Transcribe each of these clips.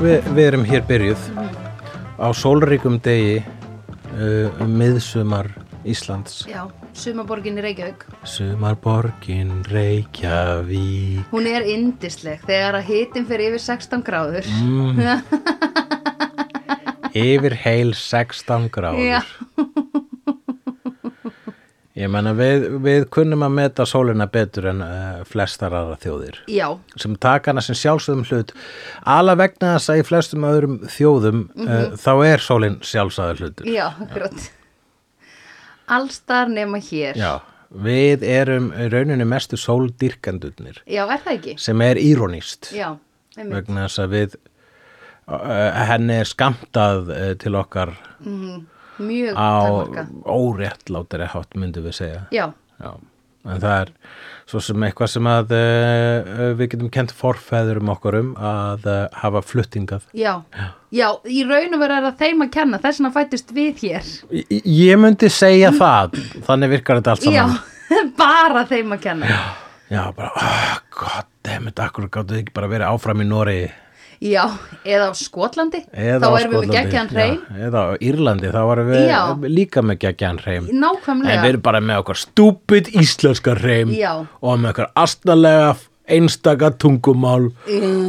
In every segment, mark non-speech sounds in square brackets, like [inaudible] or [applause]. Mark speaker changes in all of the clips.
Speaker 1: við erum hér byrjuð á sólríkum degi uh, um miðsumar Íslands
Speaker 2: Já, sumaborgin í Reykjavík.
Speaker 1: Sumarborgin Reykjavík
Speaker 2: Hún er indisleg þegar að hitin fyrir yfir 16 gráður.
Speaker 1: mm. Yfir heil 16 gráður
Speaker 2: Já.
Speaker 1: Ég menna við, við kunnum að meta sólina betur en uh, flestar aðra þjóðir
Speaker 2: Já,
Speaker 1: sem taka hana sem sjálfsögum hlut ala vegna þess að í flestum öðrum þjóðum uh, þá er sólin sjálfsæður hlutur
Speaker 2: já, grótt. Allstar nema hér.
Speaker 1: Já, við erum í rauninni mestu sóldýrkandurnir
Speaker 2: Já, er það ekki?
Speaker 1: sem er írónist
Speaker 2: Já, einmitt.
Speaker 1: vegna þess að við uh, henni er skamtað uh, til okkar
Speaker 2: Mm, mjög
Speaker 1: á
Speaker 2: takmarka.
Speaker 1: óréttlátari hátt myndum við segja
Speaker 2: Já,
Speaker 1: Já. en það er svo sem eitthvað sem að uh, uh, við getum kent forfæðurum okkur um að uh, hafa fluttingað
Speaker 2: já, já, í raun og veru er það þeim að kenna, þess vegna fættist við hér.
Speaker 1: Í- í- Ég myndi segja það þannig virkar þetta allt
Speaker 2: Já, [laughs]
Speaker 1: saman
Speaker 2: bara þeim að kenna. Já.
Speaker 1: Já, bara, oh, god damn it, akkur gáttu þið ekki bara verið áfram í Noregi
Speaker 2: eða á Skotlandi,
Speaker 1: eða
Speaker 2: þá
Speaker 1: á
Speaker 2: erum við með
Speaker 1: Skotlandi,
Speaker 2: geggjan hrein.
Speaker 1: já, eða á Írlandi, þá varum við
Speaker 2: Já.
Speaker 1: líka með geggjan hreim
Speaker 2: Nákvæmlega.
Speaker 1: en við erum bara með okkar stúpid íslenska hreim
Speaker 2: Já.
Speaker 1: og með okkar astalega einstaka tungumál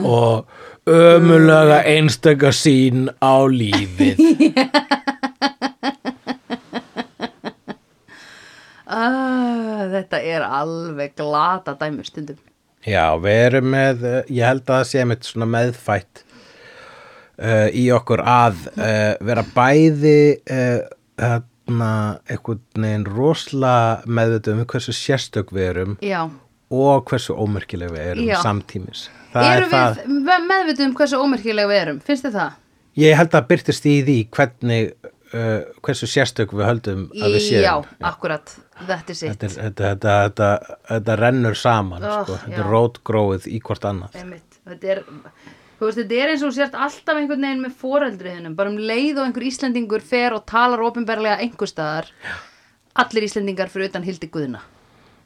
Speaker 1: og ömulega einstaka sín á lífið
Speaker 2: [laughs] Ah, þetta er alveg glata dæmur stundum.
Speaker 1: Já, við erum með, eh, ég held að það sé mitt svona meðfætt uh, í okkur að uh, vera bæði uh, hérna, einhvern veginn rosla meðvitað um hversu sérstök við erum
Speaker 2: Já.
Speaker 1: og hversu ómerkileg við erum
Speaker 2: Já.
Speaker 1: samtímis.
Speaker 2: Erum við það... meðvitið um hversu ómerkilega við erum? Finnst þið það?
Speaker 1: Ég held að byrtist í því hvernig, uh, hversu sérstök við höldum að við
Speaker 2: Já,
Speaker 1: séum.
Speaker 2: akkurat. Þetta er sitt.
Speaker 1: Þetta, er- þetta, þetta, þetta, þetta rennur saman,
Speaker 2: Oh,
Speaker 1: sko. þetta
Speaker 2: já.
Speaker 1: er rótgróið í hvort annað.
Speaker 2: Einmitt. Þetta er... Þú veist, þetta er eins og þú sért alltaf einhvern veginn með foreldriðinum, bara um leið og einhver Íslendingur fer og talar ofinberlega einhverstaðar, allir Íslendingar fyrir utan Hildi Guðna.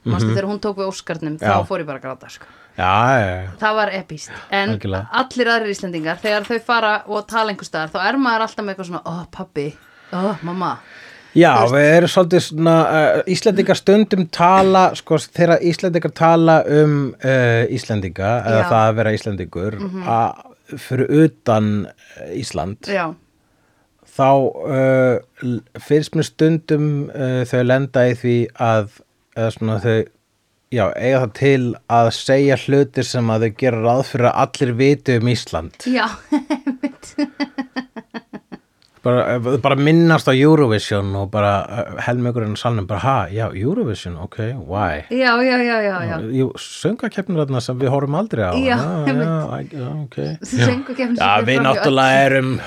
Speaker 2: Manstu þegar hún tók við Óskarnum,
Speaker 1: Mhm. Já.
Speaker 2: þá fór ég bara að gráta, sko.
Speaker 1: Já, já, já.
Speaker 2: það var epíst en
Speaker 1: Algjörlega.
Speaker 2: allir aðrir Íslendingar þegar þau fara og tala einhver staðar þá er maður alltaf með eitthvað svona, oh pabbi oh mamma,
Speaker 1: Já, við erum svolítið svona, uh, Íslendingar stundum tala, sko, þegar Íslendingar tala um uh, Íslendinga,
Speaker 2: Já.
Speaker 1: eða
Speaker 2: Mhm.
Speaker 1: það að vera Íslendingur, mm fyrir utan eh, Ísland,
Speaker 2: já,
Speaker 1: þá uh, l- finnst mér stundum uh, þau lenda í því að, eða svona þau, já, eiga það til að segja hlutir sem að þau gera ráð fyrir að allir viti um Ísland.
Speaker 2: já [laughs]
Speaker 1: bara, eh, bara minnast á Eurovision og bara helmugurinn á salnum bara, ha, já, Eurovision, ok, why?
Speaker 2: já, já, já, já, já.
Speaker 1: Jú, söngakeppnir þarna sem við horfum aldrei á
Speaker 2: Já,
Speaker 1: já,
Speaker 2: einmitt.
Speaker 1: já, já, ok
Speaker 2: Söngukeppni sem
Speaker 1: Já,
Speaker 2: fer
Speaker 1: við
Speaker 2: fram hjá
Speaker 1: náttúrulega erum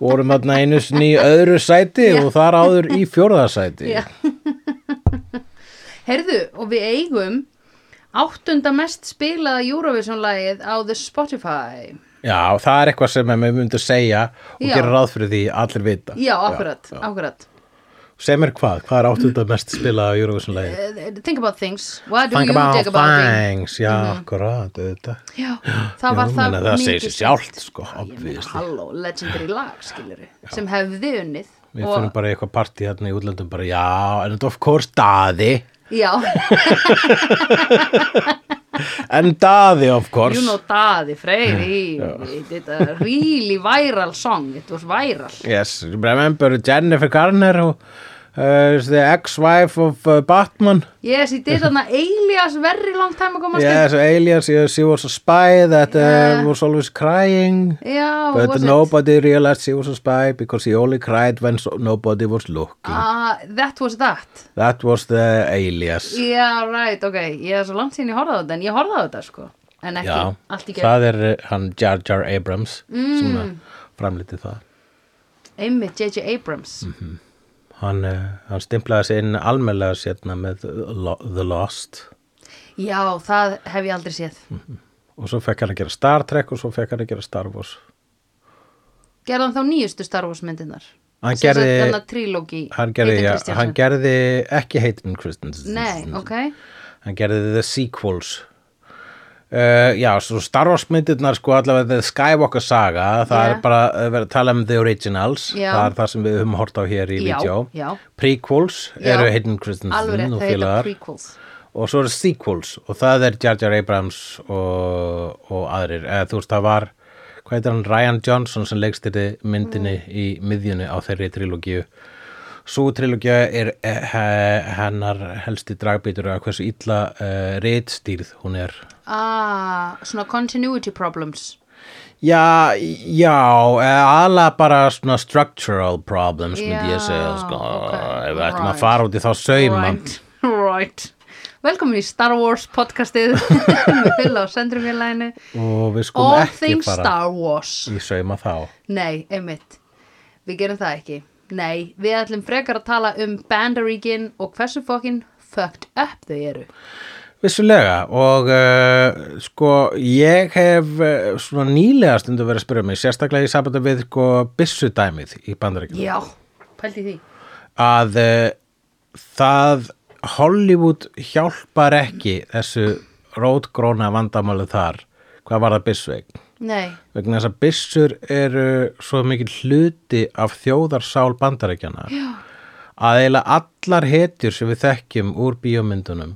Speaker 1: vorum þarna einu sinni í öðru sæti og þar áður í fjórðasæti
Speaker 2: Já. öll. heyrðu, og við eigum áttunda mest spilaða Eurovision-lagið á The Spotify
Speaker 1: Já, það er eitthvað sem við myndum segja og
Speaker 2: Já.
Speaker 1: gera ráð fyrir því að allir vita
Speaker 2: já, akkurat, akkurat
Speaker 1: Sem er hvað? Hvað er áttunda mest spilað á Eurovision-lægi?
Speaker 2: Uh, think about things, what do
Speaker 1: Think
Speaker 2: you
Speaker 1: about
Speaker 2: think about things
Speaker 1: things, já, akkurat, auðvitað.
Speaker 2: já, Mhm. það var
Speaker 1: Já,
Speaker 2: það
Speaker 1: meina, það
Speaker 2: mikið
Speaker 1: segir sér
Speaker 2: sett.
Speaker 1: sjálft, sko,
Speaker 2: Já, ég meina,
Speaker 1: obviously.
Speaker 2: halló, legendary lag, skilur sem hefði unnið
Speaker 1: Við
Speaker 2: og-
Speaker 1: fyrir bara í eitthvað partí hérna í útlöndum, bara já, en of course daði,
Speaker 2: Já,
Speaker 1: en daði of course.
Speaker 2: you know Daði Freyri þetta really viral song it was viral
Speaker 1: Yes, remember Jennifer Garner who uh, is the ex-wife of uh, Batman.
Speaker 2: yes, it did þarna Elias very long time ago manstu?
Speaker 1: Yes, alias, yes, she was a spy that uh, was always crying.
Speaker 2: Já,
Speaker 1: But
Speaker 2: Oh, was it?
Speaker 1: nobody realized she was a spy because she only cried when so nobody was looking.
Speaker 2: Ah, that was that
Speaker 1: That was the alias.
Speaker 2: yeah, right, ok, ég er svo langt síðan ég horfði á þetta en ég horfði á þetta sko en ekki,
Speaker 1: Já,
Speaker 2: allt í Mm. gegn
Speaker 1: það er uh, hann Jar Jar Abrams sem að framlítið það.
Speaker 2: einmitt J.J. Abrams
Speaker 1: Mhm. Hann, uh, hann stimplaði sig inn almennlega sérna með Lo- The Lost
Speaker 2: já, það hef ég aldrei séð
Speaker 1: Mhm. og svo fekk hann að gera Star Trek og svo fekk hann að gera Star Wars.
Speaker 2: gerði hann þá nýjustu Star Wars myndirnar
Speaker 1: Hann
Speaker 2: Sem sagt,
Speaker 1: gerði-
Speaker 2: þarna trílógi
Speaker 1: Hann gerði,
Speaker 2: Hayden
Speaker 1: ja,
Speaker 2: Christensen.
Speaker 1: hann gerði ekki Hayden Christensen.
Speaker 2: nei, ok
Speaker 1: Hann gerði The Sequels Uh, já, svo Star Wars myndirnar sko allavega þetta er Skywalker saga það
Speaker 2: Já.
Speaker 1: er bara uh, verið að tala um The Originals
Speaker 2: Já.
Speaker 1: það er það sem við höfum hort á hér í
Speaker 2: Já,
Speaker 1: vídeo
Speaker 2: já.
Speaker 1: prequels
Speaker 2: Já.
Speaker 1: eru Hayden
Speaker 2: alveg
Speaker 1: Christensen
Speaker 2: rétt,
Speaker 1: og
Speaker 2: það heita
Speaker 1: Mhm. félagar
Speaker 2: prequels
Speaker 1: og svo eru sequels og það er Jar Jar Abrams og, og aðrir eða þú veist það var, hvað heitir hann Ryan Johnson sem leikstýrði myndinni í miðjunni á þeirri trilógíu svo trilógíu er eh, he- hennar helsti dragbítur að hversu illa uh, reitstýrð hún er
Speaker 2: ah, svona continuity problems
Speaker 1: Já, já, aðla bara svona structural problems myndi ég segja,
Speaker 2: Já,
Speaker 1: sko,
Speaker 2: ok,
Speaker 1: ef við ætlum
Speaker 2: right.
Speaker 1: að fara út í þá sauma.
Speaker 2: right, [laughs] right velkomin í Star Wars podcastið [laughs] með Fylla og Sendrumfélaginu
Speaker 1: Og við skulum
Speaker 2: All
Speaker 1: ekki
Speaker 2: things
Speaker 1: fara
Speaker 2: Star Wars
Speaker 1: í sauma þá.
Speaker 2: Nei, einmitt. Við gerum það ekki. Nei, við ætlum frekar að tala um Bandaríkin og hversu fokkin fucked up þau eru.
Speaker 1: Vissulega, og uh, sko, ég hef uh, svona nýlega stundu verið að spyrja mig, sérstaklega í sambandi við, sko, byssudæmið í bandaríkjum.
Speaker 2: Já. Pældi því.
Speaker 1: Að uh, það, Hollywood hjálpar ekki þessu rótgróna vandamálu þar, hvað var það byssuegn?
Speaker 2: Nei,
Speaker 1: vegna þess að byssur eru svo mikil hluti af þjóðarsál bandarækjana að eiginlega allar hetjur sem við þekkjum úr bíómyndunum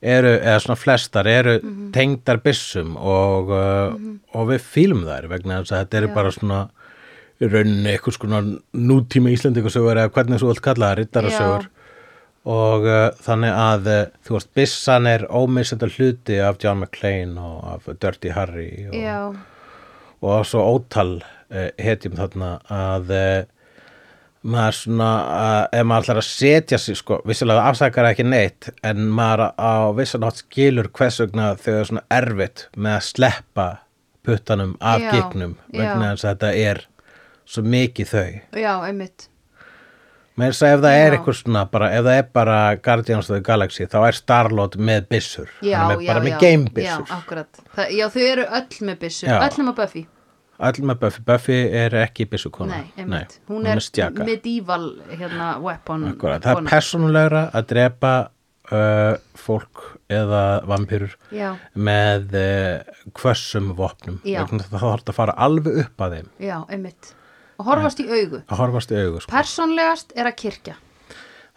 Speaker 1: eru, eða svona flestar eru tengdar byssum og, uh, og við fílum þær vegna þess að þetta eru bara svona í rauninni einhvers konar nútíma íslendingasögur eða hvernig svo allt kallað rittarasögur og uh, þannig að uh, þú veist, byssan er ómissandi hluti af John McClane og af Dirty Harry og,
Speaker 2: já,
Speaker 1: og svo ótal uh, hetjum þarna að uh, maður svona uh, ef maður ætlar að setja sig sko vissilega það afsakar ekki neitt en maður á vissanátt skilur hvers vegna þau er svona erfitt með að sleppa puttanum af
Speaker 2: Já,
Speaker 1: gignum
Speaker 2: já.
Speaker 1: vegna þess að þetta er svo mikið þau
Speaker 2: já, einmitt.
Speaker 1: með þess að ef það er
Speaker 2: Já.
Speaker 1: eitthvað svona bara, ef það er bara Guardians of the Galaxy þá er Starlord með byssur
Speaker 2: Já,
Speaker 1: hann er
Speaker 2: já,
Speaker 1: bara
Speaker 2: já, ah.
Speaker 1: með gamebyssur
Speaker 2: Já, akkurat. Það, já, þau eru öll með byssur,
Speaker 1: Já.
Speaker 2: öll með Buffy.
Speaker 1: Öll með Buffy, Buffy er ekki byssukona
Speaker 2: Nei, einmitt. Hún,
Speaker 1: hún
Speaker 2: er,
Speaker 1: er stjaka
Speaker 2: medieval, hérna, weapon.
Speaker 1: Akkurat, það er
Speaker 2: kona.
Speaker 1: persónulegra að drepa uh, fólk eða vampýrur
Speaker 2: Já.
Speaker 1: með uh, hvössum vopnum
Speaker 2: Já.
Speaker 1: vegna það þarf að fara alveg upp að þeim
Speaker 2: Já, einmitt. Og horfast í augu.
Speaker 1: að horfast í augu sko.
Speaker 2: Persónlegast er að kirkja.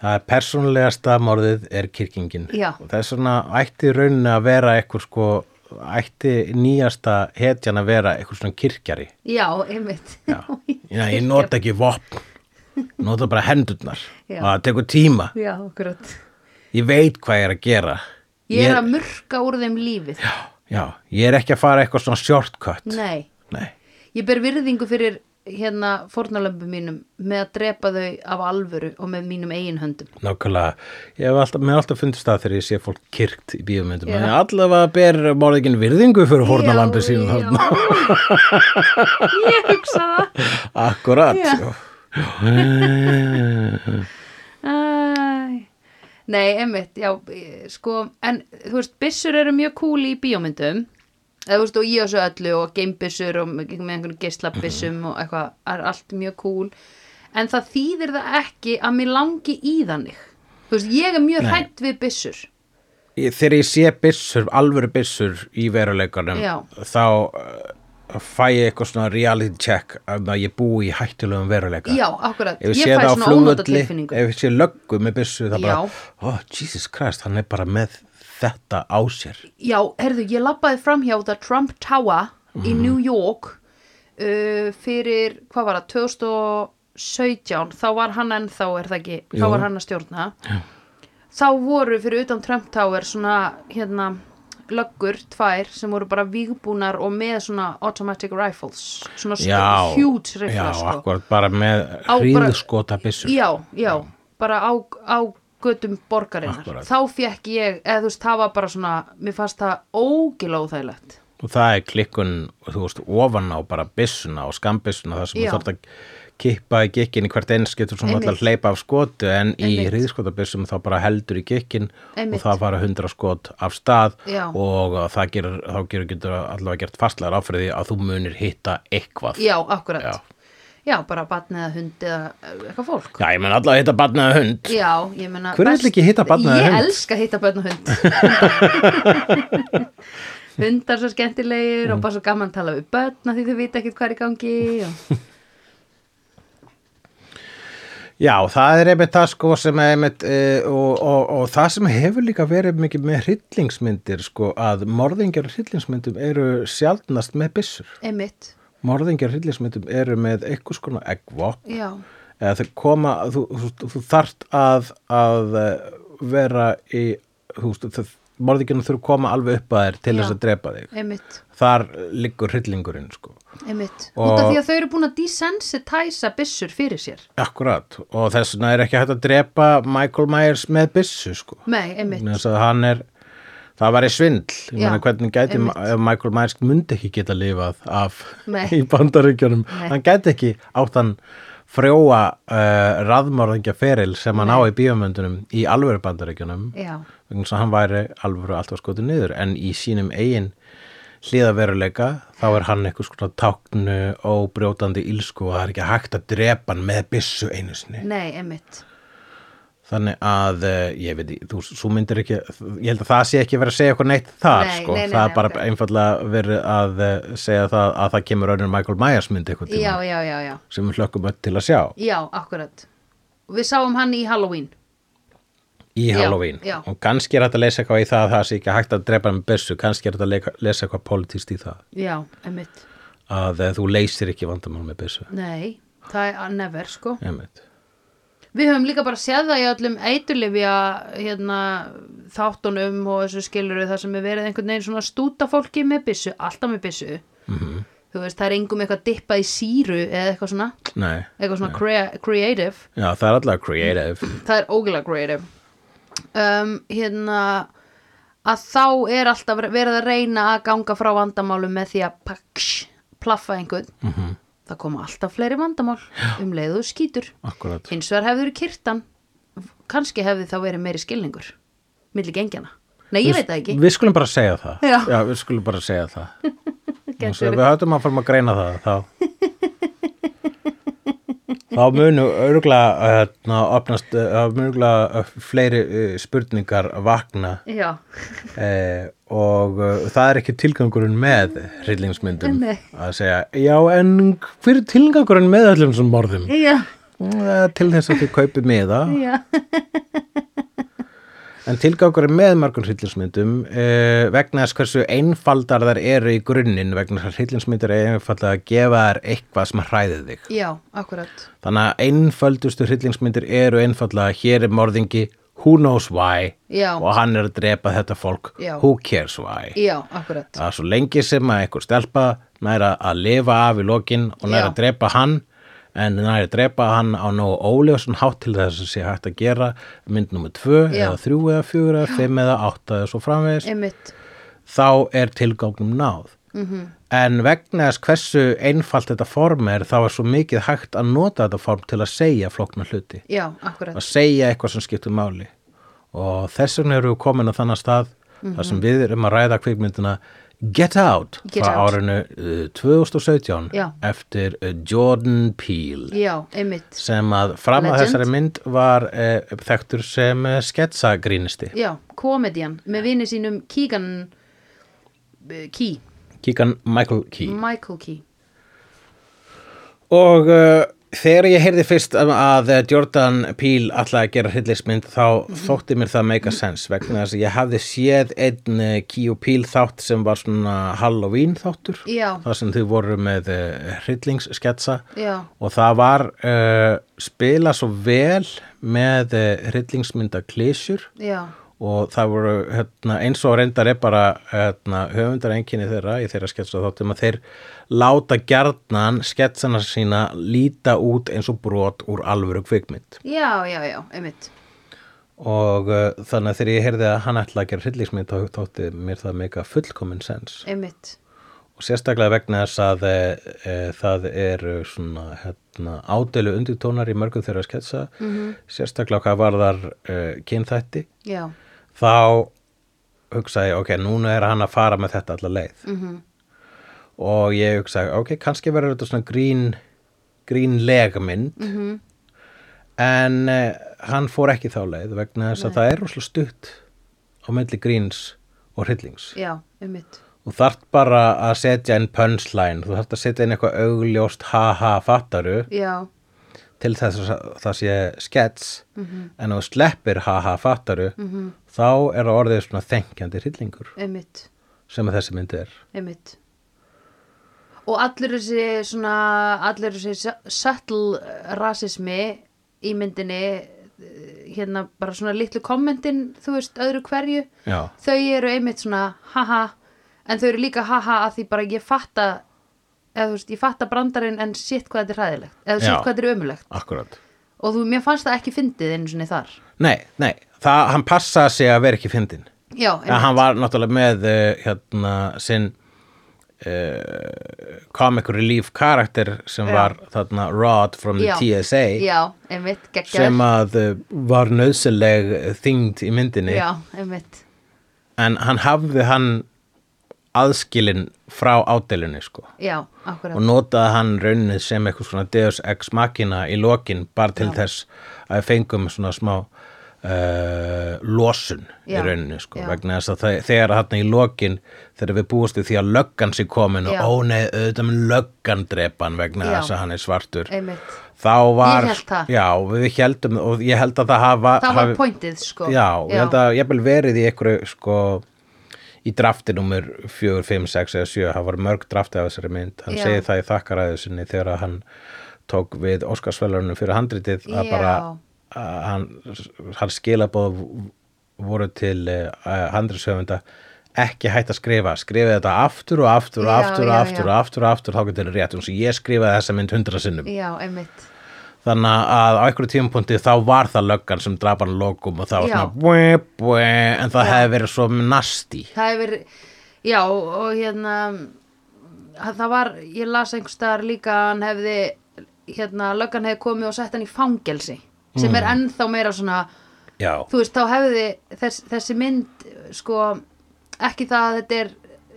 Speaker 1: það er persónulegasta morðið er kirkingin
Speaker 2: Já.
Speaker 1: og það er svona ætti í rauninni að vera eitthvað sko ætti nýjasta hetjan að vera eitthvað svona kirkjari
Speaker 2: Já, einmitt.
Speaker 1: Já, ég nota ekki vopn nota bara hendurnar
Speaker 2: Já.
Speaker 1: og það tekur tíma
Speaker 2: [laughs] já, akkurat.
Speaker 1: ég veit hvað ég er að gera
Speaker 2: Ég er að murka úr þeim lífið.
Speaker 1: Já, ég er ekki að fara eitthvað svona shortcut
Speaker 2: Nei,
Speaker 1: Nei.
Speaker 2: ég ber virðingu fyrir hérna fórnalömbu mínum með að drepa þau af alvöru og með mínum eigin höndum.
Speaker 1: Nákvæmlega, ég hef alltaf, mér hef alltaf fundist það þegar ég sé fólk kyrkt í bíómyndum
Speaker 2: Já.
Speaker 1: en allavega ber málíkin virðingu fyrir hórnalambi
Speaker 2: Já,
Speaker 1: sínu
Speaker 2: já. Ég hugsa það.
Speaker 1: [laughs] Akkurat
Speaker 2: Já.
Speaker 1: já.
Speaker 2: Æ. Nei, emmitt, já, eh, sko, en þú veist, byssur eru mjög cool í bíómyndum eða þú veist, og í þessu öllu og gamebyssur og með með einhvern geislabyssum og eitthvað, er allt mjög cool en það þýðir það ekki að mér langi í þannig. Þú veist, ég er mjög
Speaker 1: Nei.
Speaker 2: hrætt við byssur.
Speaker 1: Ég- Þegar ég sé byssur, alvöru byssur í veruleikanum
Speaker 2: Já.
Speaker 1: þá uh, fæ ég eitthvað svona reality check um að ég búi í hættulegum veruleika
Speaker 2: Já, akkurat,
Speaker 1: Ef
Speaker 2: ég,
Speaker 1: ég sé
Speaker 2: fæ
Speaker 1: það á
Speaker 2: svona ónóta
Speaker 1: flugvölli,
Speaker 2: tilfinningu
Speaker 1: ef ég sé löggu með byssu
Speaker 2: Já.
Speaker 1: það bara, oh, Jesus Christ, hann er bara með þetta á sér
Speaker 2: Já, herðu, ég labbaði framhjá það Trump Tower
Speaker 1: Mhm.
Speaker 2: í New York uh, fyrir, hvað var það, 2017 þá var hann ennþá, er það ekki þá
Speaker 1: Jú.
Speaker 2: var hann að stjórna Já. þá voru fyrir utan Trump Tower svona, hérna, löggur tvær sem voru bara vígbúnar og með svona automatic rifles svona
Speaker 1: já,
Speaker 2: stór- huge
Speaker 1: já,
Speaker 2: rifles sko.
Speaker 1: akkurat, bara með
Speaker 2: Á bara-
Speaker 1: hríðskota byssur
Speaker 2: já, já, bara á, á götum borgarinnar
Speaker 1: Akkúrat.
Speaker 2: þá fekk ég, eða þú veist, það var bara svona mér fannst það ógila óþægilegt
Speaker 1: og það er klikkun, þú veist, ofan á bara byssuna og skambyssuna, það sem
Speaker 2: Já.
Speaker 1: þú þarf að kippa í gikkin í hvert einskiptur sem þú ætlar
Speaker 2: Einmitt.
Speaker 1: að hleypa af skotu en í
Speaker 2: Einmitt.
Speaker 1: hríðskotabyssum þá bara heldur í gikkin
Speaker 2: Einmitt.
Speaker 1: og það fara hundra skot af stað
Speaker 2: Já.
Speaker 1: og það gerir, þá gerir getur allavega gert fastlegar áfriði að þú munir hitta eitthvað
Speaker 2: já, akkurat
Speaker 1: Já.
Speaker 2: Já, bara batn eða hund eða eitthvað fólk
Speaker 1: Já, ég mun allavega hitta barnaða hund
Speaker 2: Já, ég meina
Speaker 1: Hver vill
Speaker 2: best-
Speaker 1: [laughs] ekki hitta barn eða
Speaker 2: Ég
Speaker 1: hund?
Speaker 2: elska að hitta barn og hund hundar svo skemmtilegir
Speaker 1: Mm.
Speaker 2: og bara svo gaman að tala við börn af því þau vita ekkert hvað er í gangi og...
Speaker 1: Já, það er einmitt það sko sem er einmitt uh, og, og, og það sem hefur líka verið mikið með hryllingsmyndir sko að morðingjar og hryllingsmyndum eru sjaldnast með byssur.
Speaker 2: Einmitt,
Speaker 1: Morðingjar og hryllingsmyndum eru með einhvers konar eggvopn
Speaker 2: já,
Speaker 1: eða þau koma, þú, þú, þú þart að, að eh, vera í, þú veist, morðingjana þurfa að koma alveg upp að þér til
Speaker 2: Já.
Speaker 1: þess að drepa þig.
Speaker 2: einmitt,
Speaker 1: Þar liggur hryllingurinn sko.
Speaker 2: einmitt
Speaker 1: Og-
Speaker 2: út af því að þau eru búin að desensitæsa byssur fyrir sér
Speaker 1: Akkurat og þess vegna er ekki hægt að drepa Michael Myers með byssu sko.
Speaker 2: Nei, einmitt,
Speaker 1: þess að hann er það var í svindl, ég
Speaker 2: Já,
Speaker 1: meina hvernig gæti
Speaker 2: einmitt.
Speaker 1: ef Michael Myers myndi ekki geta lifað af
Speaker 2: Nei.
Speaker 1: [laughs] í bandaríkjunum
Speaker 2: Nei.
Speaker 1: hann gæti ekki átt hann frjóa uh, raðmörðingja feril sem hann á í bíómyndunum í alvöru bandaríkjunum
Speaker 2: já,
Speaker 1: vegna þess að hann væri alvöru alltaf skotu niður en í sínum eigin hliðaveruleika þá er hann eitthvað skona táknu og brjótandi ílsku og það er ekki hægt að drepa hann með byssu einu sinni
Speaker 2: nei, einmitt
Speaker 1: Þannig að, eh, ég veit, í- þú, svo myndir ekki, ég held að það sé ekki verið að segja eitthvað neitt þar,
Speaker 2: Nei,
Speaker 1: sko.
Speaker 2: nei, nei,
Speaker 1: það
Speaker 2: nei,
Speaker 1: er bara
Speaker 2: ok.
Speaker 1: einfallega verið að eh, segja það að það kemur önnur Michael Myers myndi eitthvað tíma
Speaker 2: Já, já, já, já,
Speaker 1: sem við hlökkum öll til að sjá
Speaker 2: já, akkurat Við sáum hann í Halloween
Speaker 1: í
Speaker 2: Já,
Speaker 1: Halloween.
Speaker 2: já.
Speaker 1: Og kannski er hægt að lesa eitthvað í það að það sé ekki hægt að drepa hann með byssu, kannski er hægt að leika, lesa eitthvað politist í það
Speaker 2: Já, einmitt,
Speaker 1: að eh, þú leysir ekki vandamál með byssu.
Speaker 2: nei, það er að never, sko
Speaker 1: Einmitt.
Speaker 2: Við höfum líka bara séð það í öllum eiturlifja hérna, þáttunum og þessu skiluru það sem er verið einhvern veginn svona stúta fólki með byssu, alltaf með byssu. Þú veist, það er engum eitthvað dippað í síru eða eitthvað svona,
Speaker 1: Nei,
Speaker 2: eitthvað svona crea creative.
Speaker 1: já, það er allavega creative.
Speaker 2: Það er ógilega creative. Um, hérna, að þá er alltaf verið að reyna að ganga frá vandamálum með því að paksh, plaffa einhvern.
Speaker 1: Mhm.
Speaker 2: -hmm. Það koma alltaf fleiri vandamál um leiðu skýtur.
Speaker 1: Akkurat.
Speaker 2: Hins vegar hefður kyrtan kannski hefði þá verið meiri skilningur milli gengjana. Nei, ég veit það ekki.
Speaker 1: Við skulum bara segja það.
Speaker 2: Já.
Speaker 1: við skulum bara segja
Speaker 2: [laughs]
Speaker 1: það.
Speaker 2: Gæti
Speaker 1: Eins og við höfum að fara að greina það
Speaker 2: [laughs]
Speaker 1: þá, þá munu örgulega hérna, opnast, eh, þá munu örgulega fleiri eh, spurningar vakna
Speaker 2: Já,
Speaker 1: eh, og eh, það er ekki tilgangurinn með hryllingsmyndum
Speaker 2: Nei.
Speaker 1: að segja, já en hver er tilgangurinn með öllum sem morðum?
Speaker 2: já,
Speaker 1: Eh, Til þess að þið kaupið miða
Speaker 2: já,
Speaker 1: En tilgangurinn með mörgum hryllingsmyndum uh, vegna þess hversu einfaldar þær eru í grunninn vegna þess að hryllingsmyndir er einfaldar að gefa þær eitthvað sem hræðið þig.
Speaker 2: já, akkurat.
Speaker 1: Þannig að einfaldustu hryllingsmyndir eru einfaldar að hér er morðingi who knows why
Speaker 2: Já.
Speaker 1: og hann er að drepa þetta fólk
Speaker 2: Já.
Speaker 1: who cares why.
Speaker 2: Já, akkurat.
Speaker 1: Það er svo lengi sem að einhver stelpa næra að lifa af í lokin og
Speaker 2: Já.
Speaker 1: næra að drepa hann en næra að drepa hann á nógu óljósan hátt til þess að sé hægt að gera mynd nummer 2
Speaker 2: Já.
Speaker 1: eða 3 eða 4 eða 5 eða 8 eða svo framvegis
Speaker 2: Einmitt.
Speaker 1: þá er tilgangnum náð.
Speaker 2: Mhm.
Speaker 1: -hmm. En vegna þess hversu einfalt þetta form er þá er svo mikið hægt að nota þetta form til að segja flóknar hluti
Speaker 2: Já,
Speaker 1: að
Speaker 2: akkurat.
Speaker 1: segja eitthvað sem skiptir máli og þess vegna erum við komin á þannig stað þar sem við erum að ræða kvikmyndina Get Out
Speaker 2: Mhm. Get
Speaker 1: frá
Speaker 2: Out.
Speaker 1: árinu uh, 2017
Speaker 2: Já.
Speaker 1: eftir uh, Jordan Peele
Speaker 2: Já, einmitt.
Speaker 1: sem að fram að
Speaker 2: Legend.
Speaker 1: þessari mynd var uh, þekktur sem uh, sketsagrínisti
Speaker 2: Já, komedian með vini sínum Keegan eh, Key,
Speaker 1: kíkan Michael Key
Speaker 2: Michael Key.
Speaker 1: Og uh, þegar ég heyrði fyrst um að eh, Jordan Peele ætlaði að gera hryllismynd þá þótti mér það make a sense vegna þess að ég hafði séð einn eh, Key og Peele þátt sem var svona Halloween þáttur
Speaker 2: Já.
Speaker 1: þar sem þau voru með uh, hryllingssketsa
Speaker 2: Já,
Speaker 1: og það var uh, spila svo vel með uh, hryllingsmynda klísjur
Speaker 2: já,
Speaker 1: og það voru hérna, eins og reyndar er bara hérna, höfundar enginni þeirra í þeirra sketsa þáttum að þeir láta gjarnan sketsana sína líta út eins og brot úr alvöru kvikmynd
Speaker 2: já, já, já, einmitt.
Speaker 1: og uh, þannig að þegar ég heyrði að hann ætla að gera hryllingsmynd þá þótti mér það meika fullkomin sens
Speaker 2: Einmitt.
Speaker 1: og sérstaklega vegna þess að e, e, það eru svona hérna, ádeilu undirtónar í mörgum þeirra sketsa sérstaklega hvað varðar e, kynþætti
Speaker 2: Já,
Speaker 1: þá hugsaði ég, ok, núna er hann að fara með þetta alla leið
Speaker 2: Mm.
Speaker 1: -hmm.
Speaker 2: mhm,
Speaker 1: og ég hugsaði, ok, kannski verður þetta svona grín, grín legmynd
Speaker 2: Mm. mhm,
Speaker 1: -hmm. en uh, hann fór ekki þá leið vegna þess að það er rosalega stutt á milli gríns og hryllings
Speaker 2: já, einmitt.
Speaker 1: þú þarft bara að setja inn punchline, þú þarft að setja inn eitthvað augljóst ha-ha fattaru
Speaker 2: já,
Speaker 1: til þess að það sé skets en ef þú sleppir ha-ha fattaru þá er það orðið svona þenkjandi hryllingur
Speaker 2: einmitt
Speaker 1: sem að þessi mynd er
Speaker 2: einmitt og allur þessi svona allur þessi su- subtle eh, rasismi í myndinni eh, hérna bara svona litlu kommentin þú veist öðru hverju
Speaker 1: Já.
Speaker 2: þau eru einmitt svona haha en þau eru líka haha að því bara ég fatta eða þú veist ég fatta brandarinn en sitt hvað þetta er hræðilegt eða sitt
Speaker 1: Já.
Speaker 2: hvað þetta er ömulegt
Speaker 1: Akkurat
Speaker 2: og þú, mér fannst það ekki fyndið einu sinni þar
Speaker 1: Nei, nei, það, hann passaði sig að vera ekki fyndin
Speaker 2: já,
Speaker 1: en
Speaker 2: einmitt,
Speaker 1: hann var náttúrulega með eh, hérna sinn uh, comic relief karakter sem
Speaker 2: Já.
Speaker 1: var þarna Rod from the
Speaker 2: Já.
Speaker 1: TSA
Speaker 2: já, einmitt geggjaður.
Speaker 1: sem að eh, var nöðsynleg þyngd í myndinni
Speaker 2: já, einmitt
Speaker 1: en hann hafði hann aðskilin frá ádelunni sko
Speaker 2: já, akkurat
Speaker 1: og notaði hann raunnið sem eitthvað svona Deus Ex Machina í lokin bara til þess að við fengum svona smá uh, losun
Speaker 2: Já,
Speaker 1: í rauninni sko
Speaker 2: já.
Speaker 1: vegna þess að það, þegar hann í lokin þegar við búumst við því að löggan sé komin
Speaker 2: Já.
Speaker 1: og ó nei, auðvitað með löggan drepan vegna
Speaker 2: Já.
Speaker 1: þess að hann er svartur
Speaker 2: einmitt
Speaker 1: þá var,
Speaker 2: hélt það.
Speaker 1: já, við heldum og ég held að það hafa
Speaker 2: það var
Speaker 1: hafi-
Speaker 2: pointið sko
Speaker 1: já, ég held að ég vil verið í einhverju sko í drafti numur 4, 5, 6 eða 7 það voru mörg drafti af þessari mynd hann
Speaker 2: Já.
Speaker 1: segir það í þakkaræðu sinni þegar að hann tók við Óskarsvelunum fyrir handritið að
Speaker 2: Já.
Speaker 1: bara að hann, hann skilabóð voru til uh, handritshöfunda ekki hægt að skrifa skrifa þetta aftur og aftur og
Speaker 2: Já,
Speaker 1: aftur og
Speaker 2: já,
Speaker 1: aftur og
Speaker 2: já.
Speaker 1: aftur og aftur þá getur þetta rétt eins og ég skrifaði þessa mynd hundra sinnum
Speaker 2: já, einmitt
Speaker 1: þannig að á einhverju tímapunkti þá var það löggan sem draf hann að lokum og það var
Speaker 2: Já.
Speaker 1: svona bue, bue, en það
Speaker 2: Já.
Speaker 1: hefði verið svo nasti
Speaker 2: það hefur, já og hérna að það var, ég las einhvers staðar líka að hann hefði, hérna löggan hefði komið og sett hann í fangelsi sem
Speaker 1: Mhm.
Speaker 2: er ennþá meira svona
Speaker 1: já,
Speaker 2: þú veist, þá hefði þess, þessi mynd sko, ekki það að þetta er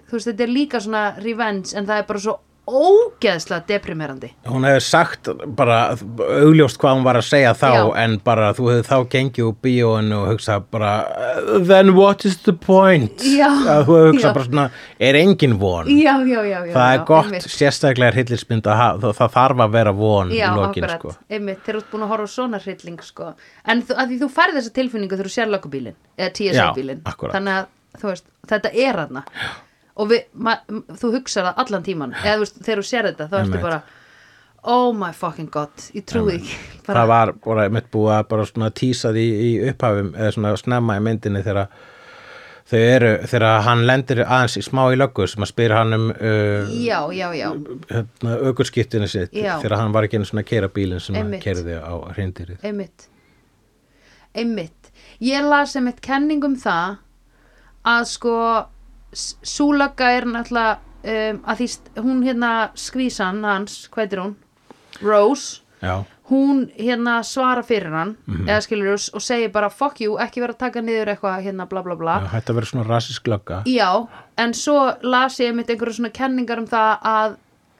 Speaker 2: þú veist, þetta er líka svona revenge en það er bara svo ógeðslega deprimerandi
Speaker 1: hún hefði sagt bara augljóst hvað hún var að segja þá
Speaker 2: Já.
Speaker 1: en bara þú hefði þá gengið úr bíóinu og hugsað bara then what is the point
Speaker 2: Já.
Speaker 1: að þú hefði
Speaker 2: Já.
Speaker 1: hugsað bara svona er engin von
Speaker 2: já, já, já, já
Speaker 1: það
Speaker 2: já,
Speaker 1: er gott
Speaker 2: einmitt.
Speaker 1: sérstaklega hryllismynd að hafa, það, það þarf að vera von
Speaker 2: Já,
Speaker 1: í lokin
Speaker 2: akkurat,
Speaker 1: sko.
Speaker 2: einmitt, þeir eru búin að horfa á svona hrylling sko. en þú, að því þú færð þessa tilfinningu þegar þú sér löggubílin, eða
Speaker 1: Já,
Speaker 2: TSA-bílin
Speaker 1: akkurat.
Speaker 2: þannig að þú veist, þetta er hana og við, ma, m- þú hugsar það allan tíman, eða þú veist, þegar þú sér þetta þá ertu
Speaker 1: Einmitt.
Speaker 2: bara, oh my fucking god ég trúi ekki, bara,
Speaker 1: það var bara mitt búið að bara svona tísa því í upphafum eða svona snemma í myndinni þegar þau eru, þegar hann lendir aðeins í smá í löggu sem að spyr hann um uh,
Speaker 2: já, já, já
Speaker 1: hérna, aukurskiptinu sitt
Speaker 2: Já.
Speaker 1: þegar hann var ekki einu svona að keira bílinn sem hann
Speaker 2: Einmitt.
Speaker 1: keirði á hreindirið
Speaker 2: einmitt einmitt ég las einmitt kenning um það að sko súlaka er náttúrulega um, að því st- hún hérna skvísan hans, hvað er hún? Rose,
Speaker 1: Já,
Speaker 2: hún hérna svara fyrir hann eða skilur þú og segir bara fuck you, ekki vera að taka niður eitthvað hérna bla bla bla
Speaker 1: Já, hætti að vera svona rasísk lögga
Speaker 2: Já, en svo las ég einmitt einhverju svona kenningar um það að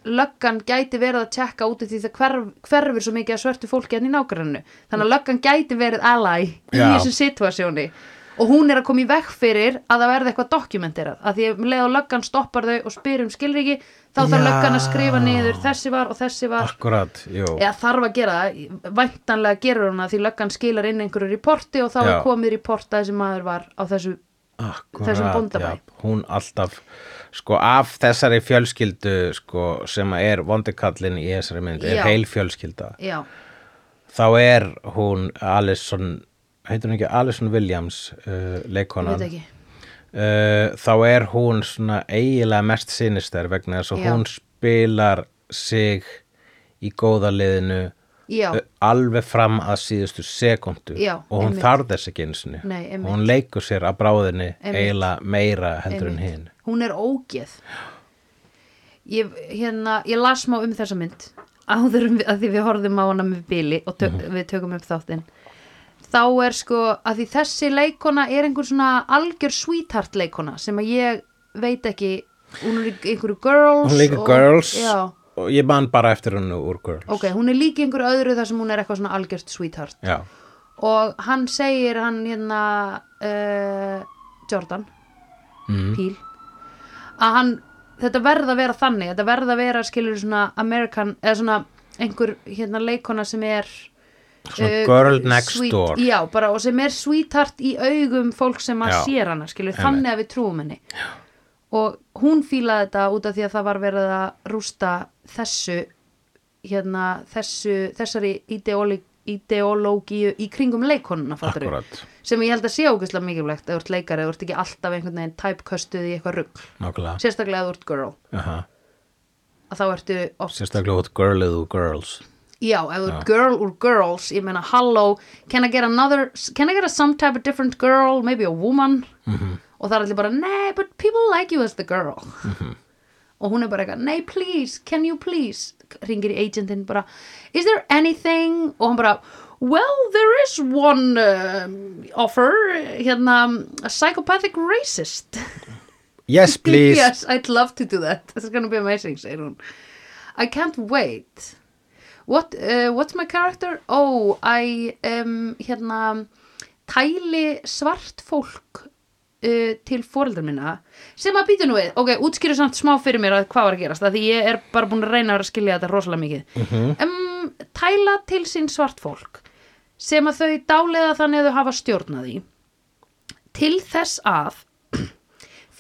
Speaker 2: löggan gæti verið að tjekka út af því það hverf, hverfur svo mikið að svörtu fólki enn í nágrannu. Þannig að löggan gæti verið ally í
Speaker 1: Mm. Já.
Speaker 2: þessu situasjóni og hún er að koma í veg fyrir að það verði eitthvað dokumenterað. Að því um leið og löggan stoppar þau og spyr um skilriki þá þarf
Speaker 1: Já.
Speaker 2: löggan að skrifa niður þessi var og þessi var.
Speaker 1: Akkurat, jú
Speaker 2: Eða þarf að gera það, væntanlega gerur hún það því löggan skilar inn einhverju reporti og þá er
Speaker 1: Já.
Speaker 2: komið report að þessi maður var á þessu
Speaker 1: Akkurat,
Speaker 2: Þessum bóndabæ.
Speaker 1: já, hún alltaf sko af þessari fjölskyldu sko, sem að er vondikallin í þessari mynd
Speaker 2: Já.
Speaker 1: er heil fjölskylda
Speaker 2: Já,
Speaker 1: þá er hún Alison heitir hún ekki Alison Williams uh,
Speaker 2: ég
Speaker 1: leikonan
Speaker 2: veit ekki
Speaker 1: uh, þá er hún svona eiginlega mest sinister vegna þess að
Speaker 2: Já.
Speaker 1: hún spilar sig í góða liðinu
Speaker 2: Já,
Speaker 1: uh, alveg fram að síðustu sekundu
Speaker 2: Já,
Speaker 1: og hún
Speaker 2: einmitt.
Speaker 1: þarf þess ekki einu sinni
Speaker 2: Nei, einmitt.
Speaker 1: hún leikur sér að bráðinni
Speaker 2: Einmitt.
Speaker 1: eiginlega meira heldur en hinn
Speaker 2: Einmitt. hún er ógeð ég, hérna, ég las smá um þessa mynd áður um, að því við horfðum á hana með bíli og tök,
Speaker 1: Mhm.
Speaker 2: við tökum upp þáttinn þá er sko að því þessi leikona er einhver svona algjör sweetheart leikona sem að ég veit ekki hún er í einhverju girls
Speaker 1: hún leikur
Speaker 2: og,
Speaker 1: Girls
Speaker 2: já,
Speaker 1: og ég man bara eftir hennu úr Girls
Speaker 2: ok, hún er líka í einhverju öðru þar sem hún er eitthvað svona algjört sweetheart
Speaker 1: já,
Speaker 2: og hann eh, segir
Speaker 1: Mhm.
Speaker 2: hann hérna uh, Jordan Píl að hann, þetta verða að vera þannig þetta verða að vera skilur svona American, eða svona einhver hérna leikona sem er eh,
Speaker 1: Svona girl next
Speaker 2: sweet,
Speaker 1: door.
Speaker 2: já, bara, og sem er sweetheart í augum fólk sem að
Speaker 1: Já.
Speaker 2: sér hana skilur,
Speaker 1: Einmitt.
Speaker 2: þannig að við trúum henni já. og hún fílaði þetta út af því að það var verið að rústa þessu hérna, þessu, þessari ideóli ideológíu í kringum leikonuna fattarðu?
Speaker 1: Akkúrat.
Speaker 2: sem ég held að sé ógeðslega mikilvægt eða þú ert leikari, eða þú ert ekki alltaf einhvern veginn typecustuð í eitthvað rugg,
Speaker 1: nákvæmlega
Speaker 2: sérstaklega eða þú ert girl
Speaker 1: Aha.
Speaker 2: að þá ertu oft,
Speaker 1: sérstaklega út girl eða úr girls
Speaker 2: já, ef þú ert girl úr girls, ég meina hello can I get another, can I get a some type of different girl, maybe a woman -hmm. og það er allir bara, nei, but people like you as the girl -hmm. og hún er bara eitthvað, nei, please, can you please ringir í agentinn bara is there anything, og hann bara well, there is one um, offer, hérna a psychopathic racist [laughs]
Speaker 1: yes please
Speaker 2: yes, I'd love to do that. This is going to be amazing, segir hún. I can't wait. What, uh, what's my character? Oh, I, um, hérna, tæli svart fólk uh, til foreldrar minna sem að býtu nú við. Ok, útskýru samt smá fyrir mér að hvað var að gerast, að því ég er bara búin að reyna að vera að skilja þetta rosalega mikið.
Speaker 1: Mhm.
Speaker 2: um, tæla til sín svart fólk sem að þau dáleiða þannig að þau hafa stjórnaði til þess að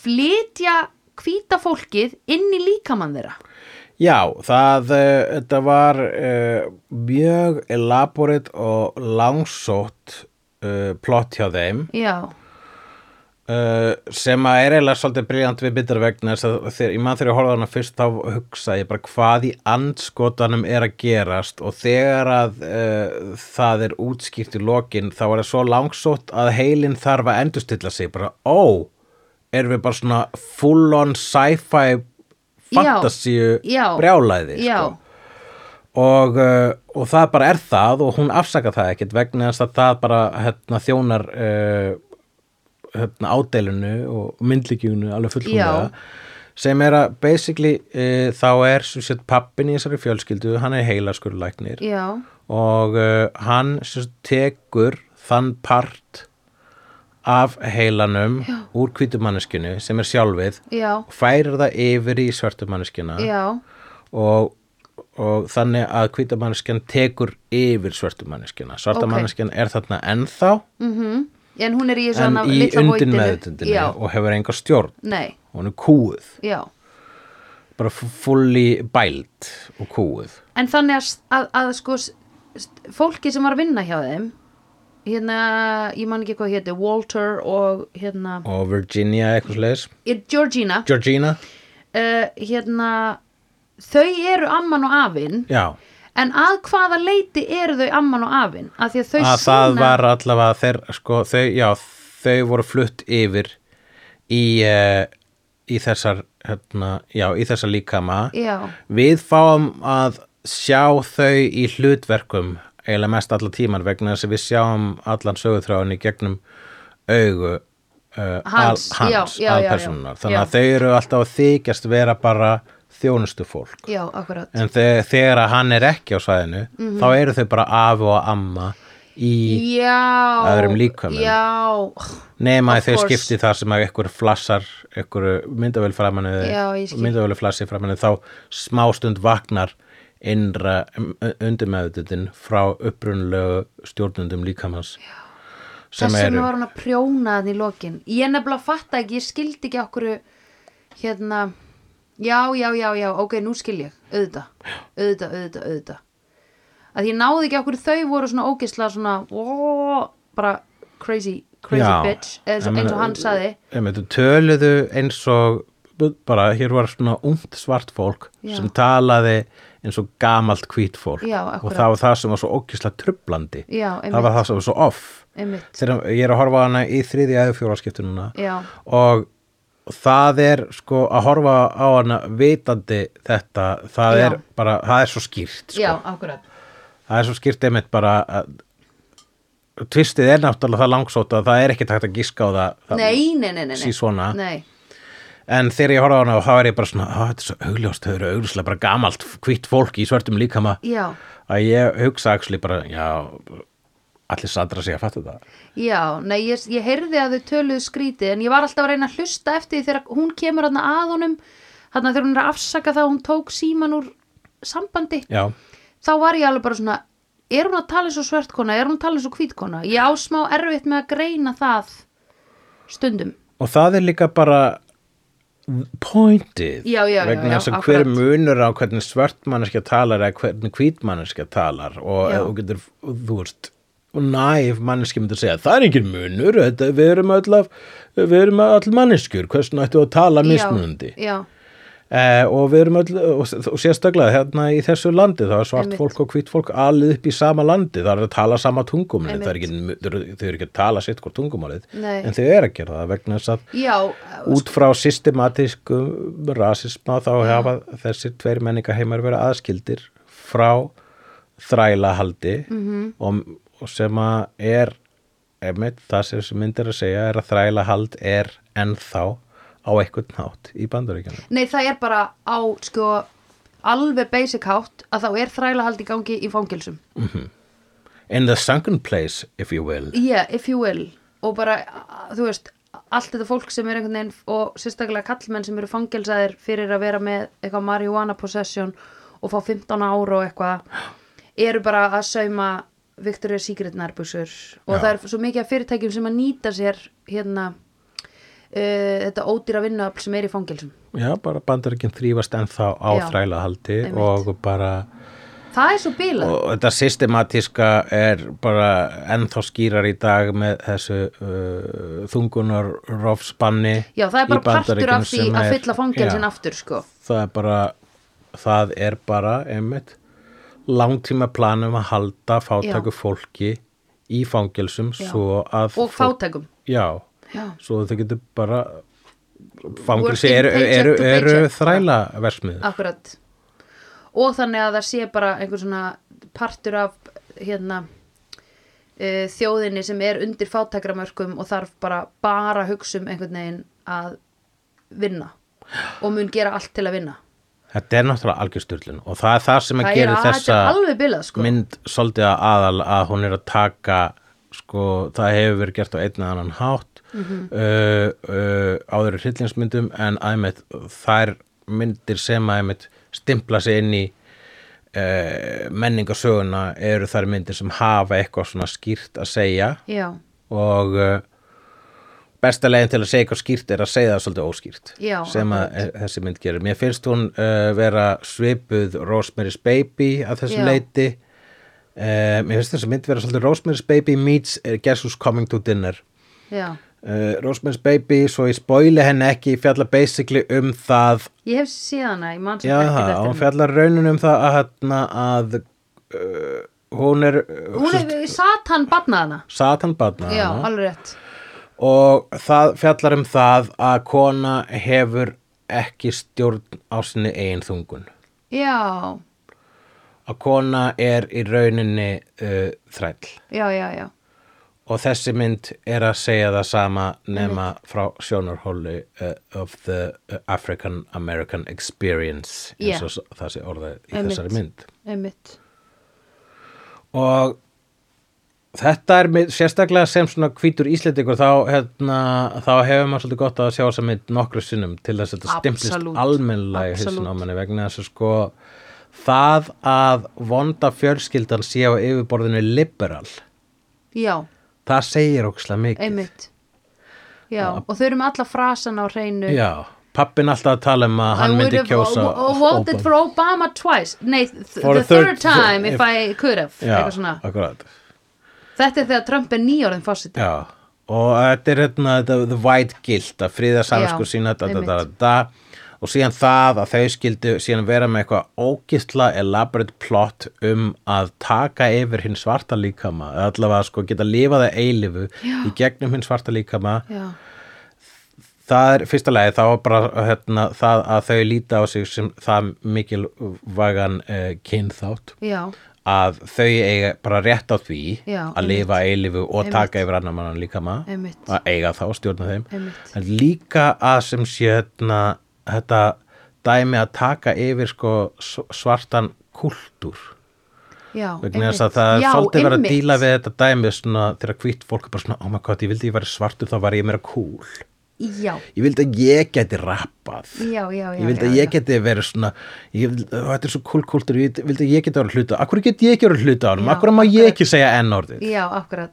Speaker 2: flytja hvíta fólkið inn í líkamann þeirra
Speaker 1: Já, það, uh, þetta var uh, mjög elaborate og langsótt uh, plott hjá þeim
Speaker 2: já,
Speaker 1: uh, sem að er eiginlega svolítið briljant við bitar vegna þess að þegar, ég man þegar ég horfði á hana fyrst þá hugsa ég bara hvað í andskotanum er að gerast og þegar að uh, það er útskýrt í lokin þá er það svo langsótt að heilin þarf að endurstilla sig bara, ó, erum við bara svona full on sci-fi fantasíu
Speaker 2: já,
Speaker 1: brjálæði
Speaker 2: já,
Speaker 1: sko og, uh, og það bara er það og hún afsaka það ekkert vegna þess að það bara hérna, þjónar uh, hérna, ádelinu og myndlíkjunu alveg fullkomlega
Speaker 2: Já.
Speaker 1: sem er að basically uh, þá er sem sagt, pappin í þessari fjölskyldu hann er heilaskurlæknir
Speaker 2: já
Speaker 1: og uh, hann sem sagt, tekur þann part af heilanum Já. úr hvítumanneskinu sem er sjálfið
Speaker 2: já,
Speaker 1: og færir það yfir í svartumanneskina
Speaker 2: já,
Speaker 1: og, og þannig að hvítamanneskjan tekur yfir svörtumanneskjana svartamanneskjan er þarna ennþá
Speaker 2: mhm en hún er í þessu
Speaker 1: en
Speaker 2: annað
Speaker 1: í
Speaker 2: litla
Speaker 1: undin
Speaker 2: voitinu.
Speaker 1: meðutundinu
Speaker 2: já,
Speaker 1: og hefur enga stjórn
Speaker 2: nei,
Speaker 1: og hún er kúið,
Speaker 2: já
Speaker 1: bara f- fully bælt og kúið
Speaker 2: en þannig að, að, að sko s- st- fólki sem var að vinna hjá þeim hérna, ég man ekki hvað héti Walter og hérna
Speaker 1: og Virginia eitthvað sliðis
Speaker 2: eh, Georgina
Speaker 1: Georgina,
Speaker 2: uh, hérna þau eru amman og afinn
Speaker 1: já
Speaker 2: En að hvaða leiti eru þau amman og afinn? Að því að þau
Speaker 1: að það var allavega þeir, sko, þau, já, þau voru flutt yfir í, uh, í þessar hérna, já, í þessar líkama
Speaker 2: Já,
Speaker 1: Við fáum að sjá þau í hlutverkum eiginlega mest allar tíman vegna þess að við sjáum allan sögutráin í gegnum augu uh,
Speaker 2: Hans,
Speaker 1: al,
Speaker 2: já,
Speaker 1: hans
Speaker 2: já, já,
Speaker 1: alpersónunar.
Speaker 2: já.
Speaker 1: Þannig að
Speaker 2: Já.
Speaker 1: þau eru alltaf að þykjast vera bara þjónustu fólk.
Speaker 2: já, akkurat
Speaker 1: En þe þegar að hann er ekki á svæðinu,
Speaker 2: Mhm.
Speaker 1: þá eru þau bara afi og amma í
Speaker 2: Já
Speaker 1: öðrum líkömum.
Speaker 2: Já,
Speaker 1: nema
Speaker 2: of
Speaker 1: að þau
Speaker 2: course.
Speaker 1: skipti þar sem að einhver flassar, einhver myndavél framannu,
Speaker 2: Já, ég skil.
Speaker 1: myndavél flassi framannu, þá smástund vaknar innra undumæðutundin frá upprunlegu stjórnundum líkamans Já. sem
Speaker 2: þess vegna
Speaker 1: eru
Speaker 2: var hún að prjóna þannig í lokin Ég nefnilega fatta ekki, ég skildi ekki okkur Hérna Já, já, já, já, ok, nú skil ég Auðvitað, auðvitað, auðvitað, auðvitað Að ég náði ekki okkur þau voru svona ógisla svona ó, Bara crazy, crazy
Speaker 1: Já,
Speaker 2: bitch eins,
Speaker 1: ég meina,
Speaker 2: eins og hann saði
Speaker 1: einmitt, töluðu eins og bara hér var svona ungt svart fólk
Speaker 2: Já.
Speaker 1: sem talaði eins og gamalt hvít fólk
Speaker 2: Já,
Speaker 1: og
Speaker 2: akkúrat.
Speaker 1: það var það sem var svo ókislega trublandi
Speaker 2: Já,
Speaker 1: það var
Speaker 2: einmitt.
Speaker 1: það sem var svo off
Speaker 2: Einmitt,
Speaker 1: þegar ég er að horfa á hana í þriði eða fjóraskiptununa
Speaker 2: já,
Speaker 1: og það er sko að horfa á hana vitandi þetta það
Speaker 2: Já.
Speaker 1: er bara, það er svo skýrt sko.
Speaker 2: já, akkurat
Speaker 1: það er svo skýrt einmitt bara að tvistið er náttúrulega það langsótt að það er ekki takt að gíska á það, það
Speaker 2: Nei, nei, nei, nei, nei.
Speaker 1: sí svona.
Speaker 2: Nei,
Speaker 1: en þegar ég horfa á hana þá er ég bara svona, "Á, þetta er svo augljóst þau eru augljóslega bara gamalt hvitt fólk í svörtum líkama
Speaker 2: já,
Speaker 1: að ég hugsa axli bara, já allir sadra sig að fatta það
Speaker 2: Já, nei, ég, ég heyrði að þau töluðu skrítið en ég var alltaf að reyna að hlusta eftir því þegar hún kemur hann að honum hann þegar hún er að afsaka það að hún tók síman úr sambandi
Speaker 1: já,
Speaker 2: þá var ég alveg bara svona er hún að tala eins og svertkona, er hún að tala eins og hvítkona ég á smá erfitt með að greina það stundum
Speaker 1: og það er líka bara pointið
Speaker 2: Já, já, já,
Speaker 1: vegna
Speaker 2: já,
Speaker 1: þess að hver
Speaker 2: akkurat.
Speaker 1: munur á hvernig svartmanneskja talar eða hvernig hvítmanneskja talar og,
Speaker 2: Já.
Speaker 1: og getur, þú veist og næf manneskja myndi segja, það er engin munur þetta, við erum öll af við erum öll manneskjur, hversu nættu að tala mismunandi
Speaker 2: Já, já,
Speaker 1: Eh, og við erum öll, og, og sérstaklega hérna í þessu landi, það er svart
Speaker 2: Einmitt.
Speaker 1: fólk og hvitt fólk alið upp í sama landi, það er að tala sama tungumni,
Speaker 2: Einmitt.
Speaker 1: það er ekki, þau eru þau eru ekki að tala sitt hvort tungumálið,
Speaker 2: Nei.
Speaker 1: en þau eru að gera það vegna þess að
Speaker 2: já,
Speaker 1: út frá systematísku rasisma þá hafa þessir tveir menningaheimar verið aðskildir frá þrælahaldi
Speaker 2: Mhm.
Speaker 1: -hmm. og, og sem að er einmitt, það sem þessi mynd er að segja er að þrælahald er ennþá á einhvern nátt í bandaríkjana
Speaker 2: nei það er bara á sko alveg basic hátt að þá er þrælahald í gangi í fangilsum
Speaker 1: In the sunken place, if you will.
Speaker 2: yeah, if you will og bara, a- þú veist allt þetta fólk sem er einhvern veginn og sérstaklega kallmenn sem eru fangelsaðir fyrir að vera með eitthvað marihuana possession og fá 15 ára og eitthvað eru bara að sauma Victoria Secret nærbuxur og
Speaker 1: Já.
Speaker 2: það er svo mikið af fyrirtækjum sem að nýta sér hérna uh, þetta ódýra vinnuafl sem er í fangelsum
Speaker 1: Já, bara bandaríkinn þrýfast ennþá á
Speaker 2: Já,
Speaker 1: þrælahaldi
Speaker 2: einmitt.
Speaker 1: og bara,
Speaker 2: það er svo bílað
Speaker 1: og þetta systematíska er bara ennþá skýrar í dag með þessu uh, þungunar rofspanni
Speaker 2: já, það er bara partur af því að fylla fangelsin
Speaker 1: já,
Speaker 2: aftur sko
Speaker 1: Það er bara, það er bara, einmitt, langtíma planum að halda fátæku fólki í fangelsum
Speaker 2: Já.
Speaker 1: svo
Speaker 2: og
Speaker 1: að fólk-
Speaker 2: fátækum
Speaker 1: Já,
Speaker 2: já,
Speaker 1: svo þau getur bara fangilsi
Speaker 2: Working
Speaker 1: eru,
Speaker 2: paycheck
Speaker 1: eru,
Speaker 2: to
Speaker 1: eru
Speaker 2: paycheck.
Speaker 1: þræla versmiður
Speaker 2: Akkurat og þannig að það sé bara einhver svona partur af hérna uh, þjóðinni sem er undir fátækramörkum og þarf bara bara að hugsa um einhvern veginn að vinna og mun gera allt til að vinna
Speaker 1: þetta er náttúrulega algjörsturlun og það er það sem að
Speaker 2: það er
Speaker 1: gera
Speaker 2: að þetta
Speaker 1: þessa
Speaker 2: er alveg bilað sko
Speaker 1: mynd svolítið að aðal að hún er að taka sko, það hefur verið gert á einn eða annan hátt mm -hmm. uh, uh, áður í hryllingsmyndum en aðeimitt þær myndir sem aðeimitt stimpla sig inn í uh, menningasöguna eru þær myndir sem hafa eitthvað svona skýrt að segja
Speaker 2: já,
Speaker 1: og uh, besta leiðin til að segja eitthvað skýrt er að segja það svolítið óskýrt
Speaker 2: Já,
Speaker 1: sem að e- þessi mynd gerir. Mér finnst hún uh, vera svipuð Rosemary's Baby að þessu
Speaker 2: Já.
Speaker 1: leiti uh, mér finnst þessi mynd vera svolítið Rosemary's Baby meets uh, Guess Who's Coming to Dinner
Speaker 2: já
Speaker 1: uh, Rosemary's Baby, svo ég spoili henni ekki fjalla basically um það
Speaker 2: ég hef síðan að ég mann sem
Speaker 1: já, það, hún fjallar raunin um það að, hérna, að uh, hún er uh,
Speaker 2: hún hefur satan batnaðana
Speaker 1: Satan badna
Speaker 2: já, alveg rétt
Speaker 1: og það fjallar um það að kona hefur ekki stjórn á sinni eigin þungun
Speaker 2: já,
Speaker 1: að kona er í rauninni uh, þræll
Speaker 2: já, já, já
Speaker 1: og þessi mynd er að segja það sama nema
Speaker 2: Mhm.
Speaker 1: frá sjónarhóli uh, of the African American Experience eins
Speaker 2: Já.
Speaker 1: og s- það sé orðað í
Speaker 2: Einmitt.
Speaker 1: þessari mynd
Speaker 2: einmitt,
Speaker 1: og þetta er mynd, sérstaklega sem svona hvítur íslendingur þá, hérna, þá hefur maður svolítið gott að sjá þessa mynd nokkru sinnum til þess að þetta
Speaker 2: Absolút.
Speaker 1: stimplist almennlega í hausin á
Speaker 2: Absolút.
Speaker 1: manni vegna þess að sko það að vonda fjölskyldan sé á yfirborðinu liberal
Speaker 2: já
Speaker 1: það segir ókslega mikið
Speaker 2: einmitt já, og þau eru með alla frasan á hreinu
Speaker 1: Já, pappin alltaf að tala um að hann
Speaker 2: I would
Speaker 1: myndi
Speaker 2: have
Speaker 1: kjósa
Speaker 2: o- o- voted
Speaker 1: Obama.
Speaker 2: for Obama twice nei, th
Speaker 1: For
Speaker 2: the
Speaker 1: a third-
Speaker 2: third time if,
Speaker 1: if-
Speaker 2: I could have eitthvað
Speaker 1: Já,
Speaker 2: svona.
Speaker 1: akkurat
Speaker 2: þetta er þegar Trump er nýjórðin fórseti
Speaker 1: Já, og þetta er hérna the, the white guilt að fríða samsku
Speaker 2: Já,
Speaker 1: sína da, da, da,
Speaker 2: einmitt.
Speaker 1: da, og síðan það að þau skildu síðan vera með eitthvað ógistla elaborate plot um að taka yfir hinn svarta líkama eða allavega sko geta lifað að eilifu í gegnum hinn svarta líkama
Speaker 2: já,
Speaker 1: það er fyrsta lagi þá var bara hérna, það að þau líta á sig sem það mikilvægan uh, kynþátt
Speaker 2: já,
Speaker 1: að þau eiga bara rétt á því
Speaker 2: Já,
Speaker 1: að
Speaker 2: einmitt.
Speaker 1: lifa eilifu og
Speaker 2: Einmitt.
Speaker 1: taka yfir annan mannan líkama
Speaker 2: Einmitt.
Speaker 1: að eiga þá, stjórna þeim
Speaker 2: Einmitt.
Speaker 1: en líka að sem sé hérna, þetta dæmi að taka yfir sko s- svartan kultúr
Speaker 2: Já,
Speaker 1: vegna þess
Speaker 2: einmitt.
Speaker 1: að það er
Speaker 2: Já,
Speaker 1: svolítið verið að
Speaker 2: einmitt.
Speaker 1: díla við þetta dæmi svona, þegar hvitt fólk er bara svona, oh my god, ég vildi ég væri svartur þá var ég meira cool
Speaker 2: Já,
Speaker 1: ég vildi að ég geti rappað
Speaker 2: já, já, já
Speaker 1: ég vildi að
Speaker 2: já,
Speaker 1: ég geti verið svona ég vildi, "Ó, þetta er svo cool kultur, ég vildi að ég geti orðið hluta akkur get ég ekki orðið hluta á hann,
Speaker 2: Já,
Speaker 1: akkur má ég
Speaker 2: akkurat.
Speaker 1: ekki segja enn orðið
Speaker 2: já. Já, akkurat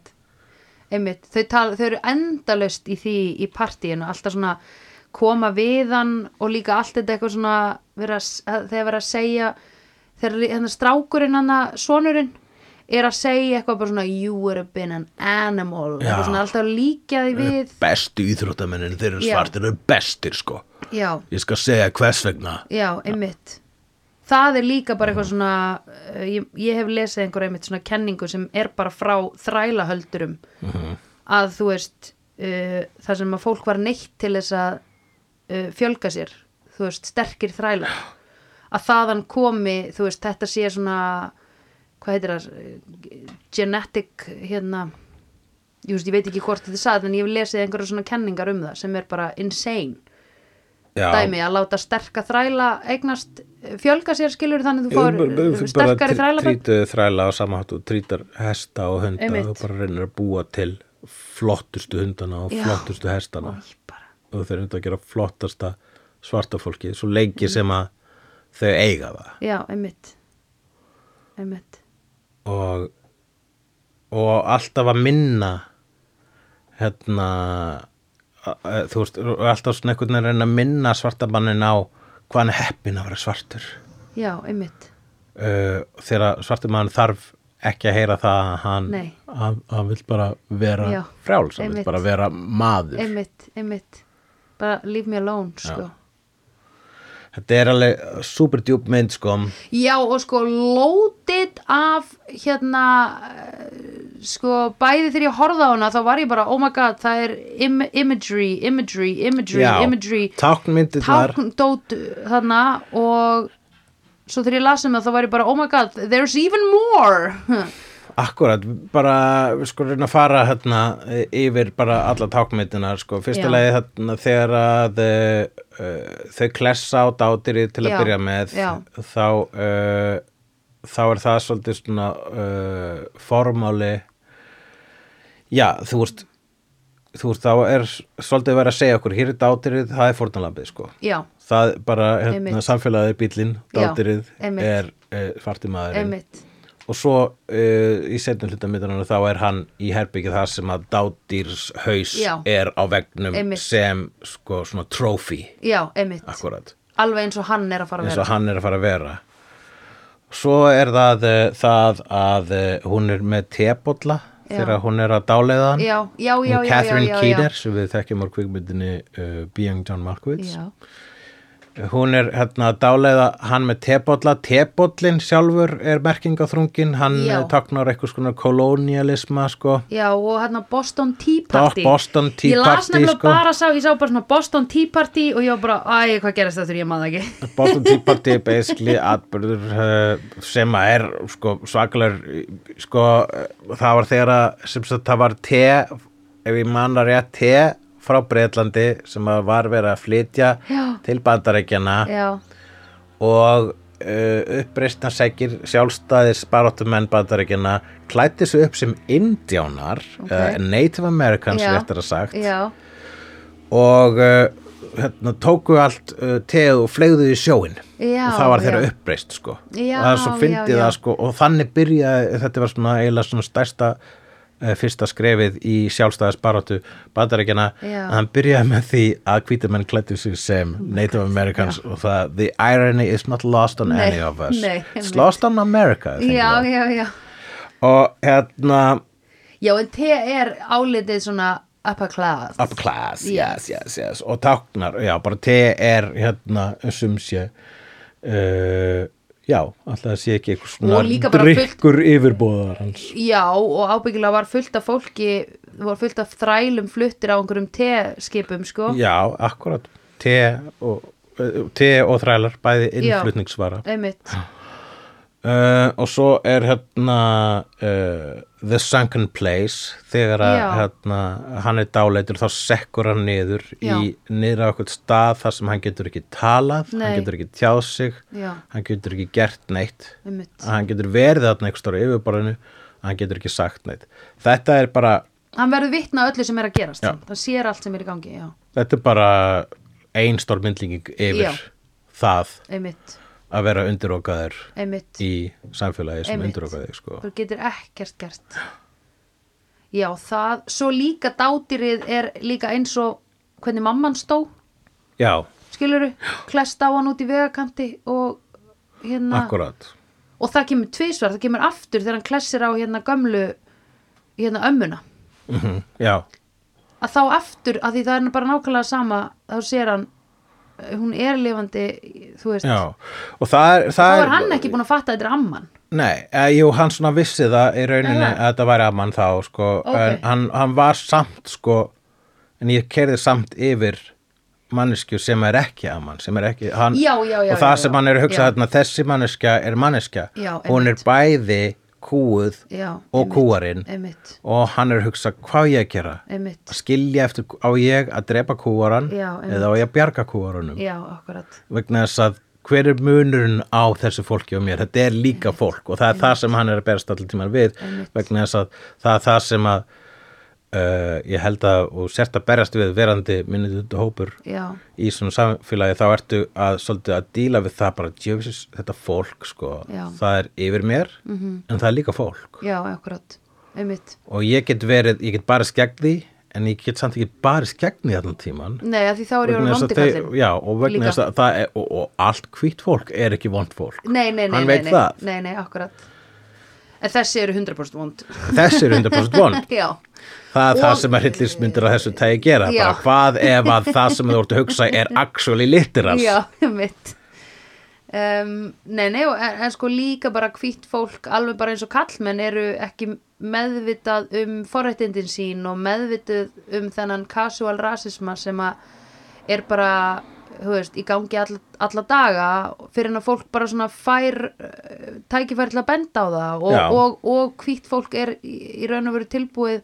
Speaker 2: Einmitt, þau, tala, þau eru endalaust í því í partíinu, alltaf svona koma við hann og líka allt þetta eitthvað svona vera, að- þegar vera að segja þegar li- hérna strákurinn hann sonurinn er að segja eitthvað bara svona you would have been an animal
Speaker 1: Já.
Speaker 2: eitthvað svona alltaf að líkja því við
Speaker 1: bestu íþróttamennin, þeir eru
Speaker 2: Já.
Speaker 1: svartir þeir eru bestir sko,
Speaker 2: já,
Speaker 1: ég skal segja hvers vegna
Speaker 2: Já, einmitt Það er líka bara eitthvað svona uh, ég, ég hef lesið einhver einmitt svona kenningu sem er bara frá þrælahöldurum að þú veist uh, það sem að fólk var neitt til þess að uh, fjölga sér þú veist, sterkir þrælar að þaðan komi, þú veist, þetta sé svona hvað heitir það eh, genetic hérna ég, veist, ég veit ekki hvort þetta er satt en ég hef lesið einhverja svona kenningar um það sem er bara insane
Speaker 1: Já.
Speaker 2: dæmi að láta sterka þræla eignast, eh, fjölga sér skilur þannig þú fór
Speaker 1: Bara- bara-
Speaker 2: sterkari þræla
Speaker 1: trýtu þræla á sama hátt og trýtar hesta og hunda
Speaker 2: Einmitt.
Speaker 1: og bara reynir að búa til flottustu hundana og
Speaker 2: Já.
Speaker 1: flottustu hestana
Speaker 2: bara,
Speaker 1: og þeir eru þetta að gera flottasta svarta fólki svo lengi sem að þau eiga það
Speaker 2: já, einmitt einmitt
Speaker 1: og, og alltaf að minna hérna a- a- þú veist, og alltaf svona einhvern veginn að reyna að minna svartamannin á hvað hann er heppin að vera svartur
Speaker 2: já, einmitt,
Speaker 1: uh, þegar svartumann þarf ekki að heyra það að hann,
Speaker 2: Nei.
Speaker 1: hann, hann vill bara vera
Speaker 2: Já,
Speaker 1: frjáls, hann vill
Speaker 2: einmitt.
Speaker 1: bara vera maður
Speaker 2: einmitt, einmitt bara leave me alone sko.
Speaker 1: þetta er alveg super djúb mynd sko
Speaker 2: já. og sko lótið af hérna eh, sko bæði þegar ég horfði á hana þá var ég bara, oh my god, það er im imagery, imagery, imagery, imagery
Speaker 1: táknmyndirnar
Speaker 2: tákndót þarna og svo þegar ég las um það þá var ég bara oh my god, there's even more Hm,
Speaker 1: Akkurat, bara við sko reyna að fara hérna eh, yfir bara alla tákmyndinar sko,
Speaker 2: Já.
Speaker 1: fyrsta leið hérna þegar að uh, þau klessa á dátiri til að
Speaker 2: Já,
Speaker 1: byrja með
Speaker 2: já.
Speaker 1: þá uh, þá er það svolítið svona uh, formáli já, þú veist þú veist, þá er svolítið verið að segja okkur, hér er dátirið, það er fórnalambið sko
Speaker 2: já,
Speaker 1: það bara, hérna,
Speaker 2: Einmitt.
Speaker 1: samfélagið er bíllinn,
Speaker 2: Já,
Speaker 1: dátirið
Speaker 2: einmitt.
Speaker 1: er uh, svartimaðurinn
Speaker 2: einmitt
Speaker 1: og svo uh, í setjum hlutamítanum þá er hann í herbyggið þar sem að dádýrs haus
Speaker 2: Já.
Speaker 1: er á vegnum
Speaker 2: Einmitt.
Speaker 1: sem sko svona trófi
Speaker 2: já, einmitt,
Speaker 1: akkurat,
Speaker 2: alveg eins og hann er að fara að
Speaker 1: eins og
Speaker 2: vera
Speaker 1: hann er að fara að vera svo er það uh, það að uh, hún er með tebolla
Speaker 2: Já.
Speaker 1: þegar hún er að dáleiða hann
Speaker 2: já, já, já,
Speaker 1: Hún
Speaker 2: já,
Speaker 1: Catherine
Speaker 2: já, já, já.
Speaker 1: Keener sem við þekkjum á kvikmyndinni uh, Being John Markowitz
Speaker 2: já,
Speaker 1: hún er hérna að dáleiða hann með tebolla, tebollin sjálfur er merkingaþrungin, hann
Speaker 2: Já.
Speaker 1: eh, táknar eitthvað svona kolonialisma sko,
Speaker 2: já, og hérna Boston Tea Party
Speaker 1: Boston Tea
Speaker 2: ég las
Speaker 1: Party,
Speaker 2: nefnilega
Speaker 1: sko.
Speaker 2: bara sá, ég sá bara svona Boston Tea Party og ég var bara, æ, hvað gerist þetta ég maður ekki
Speaker 1: [laughs] Boston Tea Party
Speaker 2: [laughs]
Speaker 1: basically atbyrður uh, sem að er sko svaklar sko eh, það var þegar að sem sagt það var te ef ég manna rétt te frá Breitlandi sem að var verið að flytja
Speaker 2: Já.
Speaker 1: til bandarækjana
Speaker 2: já,
Speaker 1: og uh, uppreistna segir sjálfstæðis baráttumenn bandaríkjana klætti sig upp sem indjánar okay. Native Americans
Speaker 2: Já.
Speaker 1: réttar að sagt
Speaker 2: já,
Speaker 1: og uh, hérna, tóku allt uh, teð og fleigðu í sjóin
Speaker 2: Já,
Speaker 1: og það var þeirra
Speaker 2: já.
Speaker 1: uppreist sko.
Speaker 2: Já,
Speaker 1: og það er svo
Speaker 2: já,
Speaker 1: fyndið
Speaker 2: já.
Speaker 1: það sko, og þannig byrjaði þetta var svona eiginlega svona stærsta eh, fyrsta skrefið í sjálfstæðisbaráttu bandaríkjana
Speaker 2: Já. Oh
Speaker 1: að hann byrjaði með því að hvítumenn klættu sig sem Native Americans og það the irony is not lost on
Speaker 2: Nei,
Speaker 1: any of us
Speaker 2: nei,
Speaker 1: it's
Speaker 2: einmitt.
Speaker 1: lost on America I think
Speaker 2: já,
Speaker 1: though.
Speaker 2: já, já
Speaker 1: og hérna
Speaker 2: já, en te er álitið svona upper class
Speaker 1: upper class, yes,
Speaker 2: Yes.
Speaker 1: yes, yes og táknar, já, bara T er hérna, sum sé uh, já, alltaf það sé ekki eitthvað
Speaker 2: Og
Speaker 1: svona
Speaker 2: líka bara fullt-
Speaker 1: drykkur yfirbóðar hans
Speaker 2: Já, og ábyggilega var fullt af fólki, var fullt af þrælum fluttir á einhverjum teskipum, sko.
Speaker 1: já, akkurat, uh, T og eh, T og þrælar, bæði innflutningsvara
Speaker 2: Einmitt.
Speaker 1: Uh, og svo er hérna uh, The Sunken Place þegar að
Speaker 2: Já.
Speaker 1: hérna, hann er dáleitur þá sekkur hann niður
Speaker 2: Já.
Speaker 1: í niður á eitthvað stað þar sem hann getur ekki talað hann
Speaker 2: Nei.
Speaker 1: getur ekki tjáð sig
Speaker 2: Já.
Speaker 1: hann getur ekki gert neitt
Speaker 2: Einmitt.
Speaker 1: hann getur verið þarna einhver stóra yfirborðinu hann getur ekki sagt neitt þetta er bara,
Speaker 2: hann verður vitna að öllu sem er að gerast
Speaker 1: Já.
Speaker 2: hann sér allt sem er í gangi já,
Speaker 1: þetta er bara ein stór myndlíking yfir
Speaker 2: Já.
Speaker 1: það
Speaker 2: einmitt,
Speaker 1: að vera undirókaður
Speaker 2: einmitt
Speaker 1: í samfélagi sem
Speaker 2: Einmitt.
Speaker 1: undirókaði sko.
Speaker 2: þú getur ekkert gert já, það svo líka dátýrið er líka eins og hvernig mamman stó
Speaker 1: já,
Speaker 2: skiluru, klest á hann út í vegakanti og hérna
Speaker 1: akkurat
Speaker 2: og það kemur tvisvar, það kemur aftur þegar hann klessir á hérna gömlu hérna ömmuna
Speaker 1: Mhm, já,
Speaker 2: að þá aftur, að því það er bara nákvæmlega sama þá sér hann eh, hún er lifandi, þú veist
Speaker 1: já og það er,
Speaker 2: þá
Speaker 1: það
Speaker 2: er hann ekki búin að fatta að þetta er amman
Speaker 1: nei, e, jú, hann svona vissi það í rauninni
Speaker 2: Aha.
Speaker 1: að þetta væri að mann þá sko,
Speaker 2: Ok.
Speaker 1: en hann, hann var samt sko, en ég kerði samt yfir manneskju sem er ekki að mann sem er ekki, hann,
Speaker 2: Já, já, já,
Speaker 1: og það
Speaker 2: já,
Speaker 1: sem
Speaker 2: já.
Speaker 1: hann er að hugsa
Speaker 2: Já.
Speaker 1: þarna, þessi manneskja er manneskja,
Speaker 2: Já,
Speaker 1: hún er
Speaker 2: einmitt.
Speaker 1: bæði kúuð
Speaker 2: já,
Speaker 1: og kúarinn
Speaker 2: einmitt,
Speaker 1: og hann er að hugsa hvað á ég að gera
Speaker 2: einmitt,
Speaker 1: skilja eftir á ég að drepa kúaran
Speaker 2: Já, einmitt.
Speaker 1: eða á ég að bjarga kúaranum
Speaker 2: já, akkurat
Speaker 1: vegna þess að hver er munurinn á þessu fólki og mér, þetta er líka fólk og það er það sem hann er að berast allir tíman við
Speaker 2: Einmitt.
Speaker 1: vegna þess að það er það sem að uh, ég held að og sért að berast við verandi minniðutu hópur
Speaker 2: já,
Speaker 1: í svona samfélagi þá ertu að svolítið að díla við það bara djöfis þetta fólk sko,
Speaker 2: Já. Mhm.
Speaker 1: það er yfir mér -hmm. en það er líka fólk
Speaker 2: já, akkurat, einmitt
Speaker 1: og ég get verið, ég get bara skegg því en ég get samt ekki bara skegg því allan tíman
Speaker 2: nei, að því þá er ég
Speaker 1: Vegna
Speaker 2: orðin
Speaker 1: þess að
Speaker 2: vondikallin
Speaker 1: þau- já, og vegna
Speaker 2: Líka.
Speaker 1: þess að það er, og, og allt hvít fólk er ekki vond fólk
Speaker 2: nei, nei, nei,
Speaker 1: Hann
Speaker 2: nei,
Speaker 1: veit
Speaker 2: nei,
Speaker 1: það.
Speaker 2: nei, nei, akkurat en þessi eru 100% vond
Speaker 1: þessi er 100% vond
Speaker 2: [laughs] já,
Speaker 1: það er það
Speaker 2: Og-
Speaker 1: sem að hryllingsmyndir á þessu tægi gera
Speaker 2: Já.
Speaker 1: bara hvað ef að það sem þú ert að hugsa er
Speaker 2: [laughs]
Speaker 1: actually literal
Speaker 2: já, [laughs] einmitt Um, nei, nei, og en, en sko líka bara hvítt fólk, alveg bara eins og kallmenn eru ekki meðvitað um forrættindin sín og meðvitað um þennan casual rasisma sem að er bara, þú veist, í gangi all, alla daga fyrir en að fólk bara svona fær eh, tækifæri til að benda á það og,
Speaker 1: Já.
Speaker 2: og, og hvítt fólk er í, í raun og veru tilbúið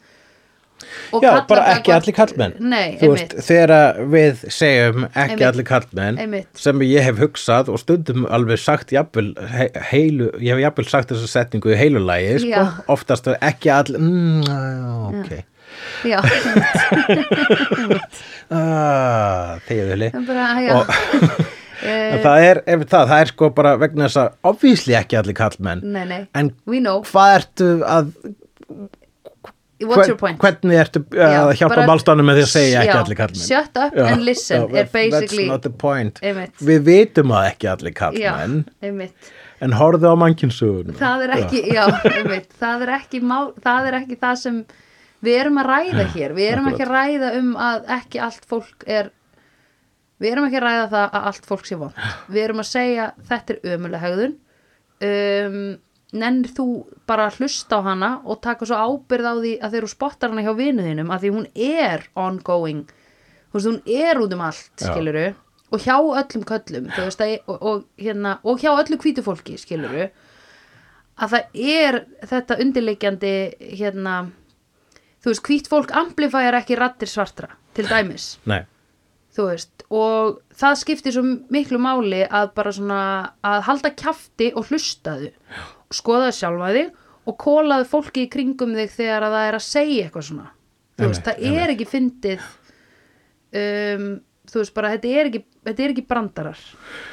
Speaker 2: og
Speaker 1: Já,
Speaker 2: kallar
Speaker 1: bara
Speaker 2: það
Speaker 1: ekki
Speaker 2: gott-
Speaker 1: allir kallmenn
Speaker 2: Nei,
Speaker 1: Þú veist,
Speaker 2: einmitt,
Speaker 1: þegar að við segjum ekki
Speaker 2: Einmitt.
Speaker 1: allir kallmenn
Speaker 2: Einmitt.
Speaker 1: sem ég hef hugsað og stundum alveg sagt jafnvel, he, heilu, ég hef jafnvel sagt þessa setningu í heilulægi sko,
Speaker 2: Já.
Speaker 1: oftast er ekki allir mm, já, ok
Speaker 2: já, [laughs]
Speaker 1: ah, þegar þau
Speaker 2: bara, já
Speaker 1: Og-
Speaker 2: Eh,
Speaker 1: En það er, ef það, það er sko bara vegna þess að obvísli ekki allir kallmenn
Speaker 2: Nei, nei,
Speaker 1: en
Speaker 2: we know
Speaker 1: hvað ertu að
Speaker 2: What's your point?
Speaker 1: hvernig ertu uh,
Speaker 2: Já,
Speaker 1: að hjálpa
Speaker 2: bara-
Speaker 1: málstofnum með því að segja ekki
Speaker 2: Já,
Speaker 1: allir kallmenn
Speaker 2: shut up and listen er
Speaker 1: that's-
Speaker 2: basically-
Speaker 1: that's not the point
Speaker 2: Einmitt.
Speaker 1: við vitum að ekki allir
Speaker 2: Já,
Speaker 1: kallmenn
Speaker 2: einmitt
Speaker 1: en horfðu á mannkinsugun
Speaker 2: Það er ekki, já, einmitt það er ekki, má, það er ekki það sem við erum að ræða
Speaker 1: Ah,
Speaker 2: hér Við erum ekki að ræða um að ekki allt fólk er Við erum ekki að ræða það að allt fólk sé vond
Speaker 1: Ah.
Speaker 2: Við erum að segja þetta er ömuleg hegðun um, Nennir þú bara að hlusta á hana og taka svo ábyrð á því að þeir eru spottar hana hjá vinu þínum að því hún er ongoing þú veist, hún er út um allt
Speaker 1: Já.
Speaker 2: skiluru og hjá öllum köllum þú veist, að, og, og, hérna, og hjá öllu hvítu fólki skiluru að það er þetta undirleikjandi hérna þú veist, hvít fólk amplifæjar ekki rattir svartra til dæmis
Speaker 1: Nei,
Speaker 2: þú veist, og það skiptir svo miklu máli að bara svona að halda kjafti og hlustaðu skoðaðu sjálfa þig og kólaðu fólki í kringum þig þegar að það er að segja eitthvað svona þú veist,
Speaker 1: Einmitt,
Speaker 2: það er ekki fyndið um, þú veist bara, þetta er ekki þetta er ekki brandarar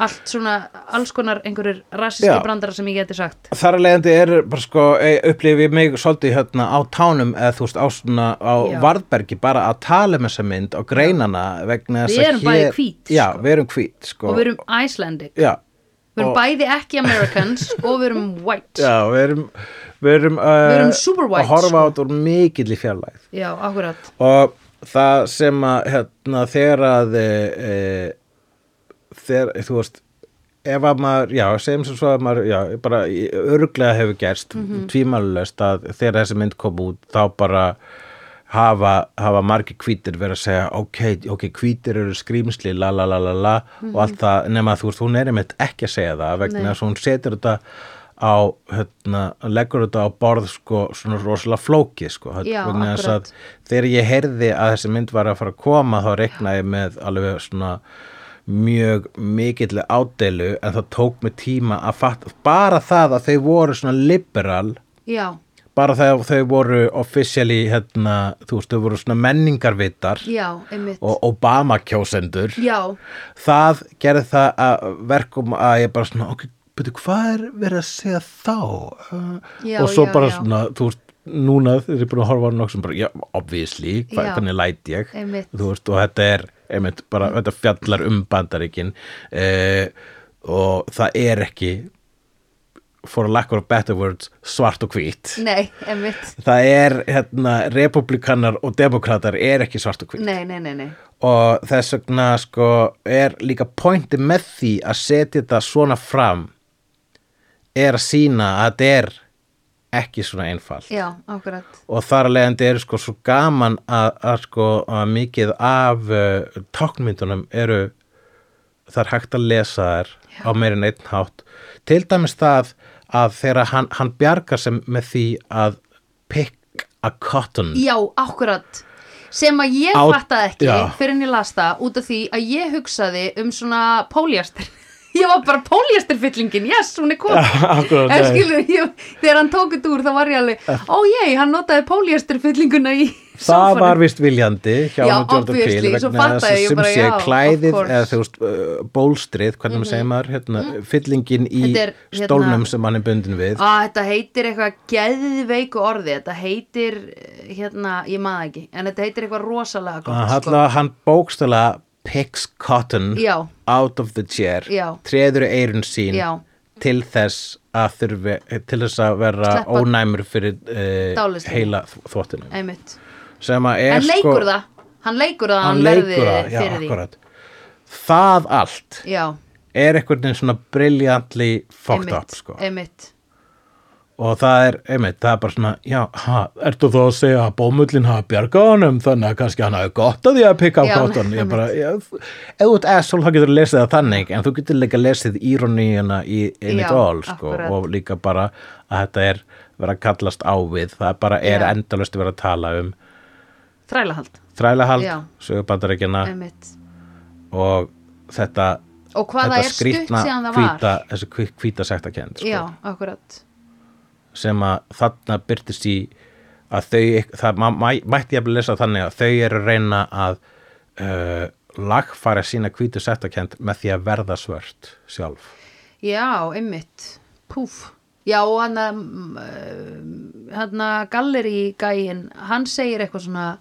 Speaker 2: allt svona, alls konar einhverjur rassiski
Speaker 1: Já.
Speaker 2: brandarar sem ég geti sagt
Speaker 1: þar að leiðandi er bara sko eh, upplifi ég mig svolítið hérna á tánum eða þú veist á svona á
Speaker 2: Já.
Speaker 1: varðbergi bara að tala um þessa mynd og greinana vegna þess
Speaker 2: Við
Speaker 1: að
Speaker 2: erum bæði hvít,
Speaker 1: Já,
Speaker 2: sko.
Speaker 1: við erum hvít sko
Speaker 2: og við erum Icelandic,
Speaker 1: Já,
Speaker 2: við erum
Speaker 1: og-
Speaker 2: bæði ekki
Speaker 1: [laughs]
Speaker 2: Americans og við erum white
Speaker 1: já við erum við erum, uh,
Speaker 2: Við erum super white, sko.
Speaker 1: að horfa át úr mikill í fjarlægð
Speaker 2: já akkurat
Speaker 1: og það sem að hérna, þegar að e, e, þegar, þú veist ef að maður, já, segjum sem svo að maður já, bara í- örugglega hefur gerst mm
Speaker 2: Mhm.
Speaker 1: að þegar þessi mynd kom út þá bara hafa, hafa margir hvítir verið að segja ok, ok, hvítir eru skrýmsli la la la la la og allt það, nema að þú veist, hún er einmitt ekki að segja það vegna
Speaker 2: Mhm. Nei.
Speaker 1: þess að hún setur þetta á, hérna, leggur þetta á borð sko, svona rosalega flóki sko, hérna,
Speaker 2: Já,
Speaker 1: vegna þess að
Speaker 2: akkurat.
Speaker 1: þegar ég heyrði að þessi mynd var að fara að koma þá reiknaði ég með alveg svona mjög mikill ádeilu en það tók mig tíma að fatta bara það að þau voru svona liberal
Speaker 2: já,
Speaker 1: bara þegar þau voru officially hérna, þú veist, þau voru svona menningarvitar
Speaker 2: já, einmitt
Speaker 1: og Obama kjósendur
Speaker 2: já,
Speaker 1: það gerði það að verkum að ég bara svona, ok, betur hvað er verið að segja þá Uh,
Speaker 2: Já,
Speaker 1: og svo
Speaker 2: já,
Speaker 1: bara
Speaker 2: já.
Speaker 1: svona, þú veist núna þegar ég búin að horfa á nokkuð sem bara, já, obviously, hva,
Speaker 2: Já.
Speaker 1: hvernig læt ég
Speaker 2: Einmitt. Mm.
Speaker 1: þú veist, og þetta er einmitt, bara, þetta fjallar um bandaríkin uh, og það er ekki for a lack of better words svart og hvít
Speaker 2: nei, einmitt
Speaker 1: það er, hérna, republikanar og demokratar er ekki svart og hvít
Speaker 2: nei, nei, nei, nei,
Speaker 1: og þess vegna sko er líka pointi með því að setja þetta svona fram er að sína að þetta er ekki svona einfalt
Speaker 2: já, akkurat
Speaker 1: og þar að leiðandi er sko svo gaman að, að sko að mikið af uh, tákmyndunum eru það er hægt að lesa þær á meirinn einn hátt til dæmis það að þegar hann, hann bjargar sem með því að pick a cotton
Speaker 2: já, akkurat sem að ég
Speaker 1: Á-
Speaker 2: fattaði ekki
Speaker 1: já.
Speaker 2: fyrir en ég las það út af því að ég hugsaði um svona póljastir [laughs] ég var bara póljastirfyllingin, yes, hún er kom [laughs]
Speaker 1: Akkurat,
Speaker 2: en
Speaker 1: nei.
Speaker 2: skilur, ég, þegar hann tók þetta úr þá var ég alveg, ó ég, hann notaði póljastirfyllinguna í [laughs]
Speaker 1: það
Speaker 2: sófanum."
Speaker 1: var vist viljandi hjá
Speaker 2: Já,
Speaker 1: honum Jordan
Speaker 2: obviously,
Speaker 1: Peele
Speaker 2: svo
Speaker 1: vegna
Speaker 2: fattaði
Speaker 1: þess að
Speaker 2: ég
Speaker 1: sem
Speaker 2: bara,
Speaker 1: sé
Speaker 2: já, of
Speaker 1: klæðið
Speaker 2: course. Mhm.
Speaker 1: eða þú veist uh, bólstrið, hvernig maður segir maður hérna, fyllingin í
Speaker 2: Þetta er, hérna,
Speaker 1: stólnum sem hann er bundin við
Speaker 2: Á, þetta heitir eitthvað geðveiku orði, þetta heitir, eh, hérna, ég maður ekki, en þetta heitir eitthvað rosalega gott,
Speaker 1: hann, sko. hann bókstala picks cotton
Speaker 2: Já.
Speaker 1: out of the chair
Speaker 2: Já.
Speaker 1: treður í eyrun sín
Speaker 2: Já.
Speaker 1: til þess að þurfi til þess að vera
Speaker 2: Sleppa-
Speaker 1: ónæmur fyrir uh,
Speaker 2: Dáleiðslunni.
Speaker 1: heila þvottinum
Speaker 2: einmitt.
Speaker 1: sem að er
Speaker 2: En leikur
Speaker 1: sko,
Speaker 2: það, hann leikur það, að
Speaker 1: hann
Speaker 2: hann verði
Speaker 1: leikur það, já,
Speaker 2: fyrir því.
Speaker 1: akkurat það allt
Speaker 2: Já,
Speaker 1: er einhvern veginn svona briljantli fucked up
Speaker 2: einmitt,
Speaker 1: sko.
Speaker 2: einmitt,
Speaker 1: og það er, einmitt, það er bara svona já, ha, ertu þá að segja að bómullin hafa bjargað honum, þannig að kannski hann hafi gott að því að pikka á
Speaker 2: Já,
Speaker 1: kottan ég bara, já, ef þú ert asshole þá getur lesið það þannig, en þú getur líka lesið íroníuna í in
Speaker 2: Já,
Speaker 1: it all sko,
Speaker 2: akkurat.
Speaker 1: og líka bara að þetta er vera að kallast á við, það bara er
Speaker 2: Já.
Speaker 1: endalaust verið að tala um
Speaker 2: þrælahald, Já.
Speaker 1: þrælahald, sögubandarækina
Speaker 2: einmitt.
Speaker 1: og þetta,
Speaker 2: Og hvað
Speaker 1: þetta
Speaker 2: það er stutt
Speaker 1: skrýtna
Speaker 2: síðan það var.
Speaker 1: hvíta, þessu hví- hvíta sektakend sko.
Speaker 2: Já, akkurat,
Speaker 1: sem að þarna byrtist í að þau, e- það ma, ma, mætti ég að lesa þannig að þau eru að reyna að uh, lagfæra sína hvítu settakend með því að verða svört sjálf.
Speaker 2: já, einmitt, púf. Já, og hann um, að, mm, eh, hann að galleri gæin, hann segir eitthvað svona,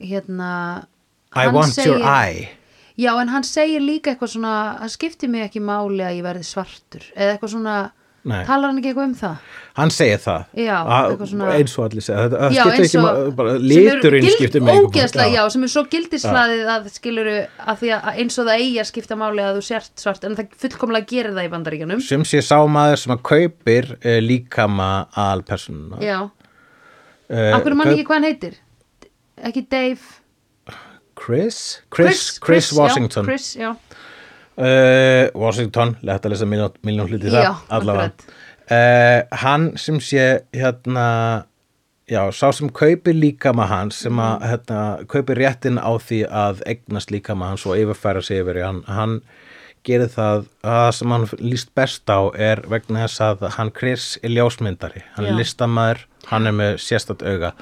Speaker 2: hérna,
Speaker 1: I
Speaker 2: hann
Speaker 1: want your
Speaker 2: segir-
Speaker 1: eye.
Speaker 2: Já, en hann segir líka eitthvað svona hann skiptir mig ekki máli að ég verði svartur eða eitthvað svona,
Speaker 1: Nei.
Speaker 2: talar hann ekki eitthvað um það?
Speaker 1: Hann segir það.
Speaker 2: Já,
Speaker 1: að,
Speaker 2: eitthvað svona-
Speaker 1: eins og allir segja. Það
Speaker 2: já,
Speaker 1: skiptir ekki, ma- bara liturinn skiptir mig.
Speaker 2: ekki Ógeðslega, já, sem er svo gildislaðið að skiluru að því að eins og það eigi að skipta máli að þú sért svart en það fullkomlega gerir það í bandaríkjanum
Speaker 1: Sem sé sá maður sem að kaupir uh, líkama alpersonuna.
Speaker 2: Já,
Speaker 1: Uh,
Speaker 2: af hverju mann ekki hvað hann heitir? Ekki Dave
Speaker 1: Chris? Chris, Chris, Washington.
Speaker 2: já, Chris, já,
Speaker 1: uh, Washington, lett að lesa miljón, miljón hluti
Speaker 2: Já,
Speaker 1: það allavega
Speaker 2: akkurat.
Speaker 1: uh, hann sem sé hérna já, sá sem kaupir líkama hans sem
Speaker 2: Mm.
Speaker 1: að hérna, kaupir réttin á því að eignast líkama hans og yfirfæra sig yfir í hann, hann gerir það að það sem hann líst best á er vegna þess að hann Chris er ljósmyndari, hann
Speaker 2: Já.
Speaker 1: er listamaður hann er með sérstætt auga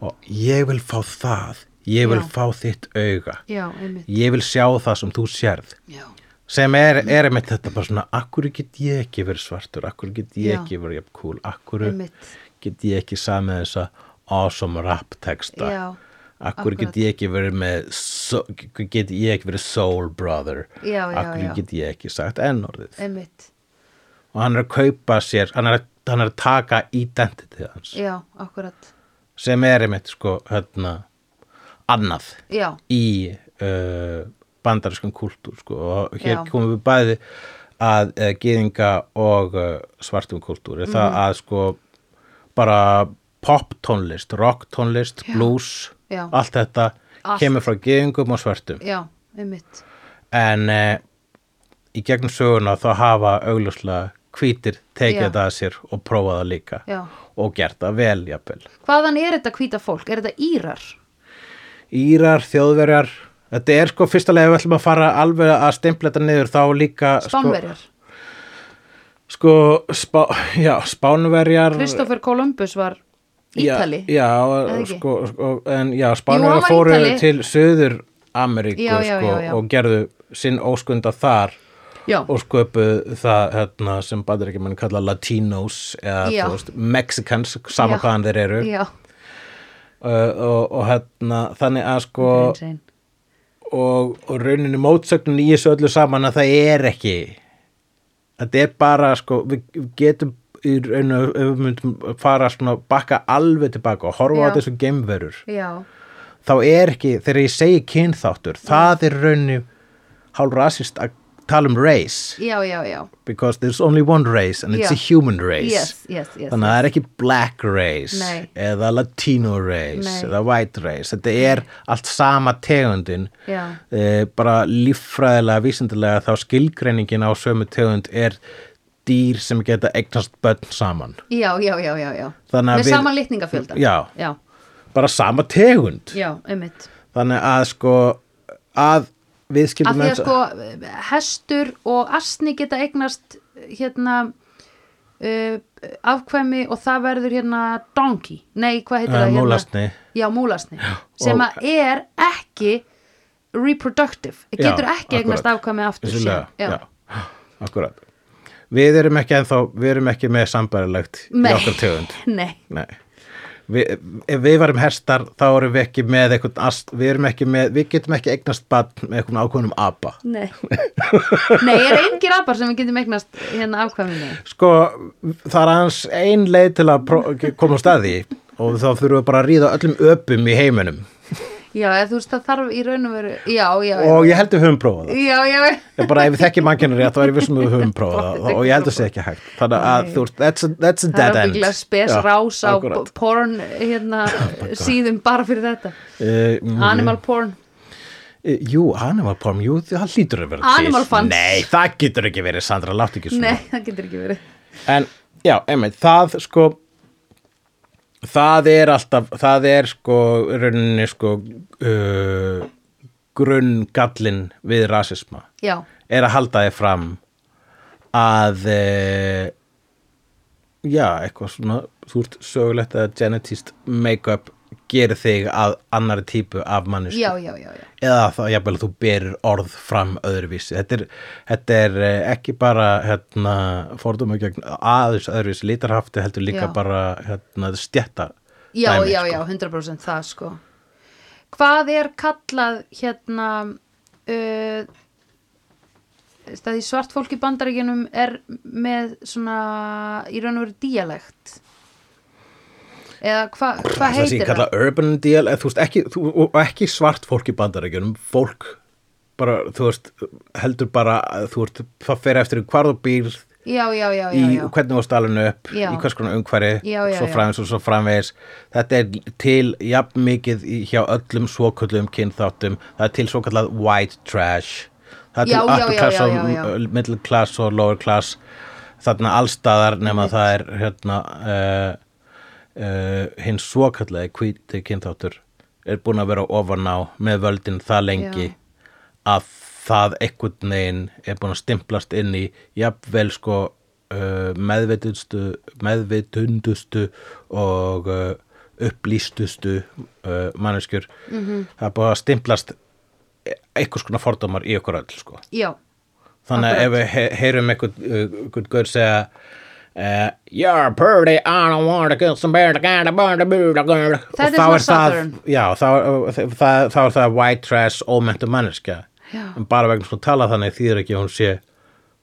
Speaker 1: og ég vil fá það ég vil
Speaker 2: Já.
Speaker 1: fá þitt auga
Speaker 2: já, einmitt
Speaker 1: ég vil sjá það sem þú sérð
Speaker 2: Já,
Speaker 1: sem er, er einmitt þetta bara svona akkur get ég ekki verið svartur akkur get ég
Speaker 2: Já.
Speaker 1: ekki verið jafn cool akkur
Speaker 2: einmitt,
Speaker 1: get ég ekki samið þessa awesome rap texta
Speaker 2: Já, akkurat.
Speaker 1: akkur get ég ekki verið með so, get ég ekki verið soul brother
Speaker 2: Já, já,
Speaker 1: akkur
Speaker 2: já.
Speaker 1: get ég ekki sagt enn orðið
Speaker 2: einmitt
Speaker 1: og hann er að kaupa sér hann er, að- hann er að taka identity hans
Speaker 2: Já, akkurat,
Speaker 1: sem er einmitt sko hérna annað
Speaker 2: já,
Speaker 1: í uh, bandarískan kultúr sko. og hér
Speaker 2: Já.
Speaker 1: komum við bæði að uh, geðinga og uh, svartum kultúr mm. það að sko bara pop tónlist, rock tónlist blues,
Speaker 2: Já.
Speaker 1: allt þetta
Speaker 2: Allt.
Speaker 1: kemur frá geðingum og svartum e,
Speaker 2: já, einmitt
Speaker 1: en uh, í gegnum söguna þá hafa augljóslega hvítir tekið
Speaker 2: Já.
Speaker 1: þetta að sér og prófa það líka
Speaker 2: Já.
Speaker 1: og gert það vel, jafnvel
Speaker 2: Hvaðan er þetta hvíta fólk? Er þetta Írar?
Speaker 1: Írar, þjóðverjar þetta er sko fyrsta leið ef við ætlum að fara alveg að stempla þetta niður þá líka
Speaker 2: Spánverjar?
Speaker 1: sko, sko spá, já, spánverjar
Speaker 2: Kristoffer Columbus var Ítali?
Speaker 1: já, já,
Speaker 2: Eða ekki?
Speaker 1: sko, sko, en já,
Speaker 2: hann
Speaker 1: spánverjar
Speaker 2: var
Speaker 1: fóru
Speaker 2: Ítali.
Speaker 1: til Suður Ameríku
Speaker 2: Já, já,
Speaker 1: sko,
Speaker 2: já, já.
Speaker 1: og gerðu sinn óskunda þar
Speaker 2: Já.
Speaker 1: og sköpuð það hérna, sem bandir ekki mann kalla latinos eða
Speaker 2: Já.
Speaker 1: þú veist, mexicans, sama
Speaker 2: Já.
Speaker 1: hvaðan þeir eru uh,
Speaker 2: Já,
Speaker 1: og, og hérna, þannig að sko
Speaker 2: Hreinsegin.
Speaker 1: og, og rauninni mótsögnin í þessu öllu saman að það er ekki þetta er bara sko við við getum í rauninu ef við myndum fara svona bakka alveg tilbaka og horfa
Speaker 2: Já.
Speaker 1: á þessu geimverur
Speaker 2: Já,
Speaker 1: þá er ekki, þegar ég segi kynþáttur það er rauninni hálf rasist að tala um race
Speaker 2: já, já, já.
Speaker 1: because there's only one race and it's
Speaker 2: Já.
Speaker 1: a human race
Speaker 2: Yes, yes, yes.
Speaker 1: þannig að það er ekki black race
Speaker 2: Nei.
Speaker 1: eða latino race
Speaker 2: Nei.
Speaker 1: eða white race, þetta er allt sama tegundin
Speaker 2: Já.
Speaker 1: Eh, bara líffræðilega, vísindilega þá skilgreiningin á sömu tegund er dýr sem geta eignast börn saman,
Speaker 2: Já, já, já, já, já.
Speaker 1: Þannig að
Speaker 2: Með
Speaker 1: við-
Speaker 2: sama litningafjölda.
Speaker 1: Já.
Speaker 2: Já,
Speaker 1: bara sama tegund
Speaker 2: já, einmitt.
Speaker 1: þannig að sko að við
Speaker 2: Af
Speaker 1: skildum
Speaker 2: því að sko hestur og asni geta eignast hérna uh, afkvæmi og það verður hérna donkey. Nei, hvað heitir
Speaker 1: Eh,
Speaker 2: það hérna?
Speaker 1: múlasni.
Speaker 2: Já, múlasni. Sem
Speaker 1: og-
Speaker 2: að er ekki reproductive.
Speaker 1: Já,
Speaker 2: Getur ekki eignast
Speaker 1: akkurat.
Speaker 2: afkvæmi aftur.
Speaker 1: Vissulega,
Speaker 2: síðan.
Speaker 1: já. [gasps] akkurat við erum ekki ennþá, við erum ekki með sambarilegt í
Speaker 2: Nei.
Speaker 1: okkar tegund
Speaker 2: [laughs] Nei.
Speaker 1: Nei. Við, ef við varum hestar þá erum við ekki með eitthvað ast, við, erum ekki með, við getum ekki eignast bann með eitthvað ákvönum apa
Speaker 2: Nei.
Speaker 1: [laughs]
Speaker 2: Nei, er engir apar sem við getum eignast hérna afkvæmi með.
Speaker 1: sko, það er aðeins ein leið til að pró- koma á staði og þá þurfum við bara að ríða öllum öpum í heiminum
Speaker 2: Já, eða þú veist það þarf í raun og veru, já, já, já.
Speaker 1: og ég held að við höfum prófað það
Speaker 2: Já, já, já.
Speaker 1: Ég bara ef við þekkjum mannkennur rétt þá er ég vissum að við höfum prófað það og ég held að sé ekki hægt þannig að
Speaker 2: Nei.
Speaker 1: þú veist, that's a, that's a
Speaker 2: Það er
Speaker 1: dead Oh end
Speaker 2: ábyggilega spes
Speaker 1: Já,
Speaker 2: rás á
Speaker 1: akkurat.
Speaker 2: p- porn
Speaker 1: [laughs]
Speaker 2: hérna síðum bara fyrir þetta
Speaker 1: Eh, mm,
Speaker 2: Animal porn
Speaker 1: eh, Jú, animal porn, jú, það hlýtur að vera
Speaker 2: Animal fans.
Speaker 1: Nei, það getur ekki verið, Sandra, látt ekki svona
Speaker 2: Nei, það getur ekki verið
Speaker 1: en já, einmitt, það sko það er alltaf, það er sko rauninni sko uh, grunngallin við rasisma
Speaker 2: Já,
Speaker 1: er að halda þið fram að uh, já, eitthvað svona þú ert sögulegt að genetist make-up gerir þig að annari típu af mannestu
Speaker 2: já, já, já, já.
Speaker 1: eða þá jafnvel að þú berir orð fram öðruvísi þetta er, þetta er eh, ekki bara hérna, fordóma gegn aðeins öðruvísi lítarhafti heldur líka
Speaker 2: Já.
Speaker 1: bara hérna, stjætta
Speaker 2: Já,
Speaker 1: dæmi,
Speaker 2: já,
Speaker 1: sko.
Speaker 2: já, 100% það sko Hvað er kallað hérna uh, það því svart fólk í bandaríkjunum er með svona í raun og veru díalegt eða hva- hvað
Speaker 1: Það sé ég
Speaker 2: heitir
Speaker 1: kalla
Speaker 2: það?
Speaker 1: urban deal eða, eh, þú veist, ekki, þú, og ekki svart fólk í bandarækjunum fólk bara, þú veist, heldur bara að þú veist, það fer eftir um hvar þú býr
Speaker 2: Já, já, já,
Speaker 1: í
Speaker 2: já, já.
Speaker 1: hvernig þú stalinu upp
Speaker 2: Já.
Speaker 1: í hvers konar umhverfi,
Speaker 2: Já, já,
Speaker 1: svo
Speaker 2: já.
Speaker 1: framvegis og svo framvegis þetta er til jafn mikið í- hjá öllum svokallum kynþáttum það er til svokallað white trash það er
Speaker 2: Já,
Speaker 1: til
Speaker 2: já,
Speaker 1: upper
Speaker 2: já,
Speaker 1: class
Speaker 2: já,
Speaker 1: og
Speaker 2: já, já.
Speaker 1: uh, middle class og lower class þarna allstaðar nema það er hérna uh, uh, hinn svokallaði hvíti kynþáttur er búin að vera ofan á með völdin það lengi
Speaker 2: Já.
Speaker 1: að það einhvern veginn er búin að stimplast inn í jafnvel sko uh, meðvitundustu, meðvitundustu og uh, upplýstustu uh, manneskjur -hmm. það er búin að stimplast e- einhvers konar fordómar í okkur öll sko.
Speaker 2: Já,
Speaker 1: þannig að ef við he- heyrum einhvern uh, einhvern gaur segja Uh, you're pretty, I don't wanna get some better, gotta burn the booty, girl."
Speaker 2: Þetta
Speaker 1: Og
Speaker 2: er
Speaker 1: þá
Speaker 2: svona
Speaker 1: er það,
Speaker 2: Southern.
Speaker 1: já, þá, er- það, þá er það white trash, ómenntu manneskja
Speaker 2: Já.
Speaker 1: en bara vegna sko tala þannig þýðir ekki að hún sé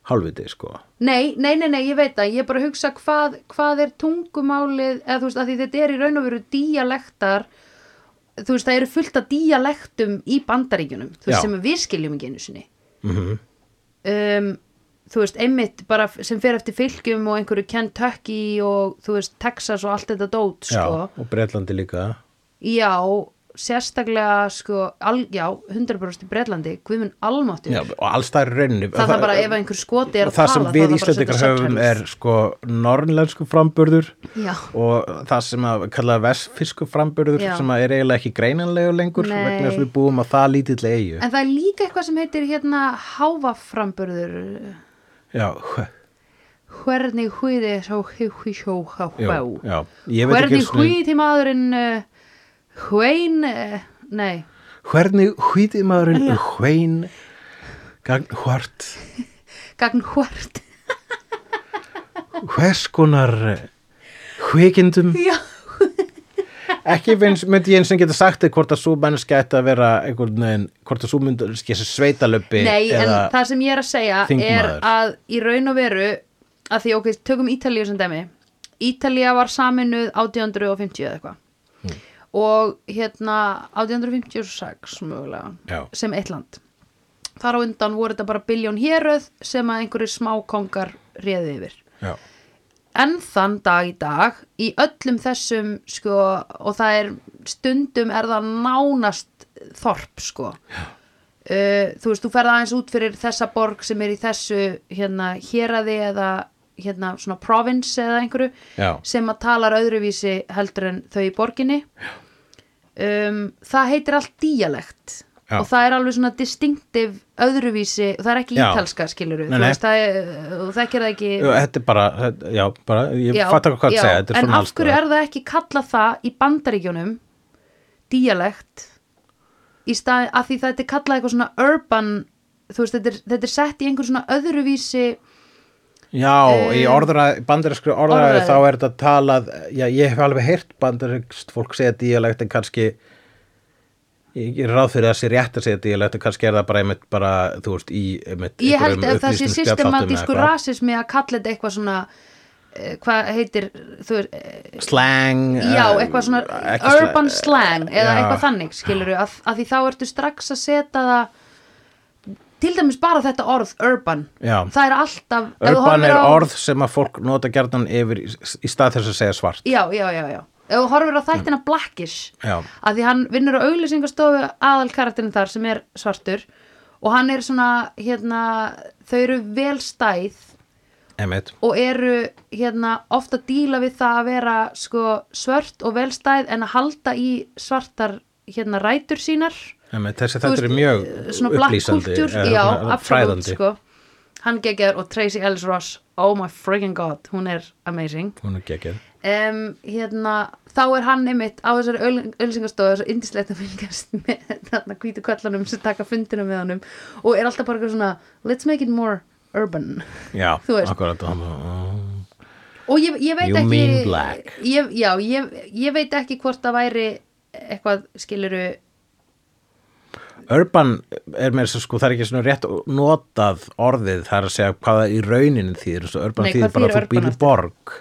Speaker 1: hálfviti, sko
Speaker 2: Nei, nei, nei, nei, ég veit það, ég er bara að hugsa hvað, hvað er tungumálið, eða þú veist, að því þetta er í raun og veru díalektar, þú veist, það eru fullt af díalektum í bandaríkjunum, þú veist,
Speaker 1: Já. Mhm.
Speaker 2: sem við skiljum ekki einu sinni. Mm um, þú veist, einmitt bara f- sem fer eftir fylgjum og einhverju Kentucky og, þú veist, Texas og allt þetta dót, sko.
Speaker 1: já, og bretlandi líka
Speaker 2: Já, sérstaklega sko, al, já, 100% í Bretlandi Guðmund almáttur
Speaker 1: Já, og allstæður rauninni
Speaker 2: það þarf bara ef einhver skoti er að
Speaker 1: það
Speaker 2: tala
Speaker 1: sem við
Speaker 2: þarf bara að
Speaker 1: Íslandingar
Speaker 2: setja
Speaker 1: höfum er
Speaker 2: subtitles.
Speaker 1: sko nornlensku framburður
Speaker 2: Já.
Speaker 1: og það sem að kalla vestfisku framburður
Speaker 2: Já.
Speaker 1: sem að er eiginlega ekki greinanlegu lengur
Speaker 2: Nei.
Speaker 1: vegna þess að við búum að það lítill eigu
Speaker 2: en það er líka eitthvað sem heitir hérna háfaframburður
Speaker 1: já, [laughs]
Speaker 2: hvernig hvíði svo hví hví sjó há
Speaker 1: já,
Speaker 2: hvá
Speaker 1: já, ég veit ekki
Speaker 2: hvernig
Speaker 1: einu sinni-
Speaker 2: hvíði maðurinn uh, hvein uh, nei,
Speaker 1: hvernig hvítið maðurinn er hvein gagn hvart
Speaker 2: gagn hvort
Speaker 1: hvers konar eh, hvikindum
Speaker 2: [laughs] já,
Speaker 1: ekki finnst, myndi ég eins og geta sagt þig hvort að svo mennski ætti að vera einhvern veginn, hvort að svo mennski þessi sveitalöpi
Speaker 2: nei en
Speaker 1: eða,
Speaker 2: það sem ég er að segja er
Speaker 1: þingmaður.
Speaker 2: að í raun og veru að því ok, tökum Ítalíu sem dæmi Ítalía var saminuð 1850 eða eitthvað
Speaker 1: Hmm.
Speaker 2: og hérna 1856 mögulega
Speaker 1: Já.
Speaker 2: sem eitt land þar á undan voru þetta bara biljón héröð sem að einhverju smákongar réðu yfir
Speaker 1: já,
Speaker 2: enn þann dag í dag í öllum þessum sko og það er stundum er það nánast þorp sko uh, þú veist, þú ferð aðeins út fyrir þessa borg sem er í þessu hérna héraði eða hérna svona province eða einhverju
Speaker 1: já,
Speaker 2: sem að talar öðruvísi heldur en þau í borginni um, það heitir allt díalekt
Speaker 1: Já.
Speaker 2: og það er alveg svona distinctive öðruvísi og það er ekki
Speaker 1: Já.
Speaker 2: ítalska skilur
Speaker 1: Nei,
Speaker 2: þú
Speaker 1: nei.
Speaker 2: veist, það er, og þekkir það ekki
Speaker 1: já þetta er bara þetta- já, bara, ég
Speaker 2: Já,
Speaker 1: fatt ekki hvað
Speaker 2: já,
Speaker 1: að segja þetta
Speaker 2: en
Speaker 1: er svona
Speaker 2: af hverju
Speaker 1: allstaðar.
Speaker 2: er það ekki kalla það í bandaríkjunum díalekt í stað að því þetta er kallað eitthvað svona urban þú veist, þetta er, þetta er sett í einhver svona öðruvísi
Speaker 1: Já,
Speaker 2: Eh,
Speaker 1: í orðra, bandarinskri orðræði
Speaker 2: orðræðu.
Speaker 1: þá er þetta talað, já, ég hef alveg heyrt bandarinskst fólk segja díalekt en kannski ég er ráð fyrir að sé rétt að segja díalekt en kannski er það bara einmitt bara, þú veist, í einmitt
Speaker 2: ég held
Speaker 1: einhverjum
Speaker 2: að það sé
Speaker 1: upplýsningsspjallþáttum eða
Speaker 2: systematískur
Speaker 1: eitthvað.
Speaker 2: rasismi að kalla þetta eitthvað svona eh, hvað heitir þú veist, eh,
Speaker 1: slang
Speaker 2: já,
Speaker 1: eh,
Speaker 2: eitthvað svona
Speaker 1: ekki slang,
Speaker 2: urban slang eða
Speaker 1: já.
Speaker 2: eitthvað þannig, skilur við að, að því þá ertu strax að setja það til dæmis bara þetta orð urban,
Speaker 1: Já.
Speaker 2: það er alltaf ef þú
Speaker 1: Urban
Speaker 2: horfir
Speaker 1: er
Speaker 2: á-
Speaker 1: orð sem að fólk nota gerðan yfir í, í stað þess að segja svart
Speaker 2: já, já, já, já ef þú horfir á
Speaker 1: Mm.
Speaker 2: þættina Blackish
Speaker 1: Já.
Speaker 2: að því hann vinnur á auglýsingastofu aðal karakterin þar sem er svartur og hann er svona hérna, þau eru vel stæð
Speaker 1: einmitt,
Speaker 2: og eru hérna, ofta díla við það að vera sko, svört og vel stæð en að halda í svartar hérna, rætur sínar
Speaker 1: einmitt, þessi
Speaker 2: Þú
Speaker 1: þetta er
Speaker 2: veist,
Speaker 1: mjög
Speaker 2: svona black
Speaker 1: upplýsandi
Speaker 2: culture,
Speaker 1: eða
Speaker 2: já,
Speaker 1: svona
Speaker 2: absolutt
Speaker 1: fræðandi
Speaker 2: sko. hann geggjör og Tracy Ellis Ross oh my friggin god, hún er amazing
Speaker 1: hún er gekkið
Speaker 2: um, hérna, þá er hann einmitt á þessari ölsingastofu svo indislegt að fylgjast [laughs] með þarna hvítu kallanum sem taka fundina með honum og er alltaf bara eitthvað svona let's make it more urban
Speaker 1: já,
Speaker 2: Þú veist.
Speaker 1: akkurat hann-
Speaker 2: og ég, ég veit
Speaker 1: You
Speaker 2: ekki
Speaker 1: mean black.
Speaker 2: Ég, já, ég, ég veit ekki hvort það væri eitthvað skiluru
Speaker 1: Urban er með þess að sko það er ekki svona rétt notað orðið það er að segja hvað það í rauninni þýðir svo urban
Speaker 2: Nei,
Speaker 1: þýðir
Speaker 2: hvað
Speaker 1: bara
Speaker 2: þýðir
Speaker 1: að þú býr
Speaker 2: urban
Speaker 1: í
Speaker 2: aftur?
Speaker 1: borg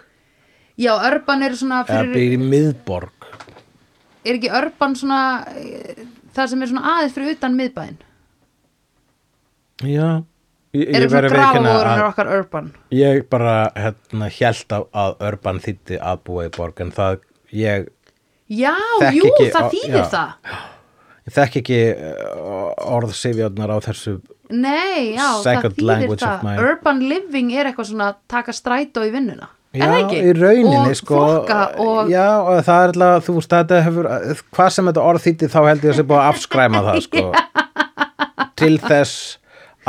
Speaker 2: já, urban er svona
Speaker 1: eða
Speaker 2: fyrir,
Speaker 1: býr í miðborg
Speaker 2: er ekki urban svona eh, það sem er svona aðeins fyrir utan miðbæinn
Speaker 1: Já, ég,
Speaker 2: er
Speaker 1: ég
Speaker 2: svona
Speaker 1: verið veikina að
Speaker 2: grafavórunir okkar urban
Speaker 1: ég bara hérna hjælt af að urban þýtti að búa í borg en það ég,
Speaker 2: já,
Speaker 1: Þekki
Speaker 2: jú,
Speaker 1: ekki-
Speaker 2: það
Speaker 1: á-
Speaker 2: þýðir
Speaker 1: já.
Speaker 2: það
Speaker 1: ég þekk ekki uh, orð sifjarnar á þessu
Speaker 2: Nei, já,
Speaker 1: Second
Speaker 2: það þýðir
Speaker 1: language of
Speaker 2: það
Speaker 1: mine.
Speaker 2: Urban living er eitthvað svona að taka strætó í vinnuna Er
Speaker 1: Já,
Speaker 2: það ekki?
Speaker 1: í rauninni
Speaker 2: og
Speaker 1: sko
Speaker 2: flokka og
Speaker 1: Já, og það er alltaf, þú veist, þetta hefur hvað sem þetta orð þýtti þá held ég að sé búið að afskræma það sko
Speaker 2: [laughs]
Speaker 1: til þess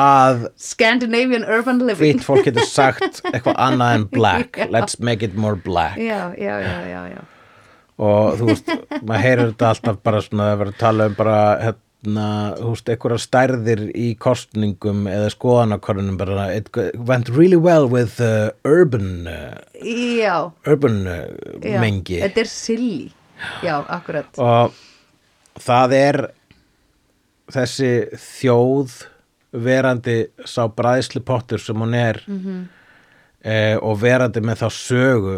Speaker 1: að
Speaker 2: Scandinavian urban living
Speaker 1: hvít fólk getur sagt eitthvað annað en
Speaker 2: [laughs]
Speaker 1: black let's make it more black
Speaker 2: Já, já, já, já, já
Speaker 1: og þú veist, maður heyrir þetta alltaf bara svona að vera að tala um bara hérna, þú veist, einhverja stærðir í kostningum eða skoðanakornum bara, it went really well with uh, urban uh,
Speaker 2: Já,
Speaker 1: urban uh,
Speaker 2: já
Speaker 1: mengi
Speaker 2: Þetta er silly Já, akkurat
Speaker 1: og það er þessi þjóð verandi sá bræðslu pottur sem hún er -hmm. og verandi með þá sögu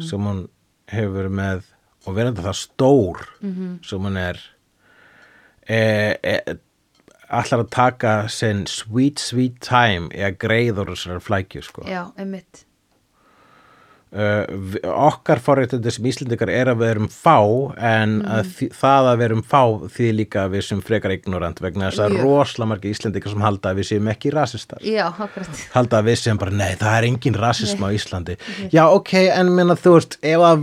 Speaker 1: sem hún hefur með og verandi það stór -hmm. sem hún er e, e, allar að taka sinn sweet sweet time í að greiður þessar flækju sko
Speaker 2: Já, emmitt
Speaker 1: uh, vi- okkar forréttindi sem Íslendingar er að við erum fá en
Speaker 2: Mm.
Speaker 1: að þi- það að við erum fá því líka að við sem frekar ignorant vegna þess að
Speaker 2: Mjög.
Speaker 1: rosalega margir Íslendingar sem halda að við séum ekki rasistar
Speaker 2: já, akkurat
Speaker 1: halda að við séum bara, nei, það er engin rasism á Íslandi. Já, ok, en minna þú veist, ef að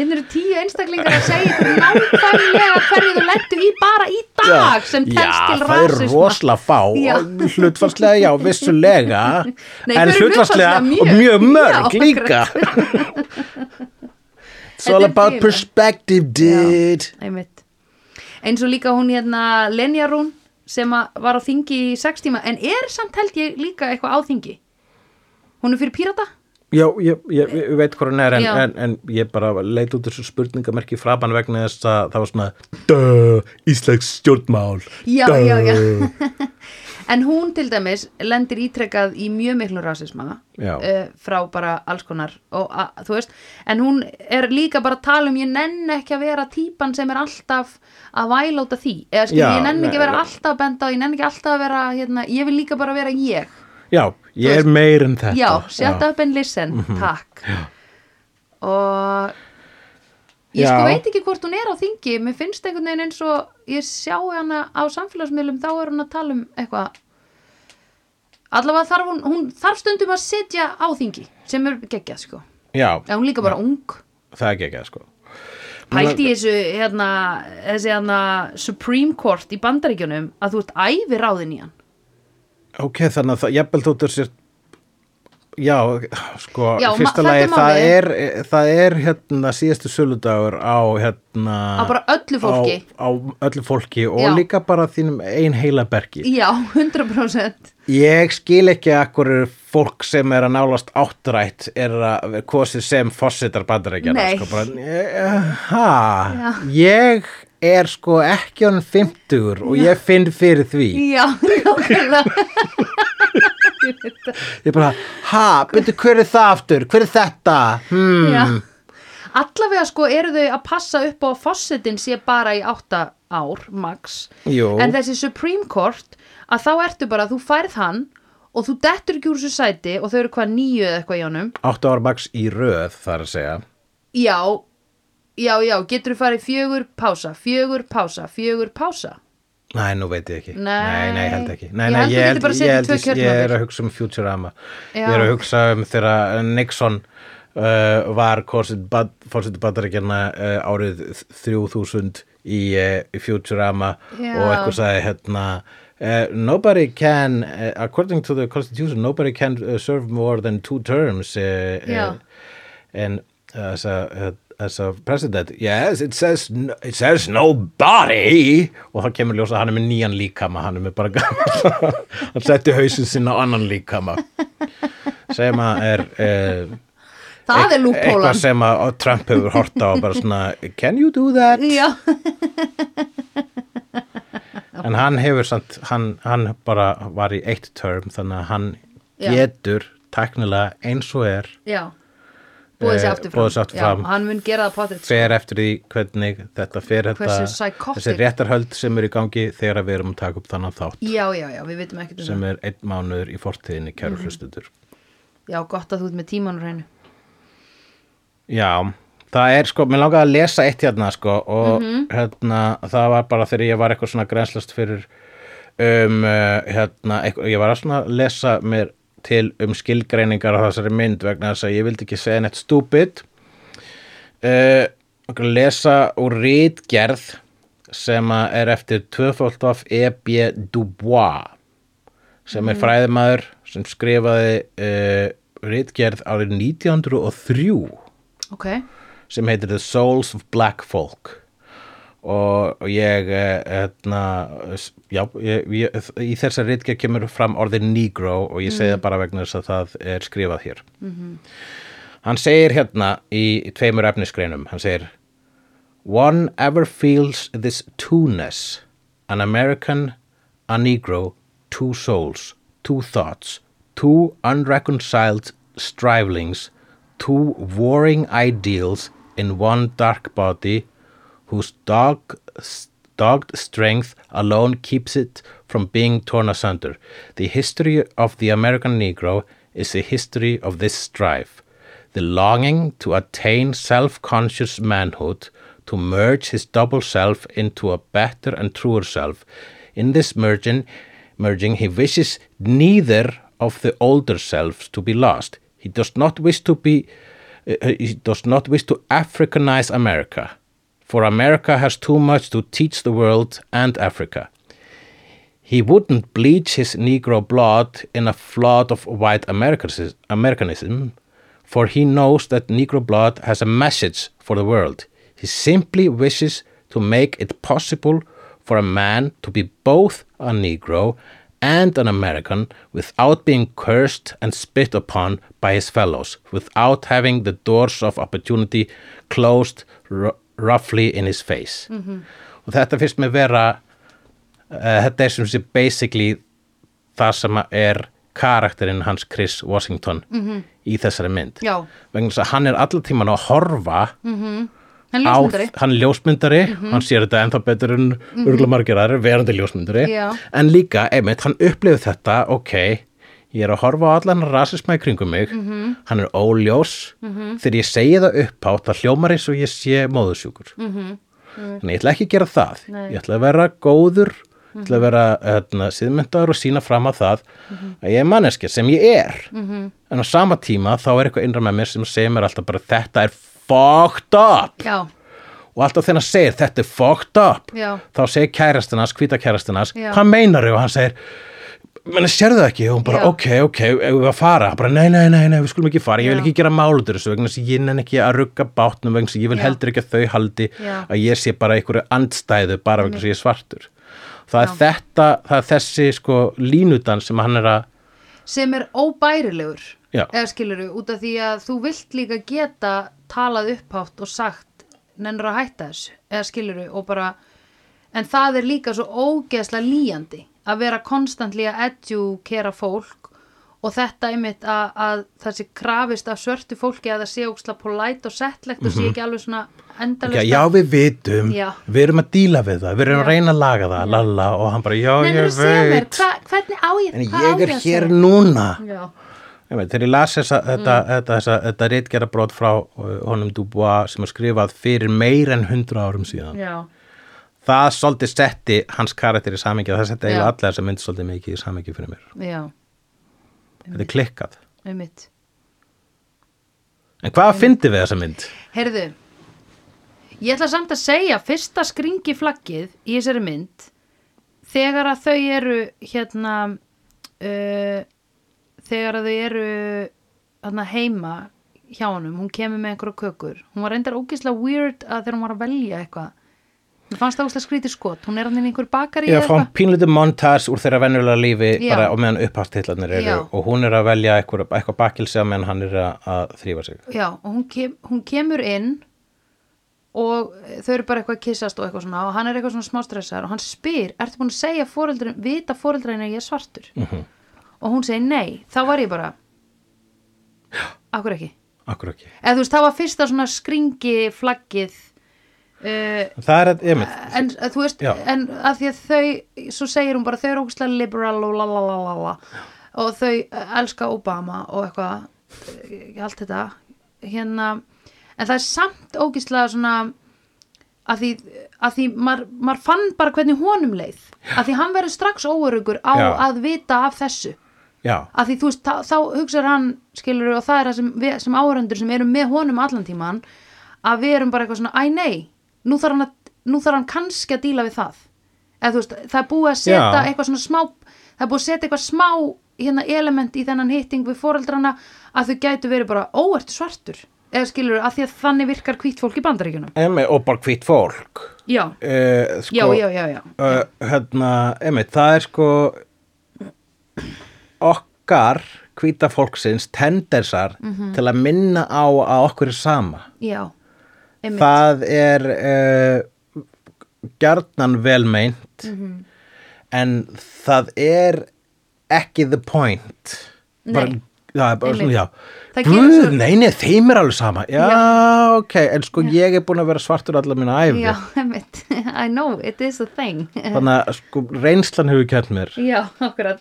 Speaker 2: Hérna eru tíu einstaklingar að segja ykkur nákvæmlega hverju þú lentu í bara í dag sem telst til
Speaker 1: það er
Speaker 2: rasisma.
Speaker 1: rosalega fá
Speaker 2: Já.
Speaker 1: og hlutfalslega, já, vissulega
Speaker 2: [laughs] Nei,
Speaker 1: en
Speaker 2: þau eru hlutfallslega
Speaker 1: hlutfalslega og
Speaker 2: mjög.
Speaker 1: mjög mörg
Speaker 2: Já,
Speaker 1: líka [laughs] It's
Speaker 2: Þetta er
Speaker 1: all about
Speaker 2: bilað.
Speaker 1: perspective, dude
Speaker 2: Einmitt. Eins og líka hún hérna Lenja Rún sem að var á þingi í sex tíma en er samt held ég líka eitthvað á þingi. Hún er fyrir pírata?
Speaker 1: Já, ég, ég, ég veit hvað hann er en,
Speaker 2: Já.
Speaker 1: en, en ég bara leit út þessu spurningamerki framan vegna þess að það var svona Dö, Íslands stjórnmál
Speaker 2: Já,
Speaker 1: Dö.
Speaker 2: já, já. En hún til dæmis lendir ítrekkað í mjög miklu rasisma
Speaker 1: Já.
Speaker 2: eh, frá bara alls konar og að, þú veist, en hún er líka bara að tala um ég nenn ekki að vera típan sem er alltaf að væla út af því eða skil,
Speaker 1: Já,
Speaker 2: ég nenn ekki að vera
Speaker 1: nei.
Speaker 2: alltaf að benda á, ég nenn ekki alltaf að vera, hérna, ég vil líka bara vera ég
Speaker 1: Já, ég er meir en þetta Mhm.
Speaker 2: Já, shut up and listen, takk og ég
Speaker 1: Já.
Speaker 2: sko veit ekki hvort hún er á þingi mér finnst einhvern veginn eins og ég sjá hana á samfélagsmiðlum þá er hún að tala um eitthvað allavega þarf hún, hún þarf stundum að sitja á þingi sem er geggjað sko
Speaker 1: Já,
Speaker 2: eða hún er líka bara ung
Speaker 1: það er ekki ekki sko
Speaker 2: pælt í þessu hérna, þessi hérna Supreme Court í bandaríkjunum að þú ert æfi ráðin í hann
Speaker 1: Ok, þannig að það, jafnvel þú þessir Já, sko,
Speaker 2: Já, ma- þetta
Speaker 1: fyrsta lagi,
Speaker 2: er
Speaker 1: það
Speaker 2: málið.
Speaker 1: er, það er hérna síðastu söludagur á hérna
Speaker 2: Á bara öllu fólki.
Speaker 1: Á, á öllu fólki og
Speaker 2: Já.
Speaker 1: líka bara þínum ein heila bergi
Speaker 2: já, 100%
Speaker 1: Ég skil ekki að hverju fólk sem er að nálast áttrætt er að kosið sem fósitar bandarækjana
Speaker 2: Nei.
Speaker 1: sko, bara, eh, ha, Ég er sko ekki hann 50 og ég finn fyrir því
Speaker 2: já, [laughs] nákvæmlega
Speaker 1: Ég bara, ha, byrju, hver er það aftur? Hver er þetta? Hmm.
Speaker 2: Já. Allavega sko eru þau að passa upp á að fossetin sé bara í átta ár, max.
Speaker 1: Jú.
Speaker 2: En þessi Supreme Court, að þá ertu bara, þú færð hann og þú dettur ekki úr þessu sæti og þau eru hvað nýju eða eitthvað í honum.
Speaker 1: Áttu ára max í röð, þar að segja.
Speaker 2: Já, já, já, getur þú farið fjögur pása, fjögur pása, fjögur pása.
Speaker 1: Nei, nú veit ég ekki.
Speaker 2: Nei.
Speaker 1: nei, nei, ég held ekki. Nei,
Speaker 2: Ég
Speaker 1: nei,
Speaker 2: held þú getur bara setið
Speaker 1: ég, held,
Speaker 2: tvö
Speaker 1: ég, ég er
Speaker 2: kjörtímabil.
Speaker 1: að hugsa um Futurama.
Speaker 2: Já.
Speaker 1: Ég er að hugsa um þegar Nixon uh, var fórseti bandarækjana uh, árið 3000 í uh, Futurama
Speaker 2: Já.
Speaker 1: og eitthvað sagði hérna Uh, nobody can, uh, according to the constitution, nobody can uh, serve more than two terms uh,
Speaker 2: Já.
Speaker 1: uh, and eh, as a as a president yes it says n- it says nobody og þá kemur ljósa að hann er með nýjan líkama hann er með bara gammal [laughs] hann setti hausinn sinna á annan líkama sem að er eh,
Speaker 2: Það er
Speaker 1: eit-
Speaker 2: lúppólan.
Speaker 1: eitthvað sem að Trump hefur horta og bara svona can you do that
Speaker 2: Já,
Speaker 1: en hann hefur samt hann, hann bara var í eitt term þannig að hann
Speaker 2: Já.
Speaker 1: getur tæknilega eins og er
Speaker 2: já. Búið sér
Speaker 1: Eh,
Speaker 2: aftur fram.
Speaker 1: boðið sig aftur fram.
Speaker 2: Já, hann mun gera það potið.
Speaker 1: fer eftir því hvernig þetta fer þetta,
Speaker 2: Hversu psychotic.
Speaker 1: þessi réttarhöld sem er í gangi þegar við erum að taka upp þannan þátt
Speaker 2: Já, já, já, við vitum ekkert um það.
Speaker 1: sem er einn mánuður í fortíðinni kæru
Speaker 2: Mhm.
Speaker 1: hlustutur
Speaker 2: Já, gott að þú ert með tímanur hreinu.
Speaker 1: já, það er sko, mér langaði að lesa eitt hérna sko og hérna, það var bara þegar ég var eitthvað svona grenslast fyrir um uh, hérna, eitthvað, ég var að svona lesa mér til um skilgreiningar á þessari mynd vegna þess að ég vildi ekki segja neitt stúpid uh, lesa úr rítgerð sem að er eftir tvöfóltaf E.B. Dubois sem er fræðimaður sem skrifaði uh, rítgerð árið 1903
Speaker 2: Ok,
Speaker 1: sem heitir The Souls of Black Folk og, og ég eh, hérna, s- já, ég, ég, í þessar ritgerð kemur fram orðið negro og ég segi það bara vegna þess að það er skrifað hér hann segir hérna í tveimur efnisgreinum hann segir One ever feels this two-ness, an American, a Negro, two souls, two thoughts, two unreconciled strivelings, two warring ideals in one dark body whose dog, dogged strength alone keeps it from being torn asunder. The history of the American Negro is the history of this strife. the longing to attain self-conscious manhood, to merge his double self into a better and truer self. In this merging, merging he wishes neither of the older selves to be lost. He does not wish to be uh, he does not wish to Africanize America, for America has too much to teach the world and Africa. He wouldn't bleach his Negro blood in a flood of white Americans- Americanism, for he knows that Negro blood has a message for the world. He simply wishes to make it possible for a man to be both a Negro and an American without being cursed and spit upon by his fellows, without having the doors of opportunity closed ru- roughly in his face. Og þetta finnst mér vera uh, þetta er sem sé basically það sem að er karakterinn hans Chris Washington -hmm. í þessari mynd
Speaker 2: Já.
Speaker 1: vegna þess að hann er allan tíman að horfa mm -hmm.
Speaker 2: Hann ljósmyndari. Mhm.
Speaker 1: hann er ljósmyndari hann sér þetta ennþá betur en mm -hmm. margir aðrir verandi ljósmyndari
Speaker 2: Já.
Speaker 1: en líka, einmitt, hann upplifði þetta ok, ég er að horfa á allan rasisma í kringum mig,
Speaker 2: Mhm.
Speaker 1: -hmm. hann er óljós -hmm. þegar ég segi það upphátt það hljómar eins og ég sé móðusjúkur -hmm. þannig ég ætla ekki að gera það
Speaker 2: Mhm. Nei. Mhm.
Speaker 1: ég ætla að vera góður ég ætla að vera hérna, síðmyndaður og sína fram að það að ég er manneskja sem ég er
Speaker 2: Mhm.
Speaker 1: -hmm. en á sama tíma þá er eitthvað innra með mér sem segir mér alltaf bara þetta er fucked up
Speaker 2: Já,
Speaker 1: og alltaf þegar hann segir þetta er fucked up
Speaker 2: Já.
Speaker 1: þá segir kærastinans, hvíta kærastinans
Speaker 2: Já.
Speaker 1: hvað meinar þau og hann segir menn sérðu það ekki og hún bara
Speaker 2: Já.
Speaker 1: ok, ok, ef við að fara bara nei, nei, nei, nei, við skulum ekki fara ég vil
Speaker 2: Já.
Speaker 1: ekki gera málutur þessu vegna þess að ég nenn ekki að rugga bátnum vegna þess að ég vil
Speaker 2: Já.
Speaker 1: heldur ekki að þau haldi
Speaker 2: Já.
Speaker 1: að ég sé bara einhverju andstæðu bara vegna þess að ég er svartur það er þetta, það er þessi sko línudan sem hann er að
Speaker 2: sem er óbærilegur
Speaker 1: Já.
Speaker 2: eða skilur við, út af því að þú vilt líka geta talað upphátt og sagt nennur að hætta þessu eða skilur við og bara en það er líka svo ógeðslega líjandi að vera konstantli að edjúkera fólk og þetta einmitt að, að það sé krafist af svörtu fólki að það sé óksla polæt og settlegt og sé ekki alveg svona endalist
Speaker 1: Mhm. Já, já, við vitum,
Speaker 2: Já.
Speaker 1: við erum að díla við það, við erum að
Speaker 2: Já.
Speaker 1: reyna að laga það, lalla, og hann bara, já,
Speaker 2: nennur
Speaker 1: ég
Speaker 2: að segja mér,
Speaker 1: veit.
Speaker 2: hva, hvernig á ég
Speaker 1: En
Speaker 2: hvað á
Speaker 1: ég er
Speaker 2: að
Speaker 1: hér
Speaker 2: segja? Mm.
Speaker 1: núna.
Speaker 2: já,
Speaker 1: Ég veit, þegar ég las þessa, þetta, þetta, þessa, þetta reitgera brot frá uh, honum Dubois sem er skrifað fyrir meir en 100 árum síðan.
Speaker 2: já
Speaker 1: Það svolítið setti hans karakter í samhengi og það setti eiginlega
Speaker 2: Já.
Speaker 1: allega þessa mynd svolítið mikið í samhengi fyrir mér.
Speaker 2: Já,
Speaker 1: Þetta
Speaker 2: Mm.
Speaker 1: er klikkað.
Speaker 2: einmitt.
Speaker 1: En
Speaker 2: Mm.
Speaker 1: hvað fyndi við þessa mynd?
Speaker 2: Heyrðu, ég ætla samt að segja fyrsta skringi flaggið í þessari mynd þegar að þau eru hérna uh, þegar að þau eru hérna, heima hjá honum, hún kemur með einhverja kökur hún var reyndar ógislega weird að þegar hún var að velja eitthvað mér fannst það ógislega skrítið skot hún er hann inn í einhver bakari
Speaker 1: Ég er að fá pínlítið montas úr þeirra venjulega lífi
Speaker 2: Já.
Speaker 1: bara á meðan uppháttitlarnir eru
Speaker 2: Já.
Speaker 1: og hún er að velja eitthvað, eitthvað bakilsa meðan hann er að, að þrýfa sig.
Speaker 2: Já, og hún, kem, hún kemur inn og þau eru bara eitthvað að kyssast og eitthvað svona og hann er eitthvað svona smástressar og hann spyr, ertu búin að segja fóreldrin, vita fóreldrin að ég er svartur? -hmm. Og hún segir nei, þá var ég bara, akkur ekki.
Speaker 1: Akkur ekki.
Speaker 2: Eða þú veist, það var fyrsta svona skringi flaggið, uh,
Speaker 1: Það er, ég mynd,
Speaker 2: en eh, þú veist,
Speaker 1: Já.
Speaker 2: en að því að þau, svo segir hún bara, þau eru ógustlega liberal og lalalala og þau eh, elska Obama og eitthvað, eh, allt þetta, hérna, en það er samt ógustlega svona, að því, að því maður mað fann bara hvernig honum leið, að því hann verður strax óörugur á
Speaker 1: Já.
Speaker 2: að vita af þessu
Speaker 1: já.
Speaker 2: að því þú veist, þá, þá hugsar hann skilur og það er það sem, við, sem áhörendur sem erum með honum allan tíman að við erum bara eitthvað svona, æ nei nú þarf hann, að, nú þarf hann kannski að díla við það eða þú veist, það er búið að setja
Speaker 1: Já.
Speaker 2: eitthvað svona smá, það er búið að setja eitthvað smá hérna element í þennan hitting við foreldrana að þau gætu verið bara óert svartur, eða skilur að því að þannig virkar hvít fólk í bandaríkjunum
Speaker 1: Emi, og bara hvitt fólk
Speaker 2: já,
Speaker 1: uh, sko,
Speaker 2: já, já, já, já
Speaker 1: Uh, hérna, emi, það er sko okkar hvita fólksins tendensar
Speaker 2: Mhm.
Speaker 1: til að minna á að okkur er sama
Speaker 2: já, einmitt,
Speaker 1: það er uh, gjarnan velmeint
Speaker 2: Mhm.
Speaker 1: en það er ekki the point
Speaker 2: Nei.
Speaker 1: Bara- það er bara svona,
Speaker 2: Einmitt.
Speaker 1: já
Speaker 2: Það gerir
Speaker 1: Guð,
Speaker 2: svo-
Speaker 1: nei, nei, þeim er alveg sama já,
Speaker 2: Já.
Speaker 1: ok, en sko ég er búin að vera svartur allar mína æfi
Speaker 2: já, [laughs] einmitt I know, it is a thing
Speaker 1: þannig að sko reynslan hefur kært mér
Speaker 2: Já, akkurat.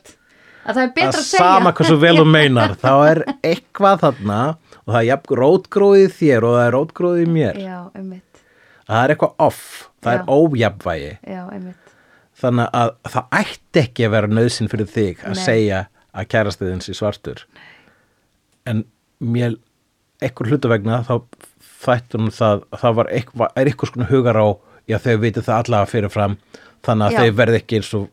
Speaker 2: að það er betra
Speaker 1: að
Speaker 2: að segja
Speaker 1: sama hversu vel þú meinar [laughs] þá er eitthvað þarna og það er jafn rótgróðið þér og það er rótgróðið í mér
Speaker 2: já, einmitt,
Speaker 1: það er eitthvað off, það
Speaker 2: Já.
Speaker 1: er ójafnvægi
Speaker 2: já, einmitt
Speaker 1: þannig að það ætti ekki að vera nöðsinn fyrir þig að
Speaker 2: Nei.
Speaker 1: segja að kærastiðin sé svartur en mér einhver hluta vegna þá þættum það það var eitthvað, er eitthvað skona hugar á já þau viti það allavega fyrirfram þannig að
Speaker 2: Já.
Speaker 1: þau verði ekki eins og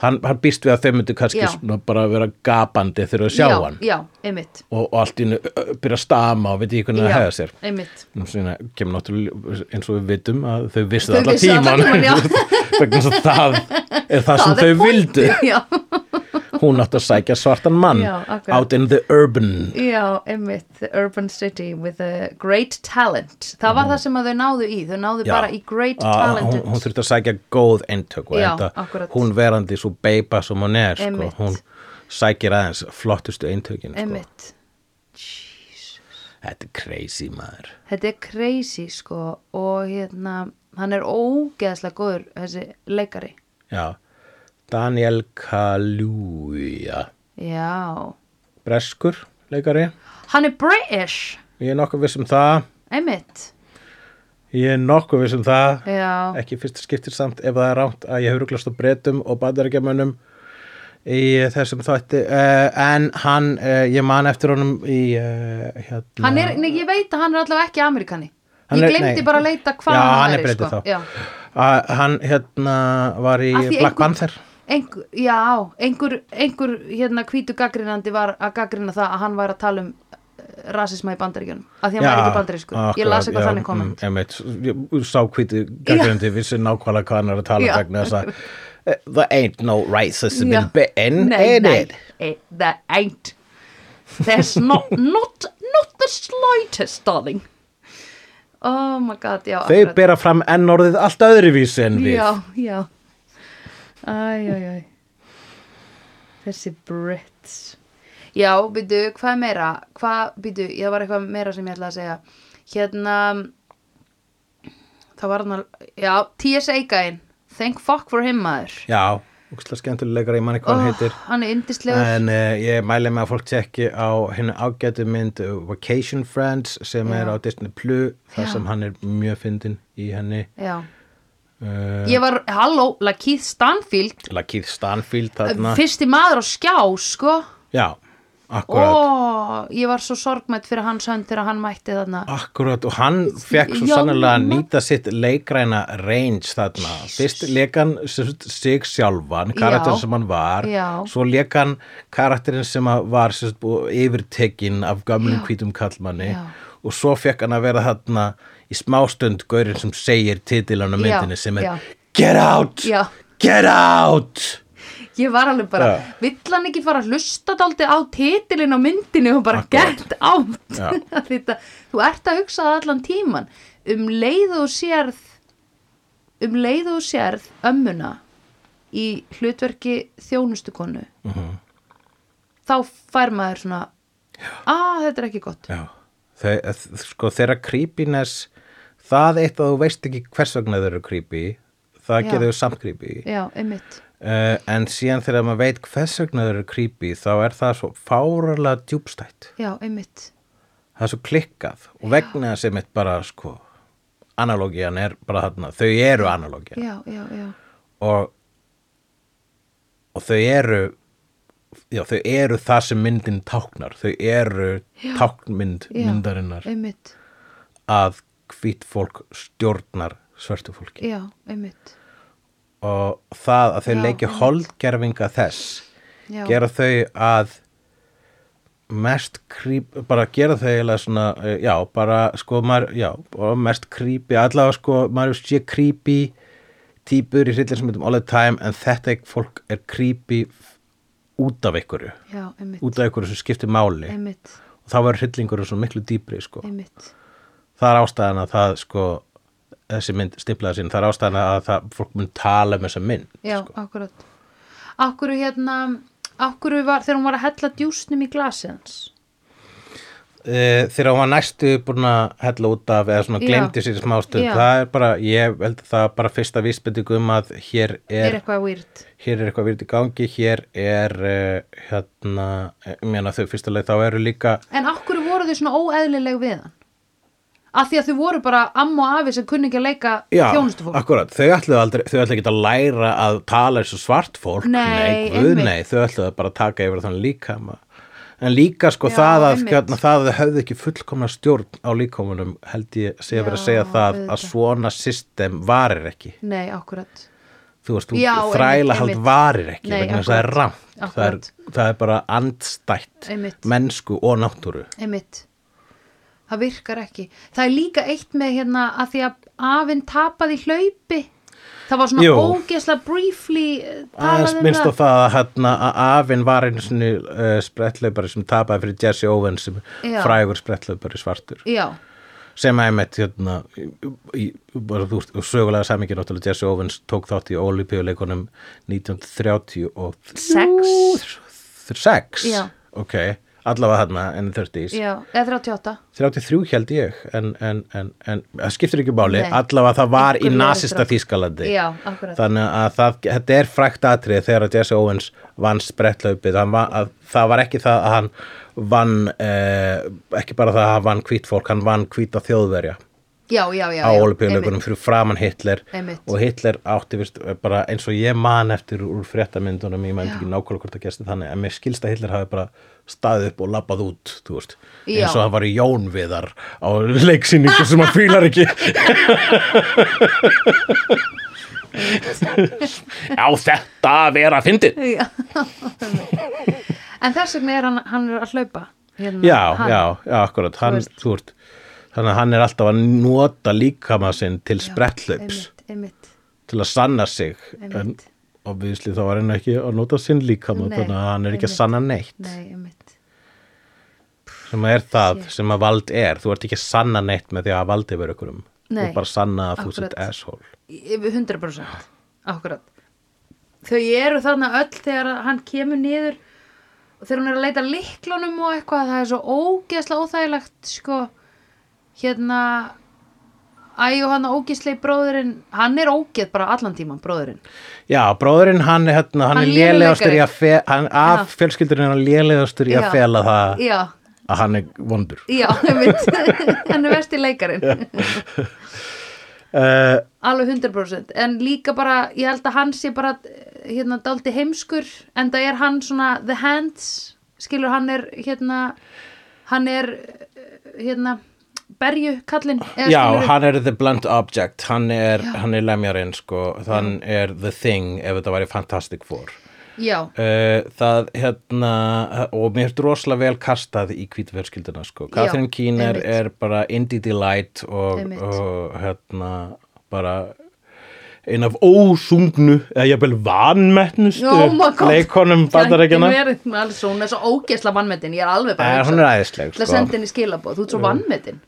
Speaker 1: hann, hann býst við að þau myndu kannski
Speaker 2: Já.
Speaker 1: svona bara vera gapandi þegar þau sjá
Speaker 2: já,
Speaker 1: hann
Speaker 2: já, einmitt
Speaker 1: og, og allt í hennu byrja að stama og veit ekki hvernig
Speaker 2: já,
Speaker 1: það hefða sér
Speaker 2: einmitt
Speaker 1: Nú, Svona kemur náttúrulega eins og við vitum að þau vissu
Speaker 2: Þau
Speaker 1: það allan
Speaker 2: vissu allan
Speaker 1: tíman
Speaker 2: tímann, já.
Speaker 1: [laughs] vegna þess að það er það sem
Speaker 2: Það er
Speaker 1: þau vildu
Speaker 2: [laughs] já,
Speaker 1: hún átti að sækja svartan mann
Speaker 2: Já, akkurat.
Speaker 1: out in the urban
Speaker 2: já, einmitt the urban city with a great talent það var það sem að þau náðu í þau náðu
Speaker 1: Mhm. Já.
Speaker 2: bara í great
Speaker 1: Að
Speaker 2: talent
Speaker 1: hún, hún þurfti að sækja góð eintök og
Speaker 2: Já,
Speaker 1: enda
Speaker 2: akkurat.
Speaker 1: hún verandi svo beipa sem hún er sko.
Speaker 2: Einmitt.
Speaker 1: hún sækir aðeins flottustu eintökin sko.
Speaker 2: einmitt Jesus
Speaker 1: þetta er crazy maður
Speaker 2: Þetta er crazy sko og hérna, hann er ógeðslega góður þessi leikari.
Speaker 1: Já. Daniel Kaluuja
Speaker 2: Já.
Speaker 1: breskur leikari
Speaker 2: Hann er British,
Speaker 1: ég er nokkuð viss um það
Speaker 2: einmitt.
Speaker 1: ég er nokkuð viss um það
Speaker 2: Já,
Speaker 1: ekki í fyrsta skiptir samt ef það er rámt að ég hefur glast á breytum og bandarækjamönnum í eh, þessum þætti uh, en hann, uh, ég man eftir honum í uh, hérna
Speaker 2: hann er, nei, ég veit að hann er allavega ekki amerikani.
Speaker 1: Hann
Speaker 2: ég
Speaker 1: er-
Speaker 2: glemdi
Speaker 1: nei.
Speaker 2: bara að leita hvað
Speaker 1: Já,
Speaker 2: hann,
Speaker 1: hann er
Speaker 2: væri,
Speaker 1: Briti
Speaker 2: sko.
Speaker 1: þá.
Speaker 2: Já,
Speaker 1: að, hann hérna var í
Speaker 2: Af því
Speaker 1: Black
Speaker 2: einhver-
Speaker 1: Panther
Speaker 2: einhver, já, einhver, einhver hérna hvítu gaggrinandi var að gaggrina það að hann var að tala um eh, rasisma í bandaríkjunum. Af því hann var ekki bandarískur. Ég las eitthvað þannig komment.
Speaker 1: mm, einmitt, ég sá hviti gaggrindi vissi nákvæmlega hvað hann er að tala
Speaker 2: Já.
Speaker 1: um vegna þess að eh, there ain't no racism
Speaker 2: Já.
Speaker 1: in Britain
Speaker 2: Nei,
Speaker 1: in
Speaker 2: nei,
Speaker 1: it
Speaker 2: eh, there ain't There's not, not, not the slightest, darling Oh my god, já
Speaker 1: þau bera fram enn orðið allt öðruvísi en um við
Speaker 2: Já, já Æ, æ, æ Þessi Brits Já, býtu, hvað er meira? Hvað, býtu, það var eitthvað meira sem ég ætla að segja Hérna Það var hann Já, TSA gæinn Thank fuck for him, maður
Speaker 1: já, úkslega skemmtulegar, ég man ekki hvað hann heitir
Speaker 2: Hann er yndislegur
Speaker 1: En uh, ég mæli með að fólk tekki á hennu ágætu mynd uh, Vacation Friends sem er
Speaker 2: Já.
Speaker 1: á Disney Plus þar
Speaker 2: Já.
Speaker 1: sem hann er mjög fyndin í henni
Speaker 2: Já
Speaker 1: uh,
Speaker 2: Ég var, halló, Lakeith Stanfield uh,
Speaker 1: Lakeith Stanfield þarna
Speaker 2: Fyrsti maður á skjá, sko
Speaker 1: Já, akkurat
Speaker 2: Ó, ég var svo sorgmætt fyrir hans hönd þegar hann mætti þarna
Speaker 1: Akkurat og hann fekk svo
Speaker 2: hérna. Já,
Speaker 1: sannlega að
Speaker 2: mamma.
Speaker 1: nýta sitt leikræna range þarna. Fyrst leik hann sem sagt sig sjálfan, karakterin
Speaker 2: Já.
Speaker 1: sem hann var,
Speaker 2: Já.
Speaker 1: svo leik hann karakterin sem að var sem sagt, bú- yfirtekinn af gamlum
Speaker 2: Já.
Speaker 1: hvítum kallmanni
Speaker 2: Já.
Speaker 1: og svo fekk hann að vera þarna í smástund gaurinn sem segir titilan á
Speaker 2: Já,
Speaker 1: myndinni sem er
Speaker 2: já.
Speaker 1: Get out!
Speaker 2: Já.
Speaker 1: Get out!
Speaker 2: Ég var alveg bara,
Speaker 1: Já.
Speaker 2: vill hann ekki fara að hlusta dálítið á titilin á myndinu og bara
Speaker 1: Akkurat.
Speaker 2: get out
Speaker 1: Já.
Speaker 2: [laughs] Af því þetta, Þú ert að hugsa það allan tíman um leið og sérð um leið og sérð ömmuna í hlutverki þjónustukonu
Speaker 1: Mhm.
Speaker 2: þá fær maður svona að þetta er ekki gott
Speaker 1: Já, þau, þ- sko þeirra creepiness, það eitt að þú veist ekki hvers vegna þau eru creepy, það
Speaker 2: Já.
Speaker 1: gerðu þau samt creepy.
Speaker 2: Já, einmitt
Speaker 1: Uh, en síðan þegar maður veit hvers vegna þau eru creepy, þá er það svo fárala djúbstætt.
Speaker 2: Já, einmitt
Speaker 1: Það er svo klikkað og vegna þess einmitt bara, sko, analógian er bara þarna, þau eru analógian
Speaker 2: Já, já, já
Speaker 1: og, og þau eru, já, þau eru það sem myndin táknar, þau eru táknmynd
Speaker 2: já,
Speaker 1: myndarinnar.
Speaker 2: Einmitt,
Speaker 1: að hvít fólk stjórnar svörtu fólki
Speaker 2: já, einmitt
Speaker 1: og það að þau
Speaker 2: Já,
Speaker 1: leikja
Speaker 2: einmitt.
Speaker 1: holdgerfinga þess
Speaker 2: já,
Speaker 1: gera þau að mest creep, bara gera þau eiginlega svona, eh, já, bara sko maður, já, og mest creepy allavega sko, maður sé creepy típur í hryllinsmyndum all the time en þetta ekki fólk er creepy f- út af einhverju
Speaker 2: já, einmitt
Speaker 1: út af einhverju sem skiptir máli
Speaker 2: Einmitt,
Speaker 1: og þá verður hryllingur svo miklu dýpri sko
Speaker 2: einmitt
Speaker 1: það er ástæðan að það sko þessi mynd stiplaði sín, það er ástæðan að það, fólk mun tala um þessa mynd
Speaker 2: Já, sko. akkurat Akkur hérna, akkur var þegar hún var að hella djúsnum í glasið hans
Speaker 1: eh, þegar hún var næstu búin að hella út af eða svona
Speaker 2: Já.
Speaker 1: glemdi sér í smástund
Speaker 2: Já.
Speaker 1: það er bara, ég held að það er bara fyrsta vísbendingu um að hér
Speaker 2: er
Speaker 1: er,
Speaker 2: eitthvað weird
Speaker 1: hér er eitthvað virði gangi hér er uh, hérna, ég meina þau fyrsta leið þá eru líka
Speaker 2: en okkur voru þau svona óeðlileg við hann af því að þau voru bara amma og afi sem kunni ekki að leika
Speaker 1: Já,
Speaker 2: þjónustufólk
Speaker 1: akkurat, þau ætluðu aldrei, þau ætluðu ekki að læra að tala eins og svart fólk,
Speaker 2: Nei,
Speaker 1: guð,
Speaker 2: einmitt.
Speaker 1: nei, þau ætluðu bara að taka yfir þann líkama. En líka sko
Speaker 2: Já,
Speaker 1: það að,
Speaker 2: einmitt.
Speaker 1: hérna, það að þau höfðu ekki fullkomna stjórn á líkomunum held ég sé að vera að
Speaker 2: Já,
Speaker 1: segja það að
Speaker 2: auðvitað.
Speaker 1: svona system varir ekki.
Speaker 2: nei, akkurat
Speaker 1: Þú
Speaker 2: Já,
Speaker 1: veist, þú
Speaker 2: einmitt,
Speaker 1: þræla hald
Speaker 2: einmitt.
Speaker 1: varir ekki,
Speaker 2: Nei,
Speaker 1: vegna þess að það er
Speaker 2: akkurat.
Speaker 1: rangt. Það er,
Speaker 2: Akkurat.
Speaker 1: það er bara andstætt
Speaker 2: Einmitt.
Speaker 1: mennsku og náttúru.
Speaker 2: einmitt það virkar ekki það er líka eitt með hérna að því að afinn tapaði í hlaupi það var svona
Speaker 1: Jú.
Speaker 2: ógesla briefly eh,
Speaker 1: aðeins
Speaker 2: talað um
Speaker 1: minnst á
Speaker 2: það
Speaker 1: það að, hérna, að afinn var einu svona uh, sprettlaupari sem tapaði fyrir Jesse Owens sem
Speaker 2: Já.
Speaker 1: frægur sprettlaupari svartur
Speaker 2: já, sem
Speaker 1: sem að einmitt hérna, í, í, bara, þú, veist, og sögulega samingi náttúrulega Jesse Owens tók þátt í olípíuleikunum 1936
Speaker 2: sex Já.
Speaker 1: ok, allavega þarna en 30s
Speaker 2: já, eða 38
Speaker 1: 33 held ég en, en, en, en það skiptir ekki máli
Speaker 2: Nei.
Speaker 1: allavega það var í
Speaker 2: Einhver
Speaker 1: nasista
Speaker 2: verður-
Speaker 1: þýskalandi
Speaker 2: Já, akkurat.
Speaker 1: þannig að það, þetta er frækt atrið þegar að Jesse Owens vann sprettlaupið Hann var, að, það var ekki það að hann vann eh, ekki bara það að hann vann hvít fólk hann vann hvíta þjóðverja
Speaker 2: já, já, já,
Speaker 1: á
Speaker 2: já,
Speaker 1: olupíuleikunum fyrir framan Hitler
Speaker 2: Einmitt.
Speaker 1: og Hitler átti vist, bara eins og ég man eftir úr fréttamyndunum ég man ekki nákvæmlega hvort það gerst þannig en mér skilst að Hitler hafi bara staðið upp og labbað út þú veist,
Speaker 2: Já.
Speaker 1: eins og hann var í Jónviðar á leiksýningu sem hann fílar ekki [laughs] á þetta að vera að fyndið
Speaker 2: einmitt. já, einmitt. en þess vegna er hann, hann er að hlaupa hérna,
Speaker 1: já,
Speaker 2: hann.
Speaker 1: já, já, akkurat hann,
Speaker 2: veist.
Speaker 1: þú veist, þannig að hann er alltaf að nota líkama sinn til spretthlaups
Speaker 2: einmitt, einmitt.
Speaker 1: til að sanna sig en
Speaker 2: Einmitt.
Speaker 1: obvísli þá var hann ekki að nota sinn líkama
Speaker 2: Nei,
Speaker 1: þannig að hann er ekki að
Speaker 2: einmitt.
Speaker 1: sanna neitt
Speaker 2: nei, einmitt
Speaker 1: sem er það sem að vald er þú ert ekki að sanna neitt með því að hafa vald yfir ykkurum þú
Speaker 2: Nei,
Speaker 1: ert bara að sanna að þú sett
Speaker 2: akkurat.
Speaker 1: asshole
Speaker 2: yfir 100% akkurat þau eru þarna öll þegar hann kemur niður og þegar hún er að leita liklunum og eitthvað það er svo ógeðslega óþægilegt sko hérna æ og hann ógeðslegi bróðurinn hann er ógeð bara allan tíman bróðurinn
Speaker 1: já, bróðurinn hann, er hérna, hann,
Speaker 2: Hann
Speaker 1: er
Speaker 2: lélegur
Speaker 1: lélegastur í að
Speaker 2: leikari.
Speaker 1: fe, hann, af fjölskyldurinn er hann lélegastur í að
Speaker 2: Já.
Speaker 1: fela það
Speaker 2: já,
Speaker 1: að hann er vondur
Speaker 2: já, einmitt [laughs] hann er versti leikarinn
Speaker 1: uh,
Speaker 2: alveg 100% en líka bara, ég held að hann sé bara hérna dálti heimskur en það er hann svona the hands skilur hann er hérna hann er eh, hérna berju kallinn
Speaker 1: já, hann er the blunt object hann er, hann er lemjarinn sko hann er the thing ef þetta væri Fantastic Four
Speaker 2: já,
Speaker 1: Uh, það hérna og mér er rosalega vel kastað í kvítverðskildina sko. Catherine Keener
Speaker 2: einmitt.
Speaker 1: er bara indie delight og,
Speaker 2: Einmitt.
Speaker 1: og hérna bara ein af ósungnu eða jafnvel vanmettnustu
Speaker 2: Oh my God.
Speaker 1: leikonum bandarækjana
Speaker 2: hann er alveg svona svo ógesla vannmetin ég er alveg bara að
Speaker 1: en Eh, hún er
Speaker 2: hugsa.
Speaker 1: æðisleg
Speaker 2: Ætla að
Speaker 1: sko.
Speaker 2: senda henni skilabóð, þú ert svo vannmetin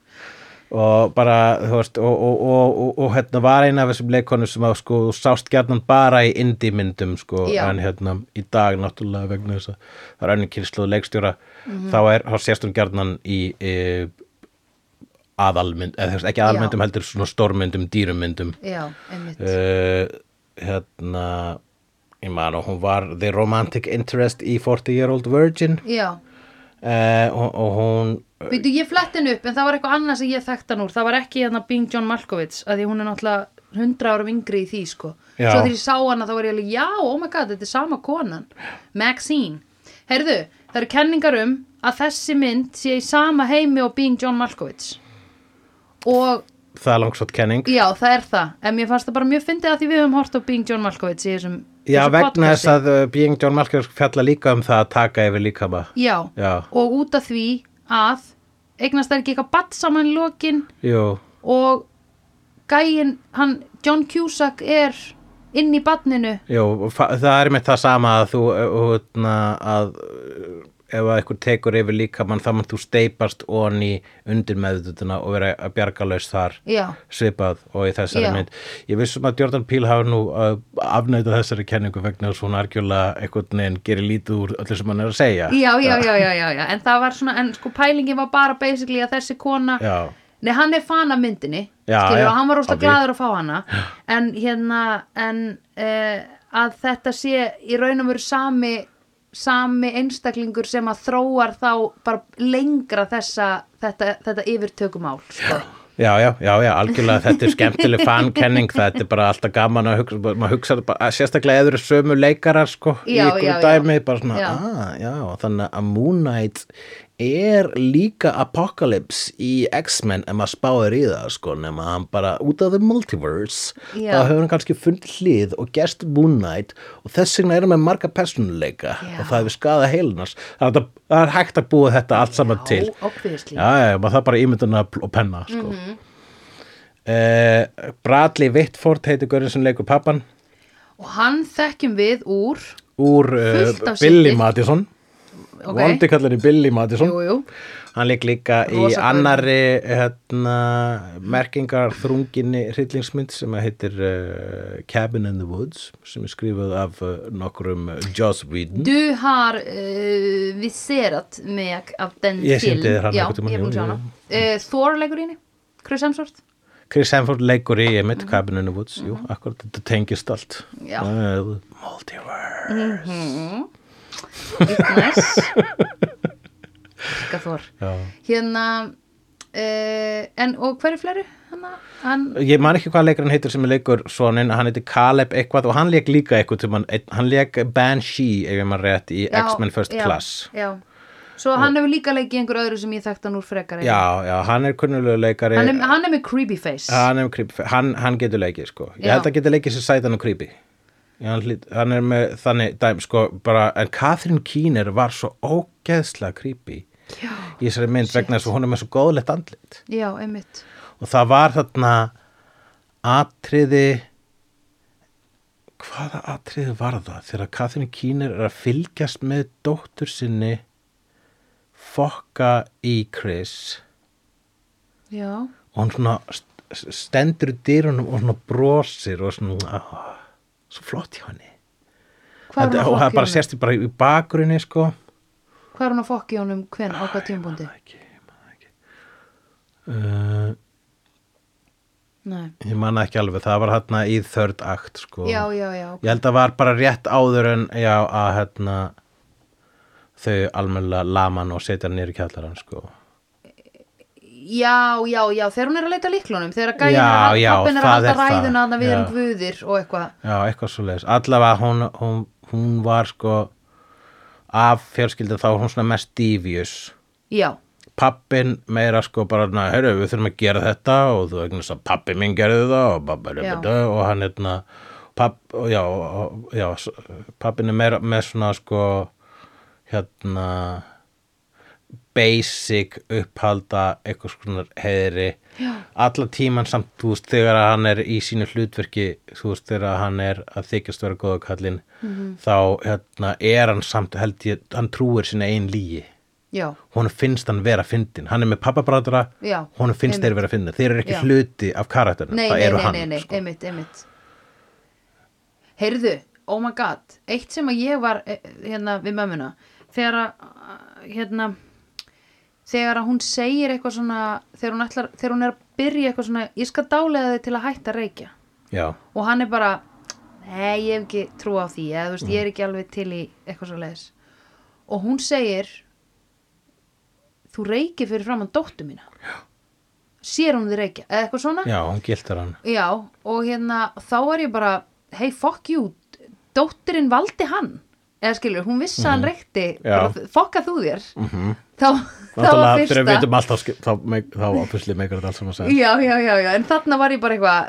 Speaker 1: og bara þú veist og, og, og, og, og hérna var ein af þessum leikonum sem að sko þú sást gjarnan bara í indie myndum sko
Speaker 2: Já.
Speaker 1: en hérna í dag náttúrulega vegna þess að það er önnur kynsluð leikstjóra
Speaker 2: Mhm.
Speaker 1: þá er, þá sést hún gjarnan í e, aðalmynd eða þú veist ekki aðalmyndum
Speaker 2: Já.
Speaker 1: heldur svona stórmyndum, dýrumyndum
Speaker 2: já, einmitt
Speaker 1: uh, hérna ég man og hún var The Romantic Interest í 40 Year Old Virgin
Speaker 2: já,
Speaker 1: uh, og, og hún
Speaker 2: Býtu, ég fletti henni upp en það var eitthvað annað sem ég þekkti hann úr það var ekki hérna Bing John Malkovich að því hún er náttúrulega hundra árum yngri í því sko
Speaker 1: Já.
Speaker 2: svo þegar ég sá hana þá var ég alveg já, oh my god, þetta er sama konan Maxine, heyrðu, það eru kenningar um að þessi mynd sé í sama heimi og Bing John Malkovich og
Speaker 1: það er langsótt kenning
Speaker 2: já, það er það en mér fannst það bara mjög fyndið að því við höfum hort á Bing John Malkovich í þessum
Speaker 1: Já,
Speaker 2: þessu
Speaker 1: vegna þess
Speaker 2: podcasti.
Speaker 1: að uh, Being John Malkovich fjalla líka um það að taka yfir líkama.
Speaker 2: já,
Speaker 1: Já.
Speaker 2: og út af því að eignast það ekki eitthvað batt saman í lokin
Speaker 1: Jú,
Speaker 2: og gæin, hann, John Cusack er inn í badninu
Speaker 1: jú, fa- það er með það sama að þú, uh, hérna, að uh, ef að einhver tekur yfir líkamann þá mann þú steipast ofan í undir meðutuna og vera að bjarga laus þar
Speaker 2: Já.
Speaker 1: svipað og í þessari
Speaker 2: Já.
Speaker 1: mynd ég vissum að Jordan Peele hafa nú uh, afnæta þessari kenningu vegna þess að hún argjölega einhvern veginn gerir lítið úr öllu sem hann er að segja
Speaker 2: já, já, já, já, já, já, en það var svona, en sko pælingin var bara basically að þessi kona,
Speaker 1: Já.
Speaker 2: nei hann er fan af myndinni,
Speaker 1: Já,
Speaker 2: skilur,
Speaker 1: já,
Speaker 2: og hann var rosta
Speaker 1: ok.
Speaker 2: glaður að fá hana, en hérna, en uh, að þetta sé í raun og veru sami, sami einstaklingur sem að þróar þá bara lengra þessa, þetta, þetta yfirtökumál, sko.
Speaker 1: Já, já, já, já, algjörlega þetta er skemmtileg fankenning, þetta er bara alltaf gaman að hugsa, maður hugsa þetta bara, sérstaklega eður sömu leikarar sko í
Speaker 2: Já,
Speaker 1: ykkur
Speaker 2: já, já.
Speaker 1: dæmi, bara svona,
Speaker 2: Já.
Speaker 1: ah, já, þannig að Moon Knight er líka Apocalypse í X-Men ef maður spáir í það sko, nema hann bara út af the multiverse,
Speaker 2: Já.
Speaker 1: þá hefur hann kannski fundið hlið og gerst Moon Knight og þess vegna erum við marga personuleika
Speaker 2: Já.
Speaker 1: og það hefur skaða heilunars, það er- það er hægt að búa þetta allt saman til.
Speaker 2: Já, obviously. Mhm.
Speaker 1: Já, já, já, maður það bara ímynduna og penna, sko. Mm Bradley Whitford heitir Görðin sem leikur pappan
Speaker 2: Og hann þekkjum við úr,
Speaker 1: úr uh,
Speaker 2: Fullt af
Speaker 1: Billy
Speaker 2: shiti.
Speaker 1: Madison.
Speaker 2: ok,
Speaker 1: Vondi kallar í Billy Madison.
Speaker 2: jú, jú,
Speaker 1: Hann leik líka í
Speaker 2: Rosa gaur.
Speaker 1: annari hérna, merkingar þrunginni hryllingsmynd sem að heitir uh, Cabin in the Woods sem er skrifað af uh, nokkrum uh, Joss Whedon.
Speaker 2: Du har uh, viserat meg av den
Speaker 1: Ég
Speaker 2: film.
Speaker 1: sýndi þér hana
Speaker 2: Já,
Speaker 1: einhvern tímann,
Speaker 2: ég er búin að
Speaker 1: jú,
Speaker 2: sjá hana.
Speaker 1: Mm.
Speaker 2: Uh, Thor leikur í henni, Chris Hemsworth.
Speaker 1: Chris Hemsworth leikur í einmitt Cabin in the Woods, jú, akkurat þetta tengist allt.
Speaker 2: Já.
Speaker 1: Uh, multiverse.
Speaker 2: It's
Speaker 1: [laughs]
Speaker 2: nice. Ska Thor.
Speaker 1: Já.
Speaker 2: Hérna, uh, en og hver er fleiri? Hanna, hann,
Speaker 1: ég man ekki hvað leikarinn heitir sem er leikur sonin, hann heitir Caleb eitthvað og hann leik líka eitthvað til mann, hann leik Banshee ef ég mann rétt í
Speaker 2: Já,
Speaker 1: X-Men First
Speaker 2: já,
Speaker 1: Class
Speaker 2: Já, svo hann hefur líka leikið einhver öðru sem ég þekkt hann úr frekar.
Speaker 1: já, eh, já, hann er kunnulegu leikari
Speaker 2: Hann er, hann er með creepy face.
Speaker 1: hann, er creepy, hann, hann getur leikið sko ég
Speaker 2: Já.
Speaker 1: held að getur leikið sér sætan og creepy Já, hann, hlýt, hann er með þannig dæm sko bara, en Catherine Keener var svo ógeðslega creepy
Speaker 2: Já,
Speaker 1: í þessari mynd vegna þess að hún er með svo góðlegt andlit
Speaker 2: já, einmitt.
Speaker 1: og það var þarna atriði hvaða atriði var það þegar Katrin Kínir er að fylgjast með dóttur sinni fokka í Chris
Speaker 2: Já,
Speaker 1: og hún svona st- stendur í dyrunum og svona brosir og svona "Ah, svo flott hjá henni
Speaker 2: hvað er
Speaker 1: Þetta-
Speaker 2: hann
Speaker 1: og
Speaker 2: að
Speaker 1: það bara
Speaker 2: fokki honum?
Speaker 1: sérst bara í bakgrunni sko
Speaker 2: Hvað er hann að fokki honum hven á hvað tímbundi?
Speaker 1: ekki, ég man það ekki uh,
Speaker 2: Nei.
Speaker 1: ég man það ekki alveg það var hérna í þörd akt sko
Speaker 2: Já, já, já,
Speaker 1: Ég held að var bara rétt áður en já að hérna þau almennilega laman og setja hann niður í kjallarann sko.
Speaker 2: Já, já, já, þegar hún er að leita líklunum þegar gæðin
Speaker 1: Já,
Speaker 2: er að
Speaker 1: já,
Speaker 2: pappin er að
Speaker 1: það
Speaker 2: halda
Speaker 1: er það,
Speaker 2: ræðuna að við
Speaker 1: já.
Speaker 2: erum guðir og eitthvað
Speaker 1: Já, eitthvað svo leiðis. Allavega hún, hún, hún var sko af fjölskyldu þá var hún svona mest dífjus.
Speaker 2: Já,
Speaker 1: Pappin meira sko bara, na, heyrðu, við þurfum að gera þetta og þú vegna þess að pappi minn gerði það og, babba,
Speaker 2: Já.
Speaker 1: babba, og hann hérna, papp, og já, og, já, s- pappin er meira með svona sko, hérna, basic upphalda eitthvað svona heiðri
Speaker 2: Já.
Speaker 1: alla tíman samt þú veist þegar að hann er í sínu hlutverki þú veist þegar að hann er að þykjast vera góða kallinn
Speaker 2: Mhm.
Speaker 1: þá hérna, er hann samt held ég hann trúir sinna einn lígi
Speaker 2: já,
Speaker 1: honum finnst hann vera fyndin hann er með pappabræðara,
Speaker 2: Já,
Speaker 1: honum finnst þeir vera fyndin þeir eru ekki
Speaker 2: Já.
Speaker 1: hluti af karakternum
Speaker 2: nei,
Speaker 1: það
Speaker 2: nei,
Speaker 1: eru
Speaker 2: nei,
Speaker 1: hann
Speaker 2: nei, nei,
Speaker 1: sko.
Speaker 2: einmitt, einmitt Heyrðu, oh my god eitt sem að ég var eh, hérna við mömmuna þegar að hérna þegar að hún segir eitthvað svona þegar hún, ætlar, þegar hún er að byrja eitthvað svona ég skal dálega þig til að hætta að reykja
Speaker 1: já,
Speaker 2: og hann er bara nei, ég hef ekki trú á því eða, þú veist, ég er ekki alveg til í eitthvað svo leiðis og hún segir þú reykir fyrir framann dóttu mína já. sér hún þið reykja eða eitthvað svona
Speaker 1: já, hún giltar hann
Speaker 2: Já, og hérna þá er ég bara hey, fuck you, dóttirinn valdi hann eða skilur, hún vissi að hann reykti
Speaker 1: Mhm. Já. Mhm.
Speaker 2: bara, fokka þú þér -hmm. þá, þá var
Speaker 1: Náttúrulega þegar við
Speaker 2: fyrsta
Speaker 1: veitum allt þá, skip- þá, meik- þá obviously meikar þetta allt sem að segja
Speaker 2: já, já, já, já, en þarna var ég bara eitthvað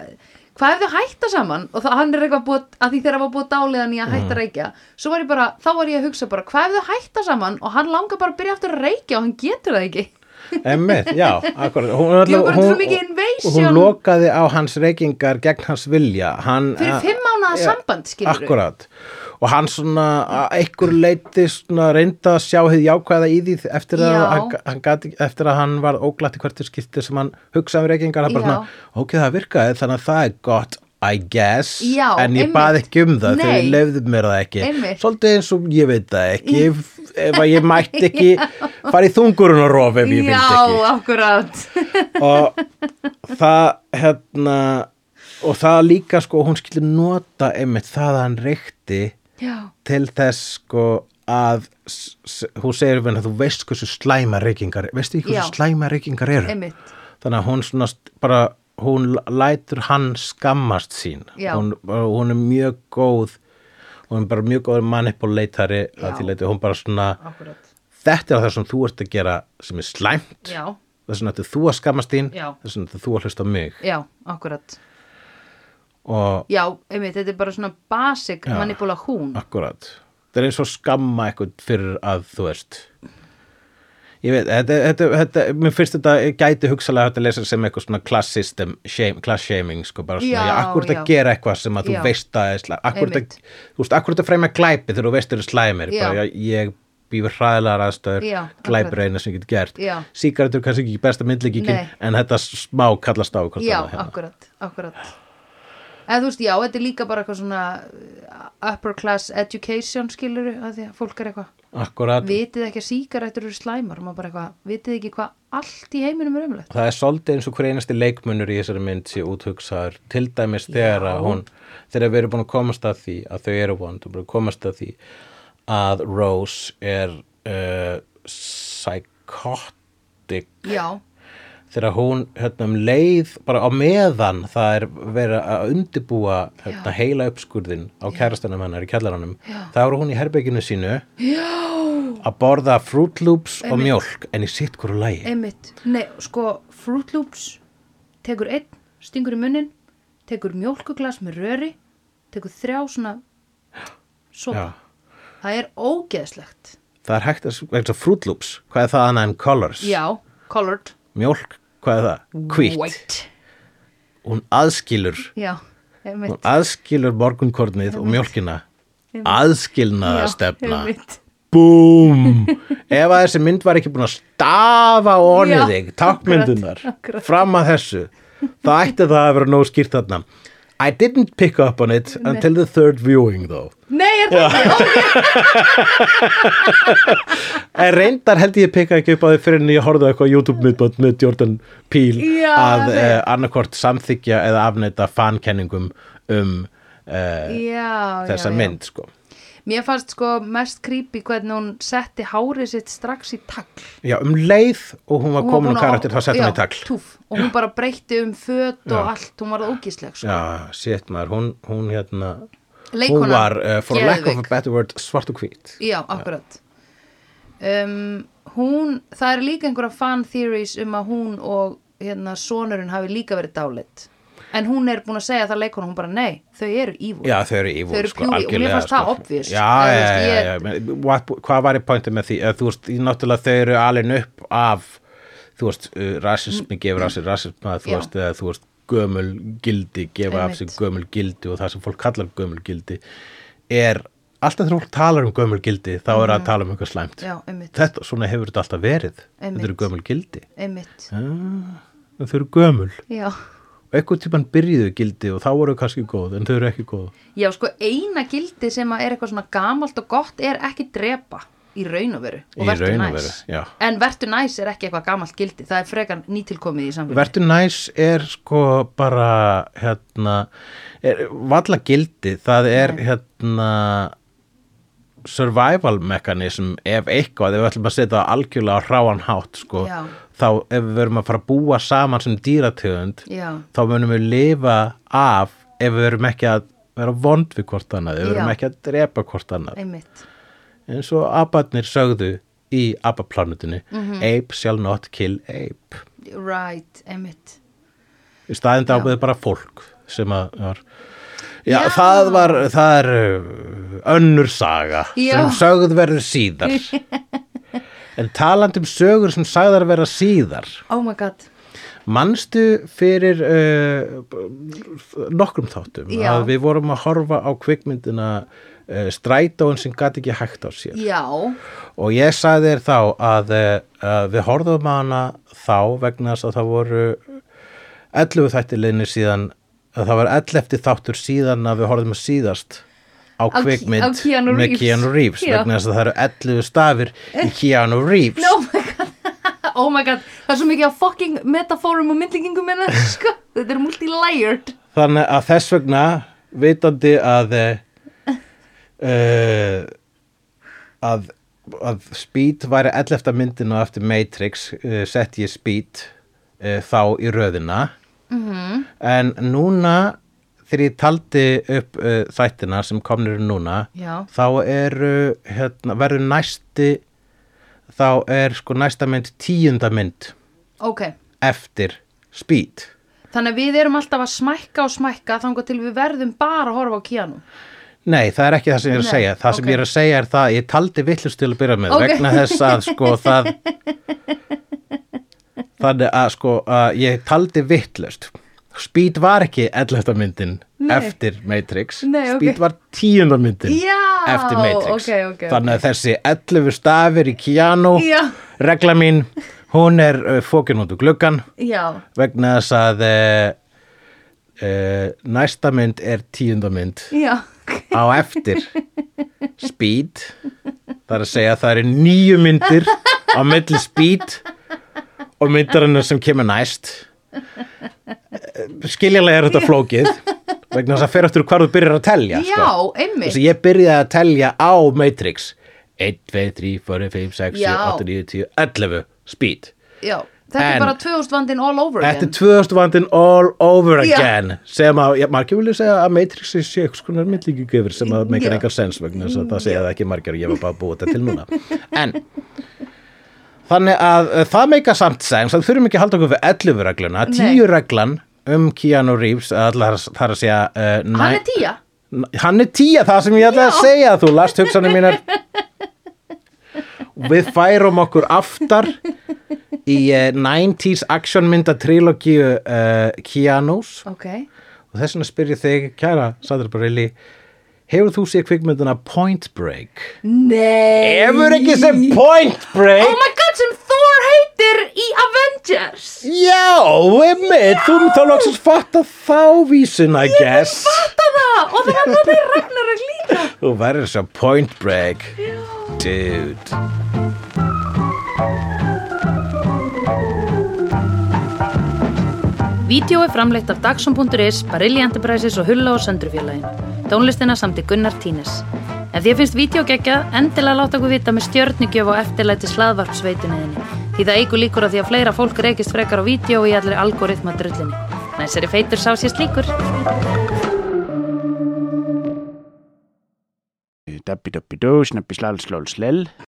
Speaker 2: hvað ef þau hætta saman og það, hann er eitthvað búið, að því þeirra var búið dáliðan
Speaker 1: Mhm.
Speaker 2: í að hætta að reykja svo var ég bara, þá var ég að hugsa bara hvað ef þau hætta saman og hann langar bara að byrja aftur að reykja og hann getur það ekki
Speaker 1: Emmitt, já, akkurat hún,
Speaker 2: Ég var bara
Speaker 1: hún-
Speaker 2: svo mikið invasion.
Speaker 1: hún lokaði á hans reykingar gegn hans vilja hann,
Speaker 2: fyrir fimm mánuða annað samband skilur
Speaker 1: Akkurat og hann svona að einhver leiti svona reynda að sjá hið jákvæða í því eftir að,
Speaker 2: Já.
Speaker 1: hann, hann gat, ekki- eftir að hann var óglatt í hvertu skipti sem hann hugsaði um reykingar hann bara
Speaker 2: Já.
Speaker 1: svona, ok það virkaði þannig að það er gott I guess,
Speaker 2: Já,
Speaker 1: en ég
Speaker 2: einmitt.
Speaker 1: baði ekki um það þegar ég
Speaker 2: Nei.
Speaker 1: lefði mér það ekki
Speaker 2: Einmitt.
Speaker 1: svolítið eins og ég veit það
Speaker 2: [laughs]
Speaker 1: ekki ef, ef að ég mætti ekki fara í þungurinn og rof ef ég vildi ekki
Speaker 2: Já, akkurat [laughs]
Speaker 1: og það hérna og það líka sko hún skilur nota einmitt það að hann reykti
Speaker 2: Já,
Speaker 1: til þess sko að s- s- hún segir við hann að þú veist hversu slæma reykingar veistu ekki hversu
Speaker 2: Já.
Speaker 1: slæma reykingar eru
Speaker 2: einmitt
Speaker 1: þannig að hún svona st- bara hún l- lætur hann skammast sín
Speaker 2: Já.
Speaker 1: hún, bara- hún er mjög góð hún er bara mjög góð manipulatari
Speaker 2: Já.
Speaker 1: að því leiti hún bara svona
Speaker 2: Akkurat
Speaker 1: þetta er það sem þú ert að gera sem er slæmt
Speaker 2: Já,
Speaker 1: þess vegna ættu þú að skammast þín
Speaker 2: Já.
Speaker 1: þess vegna ættu þú að hlusta á mig
Speaker 2: já, akkurat
Speaker 1: og
Speaker 2: Já, einmitt, þetta er bara svona basic
Speaker 1: Já.
Speaker 2: manipula hún
Speaker 1: akkurat það er eins og skamma eitthvað fyrir að þú veist ég veit, þetta, þetta, þetta mér finnst þetta gæti hugsalega hægt að lesa sem eitthvað svona class system, shame, class shaming sko bara svona,
Speaker 2: Já,
Speaker 1: já, akkurat
Speaker 2: já.
Speaker 1: að gera eitthvað sem að þú
Speaker 2: Já.
Speaker 1: veist að, er slæ- akkurat að
Speaker 2: Einmitt.
Speaker 1: þú veist, akkurat að fremja glæpi þegar þú veist eru slæmir,
Speaker 2: Já.
Speaker 1: bara já, ég býfur hræðilegar aðstöður,
Speaker 2: Já,
Speaker 1: glæpir
Speaker 2: akkurat.
Speaker 1: eina sem ég get gert
Speaker 2: Já.
Speaker 1: sígarettur er kannski ekki besta myndlíkingin
Speaker 2: Nei.
Speaker 1: en þetta smá kallast á hvort
Speaker 2: Já,
Speaker 1: annað hérna.
Speaker 2: akkurat, akkurat En þú veist, já, þetta er líka bara eitthvað svona uh, upper class education skilur að því að fólk er eitthvað
Speaker 1: akkurat,
Speaker 2: vitið ekki að sígarættur eru slæmar maður bara eitthvað, vitið ekki hvað allt í heiminum er umlegt
Speaker 1: það er svolítið eins og hver einasti leikmunur í þessari mynd sé úthugsaður til dæmis þegar að hún þegar við erum búin að komast að því að þau eru vond og búin að komast að því að Rose er uh, psychotic
Speaker 2: Já,
Speaker 1: þegar hún hérna um leið bara á meðan það er verið að undibúa hérna, heila uppskurðin á kærastanum hennar í kjallaranum þá er hún í herbygginu sínu Já. að borða Fruit Loops og mjólk en í sitt hverju lagi
Speaker 2: einmitt, nei, sko Fruit Loops, tekur einn stingur í munnin, tekur mjólkuglas með röri, tekur þrjá svona sopa
Speaker 1: Já.
Speaker 2: það er ógeðslegt
Speaker 1: Það er hægt að, eins og Fruit Loops, hvað er það annað en colors?
Speaker 2: Já, colored,
Speaker 1: Mjólk, hvað er það? Hvít.
Speaker 2: white
Speaker 1: Hún aðskilur,
Speaker 2: Já, einmitt
Speaker 1: hún aðskilur morgunkornið og mjólkina.
Speaker 2: Já,
Speaker 1: Aðskilnaða stefna.
Speaker 2: einmitt.
Speaker 1: Búm! Ef að þessi mynd var ekki búin að stafa
Speaker 2: Já,
Speaker 1: onnið þig, takkmyndunar,
Speaker 2: akkurat.
Speaker 1: fram að þessu, þá ætti það að vera nóg skýrt þarna. I didn't pick up on it until the third viewing though.
Speaker 2: Nei, er það
Speaker 1: En reyndar held ég pikka ekki upp á því fyrir en ég horfði á eitthvað YouTube-myndbönd með Jordan Peele
Speaker 2: Já,
Speaker 1: að
Speaker 2: nei.
Speaker 1: eh, annarkvort samþykja eða afneita fankenningum um eh,
Speaker 2: já,
Speaker 1: þessa
Speaker 2: já,
Speaker 1: mynd sko.
Speaker 2: já. Mér fannst sko mest creepy hvernig hún setti hárið sitt strax í tagl
Speaker 1: Já, um leið og hún var
Speaker 2: Hún
Speaker 1: komin
Speaker 2: búin
Speaker 1: um
Speaker 2: að-
Speaker 1: karakter þá sett
Speaker 2: já,
Speaker 1: hann í tagl.
Speaker 2: túff. Og hún bara breytti um föt og allt, hún var ógísleg sko.
Speaker 1: Já, sétt maður, hún, hún hérna,
Speaker 2: Leikkonan,
Speaker 1: hún var uh, for lack of a
Speaker 2: geðveik.
Speaker 1: better word svart og hvít.
Speaker 2: Já, akkurat um, Hún, það er líka einhverja fan theories um að hún og hérna sonurinn hafi líka verið dálit En hún er búin að segja það leikona, hún bara nei, þau eru evil
Speaker 1: Já, þau eru ívúl,
Speaker 2: Þau eru pjúri, og mér fannst það obvious.
Speaker 1: sko.
Speaker 2: sko,
Speaker 1: Já,
Speaker 2: Eða,
Speaker 1: já,
Speaker 2: þú veist,
Speaker 1: já,
Speaker 2: ég-
Speaker 1: já, já. What, hvað var í pointið með því? Eða, Þú veist, ég- náttúrulega þau eru alin upp af, þú veist, uh, rasismi gefur af sér rasismi, þú
Speaker 2: Já.
Speaker 1: veist, eða, þú veist, gömul gildi gefa af sér
Speaker 2: Einmitt.
Speaker 1: gömul gildi og það sem fólk kallar gömul gildi er, alltaf þegar fólk talar um gömul gildi, þá er að tala um eitthvað slæmt.
Speaker 2: Mhm. Já, einmitt,
Speaker 1: Þetta, svona hefur þetta alltaf verið.
Speaker 2: Einmitt.
Speaker 1: Þetta eru gömul gildi.
Speaker 2: einmitt
Speaker 1: Ah, þau eru gömul.
Speaker 2: Já,
Speaker 1: Og eitthvað tímann byrjuðu gildi og þá voru þau kannski góð, en þau eru ekki góð.
Speaker 2: Já sko eina gildi sem að er eitthvað svona gamalt og gott er ekki drepa í raun og veru
Speaker 1: Í
Speaker 2: og vertu
Speaker 1: raun og
Speaker 2: næs
Speaker 1: veru, já.
Speaker 2: en vertu næs er ekki eitthvað gamalt gildi það er frekar nýtilkomið í samfélagi
Speaker 1: Vertu næs er sko bara hérna, er, valla gildi, það er hérna survival mekanism ef eitthvað, ef við ætlum að setja það algjörlega á ráan hátt sko,
Speaker 2: Já.
Speaker 1: þá ef við verum að fara að búa saman sem dýrategund,
Speaker 2: Já.
Speaker 1: þá munum við lifa af ef við verum ekki að vera vond við hvort annað, ef við
Speaker 2: Já.
Speaker 1: verum ekki að drepa hvort annað.
Speaker 2: einmitt
Speaker 1: Eins og abarnir sögðu í abaplánutinni,
Speaker 2: Mhm.
Speaker 1: ape shall not kill ape
Speaker 2: right, einmitt
Speaker 1: í staðin
Speaker 2: Já.
Speaker 1: dábuði bara fólk sem að var Já,
Speaker 2: Já.
Speaker 1: það var, það er uh, önnur saga
Speaker 2: Já.
Speaker 1: sem sögð verður síðar
Speaker 2: [laughs]
Speaker 1: en talandi um sögur sem sagðar verða síðar
Speaker 2: oh my god,
Speaker 1: manstu fyrir uh, nokkrum þáttum
Speaker 2: Já.
Speaker 1: að við vorum að horfa á kvikmyndina uh, strætóin sem gat ekki hægt á sér
Speaker 2: já,
Speaker 1: og ég sagði þér þá að uh, við horfðum á hana þá vegna þess að það voru 11 þættir liðni síðan að það var 11 þáttur síðan að við horfðum að síðast
Speaker 2: Á
Speaker 1: á
Speaker 2: Ke-
Speaker 1: kvikmynd
Speaker 2: á Keanu
Speaker 1: með
Speaker 2: Reeves.
Speaker 1: Keanu Reeves
Speaker 2: Já. Eh,
Speaker 1: vegna þess að það eru 11 stafir í Keanu Reeves
Speaker 2: no my god [laughs] oh my god, það er svo mikið af fucking metaforum og myndlingingum en það [laughs] sko, þetta er multi-layered
Speaker 1: þannig að þess vegna vitandi að uh, að að Speed væri 11. myndin og eftir Matrix uh, sett ég Speed uh, þá í röðina -hmm. en núna þegar ég taldi upp uh, þættina sem komnir eru núna
Speaker 2: Já.
Speaker 1: þá eru hérna, verður næsti þá er sko næsta mynd tíunda mynd
Speaker 2: ok,
Speaker 1: eftir Speed
Speaker 2: þannig að við erum alltaf að smækka og smækka þangar til við verðum bara að horfa á Keanu
Speaker 1: Nei, það er ekki það sem ég er að
Speaker 2: Nei,
Speaker 1: segja. Það sem
Speaker 2: ok.
Speaker 1: ég er að segja er það að ég taldi villust til að byrja með
Speaker 2: Ok.
Speaker 1: vegna þess að
Speaker 2: [laughs]
Speaker 1: sko það þannig að sko að ég taldi vittlust. Speed var ekki 11. myndin
Speaker 2: Nei.
Speaker 1: eftir Matrix.
Speaker 2: Nei, ok.
Speaker 1: Speed var 10. myndin
Speaker 2: Já,
Speaker 1: eftir Matrix.
Speaker 2: ok, ok, ok.
Speaker 1: þannig að þessi 11 stafir í Keanu,
Speaker 2: Já.
Speaker 1: regla mín, hún er uh, fókin út úr gluggan
Speaker 2: já,
Speaker 1: vegna þess að uh, uh, næsta mynd er 10. mynd
Speaker 2: já,
Speaker 1: á eftir Speed það er að segja að það eru nýju myndir á milli Speed og myndarinnar sem kemur næst skiljanlega er þetta flókið vegna þess að fer eftir hvar þú byrjar að telja
Speaker 2: já,
Speaker 1: sko.
Speaker 2: einmitt
Speaker 1: þess að ég byrjaði að telja á Matrix 1, 2, 3, 4, 5, 6, 7,
Speaker 2: Já.
Speaker 1: 8, 9, 10, 11 Speed
Speaker 2: Já, þetta
Speaker 1: En-
Speaker 2: er bara 2000 vandinn all over
Speaker 1: Þetta er
Speaker 2: again
Speaker 1: 2000 vandinn all over
Speaker 2: Já.
Speaker 1: again sem að, já, margir vilja segja að Matrix er sé eitthvað skonar myndlíkigöfur sem að meikar
Speaker 2: Já.
Speaker 1: engar sens vegna þess að það segja það ekki margir og ég var bara að búa þetta til núna [laughs] en þannig að uh, það meikar samt sens að þurfum ekki að halda okkur við 11 regluna, 10 reglan um Keanu Reeves að allar það er að segja uh, næ-
Speaker 2: Hann er tíja
Speaker 1: hann er 10 það sem ég ætla að
Speaker 2: Já.
Speaker 1: segja þú last hugsanir mínar við færum okkur aftar í uh, 90s actionmynda trilogíu uh, Keanu's
Speaker 2: Ok,
Speaker 1: og þess vegna spyr ég þig, kæra Sandra Bareilly hefur þú séð kvikmyndina Point Break?
Speaker 2: nei
Speaker 1: Hefur ekki sem Point Break?
Speaker 2: Oh my god, sem Thor heitir í Avengers
Speaker 1: Já, einmitt, þú þá loksins fatta þá vísuna, I guess
Speaker 2: Þetta það, og það er hann er Ragnarök líka
Speaker 1: Þú verður svo Point Break Dude
Speaker 2: Vídeó er framleitt af Dagsum.is, Barilli Enterprises og Hulla og Söndrufjörlægin. Tónlistina samt í Gunnar Tínes. Ef því finnst vídeo gegja, endilega láta okkur vita með stjörnugjöf og eftirlæti slaðvarpsveituninni. Því það eigur líkur að því að fleira fólk reykist frekar á vídeo í allri algoritma drullinni. Næsari feitur sá sér slíkur.
Speaker 3: Dabbi dabbi dó, snabbi slal slól slell.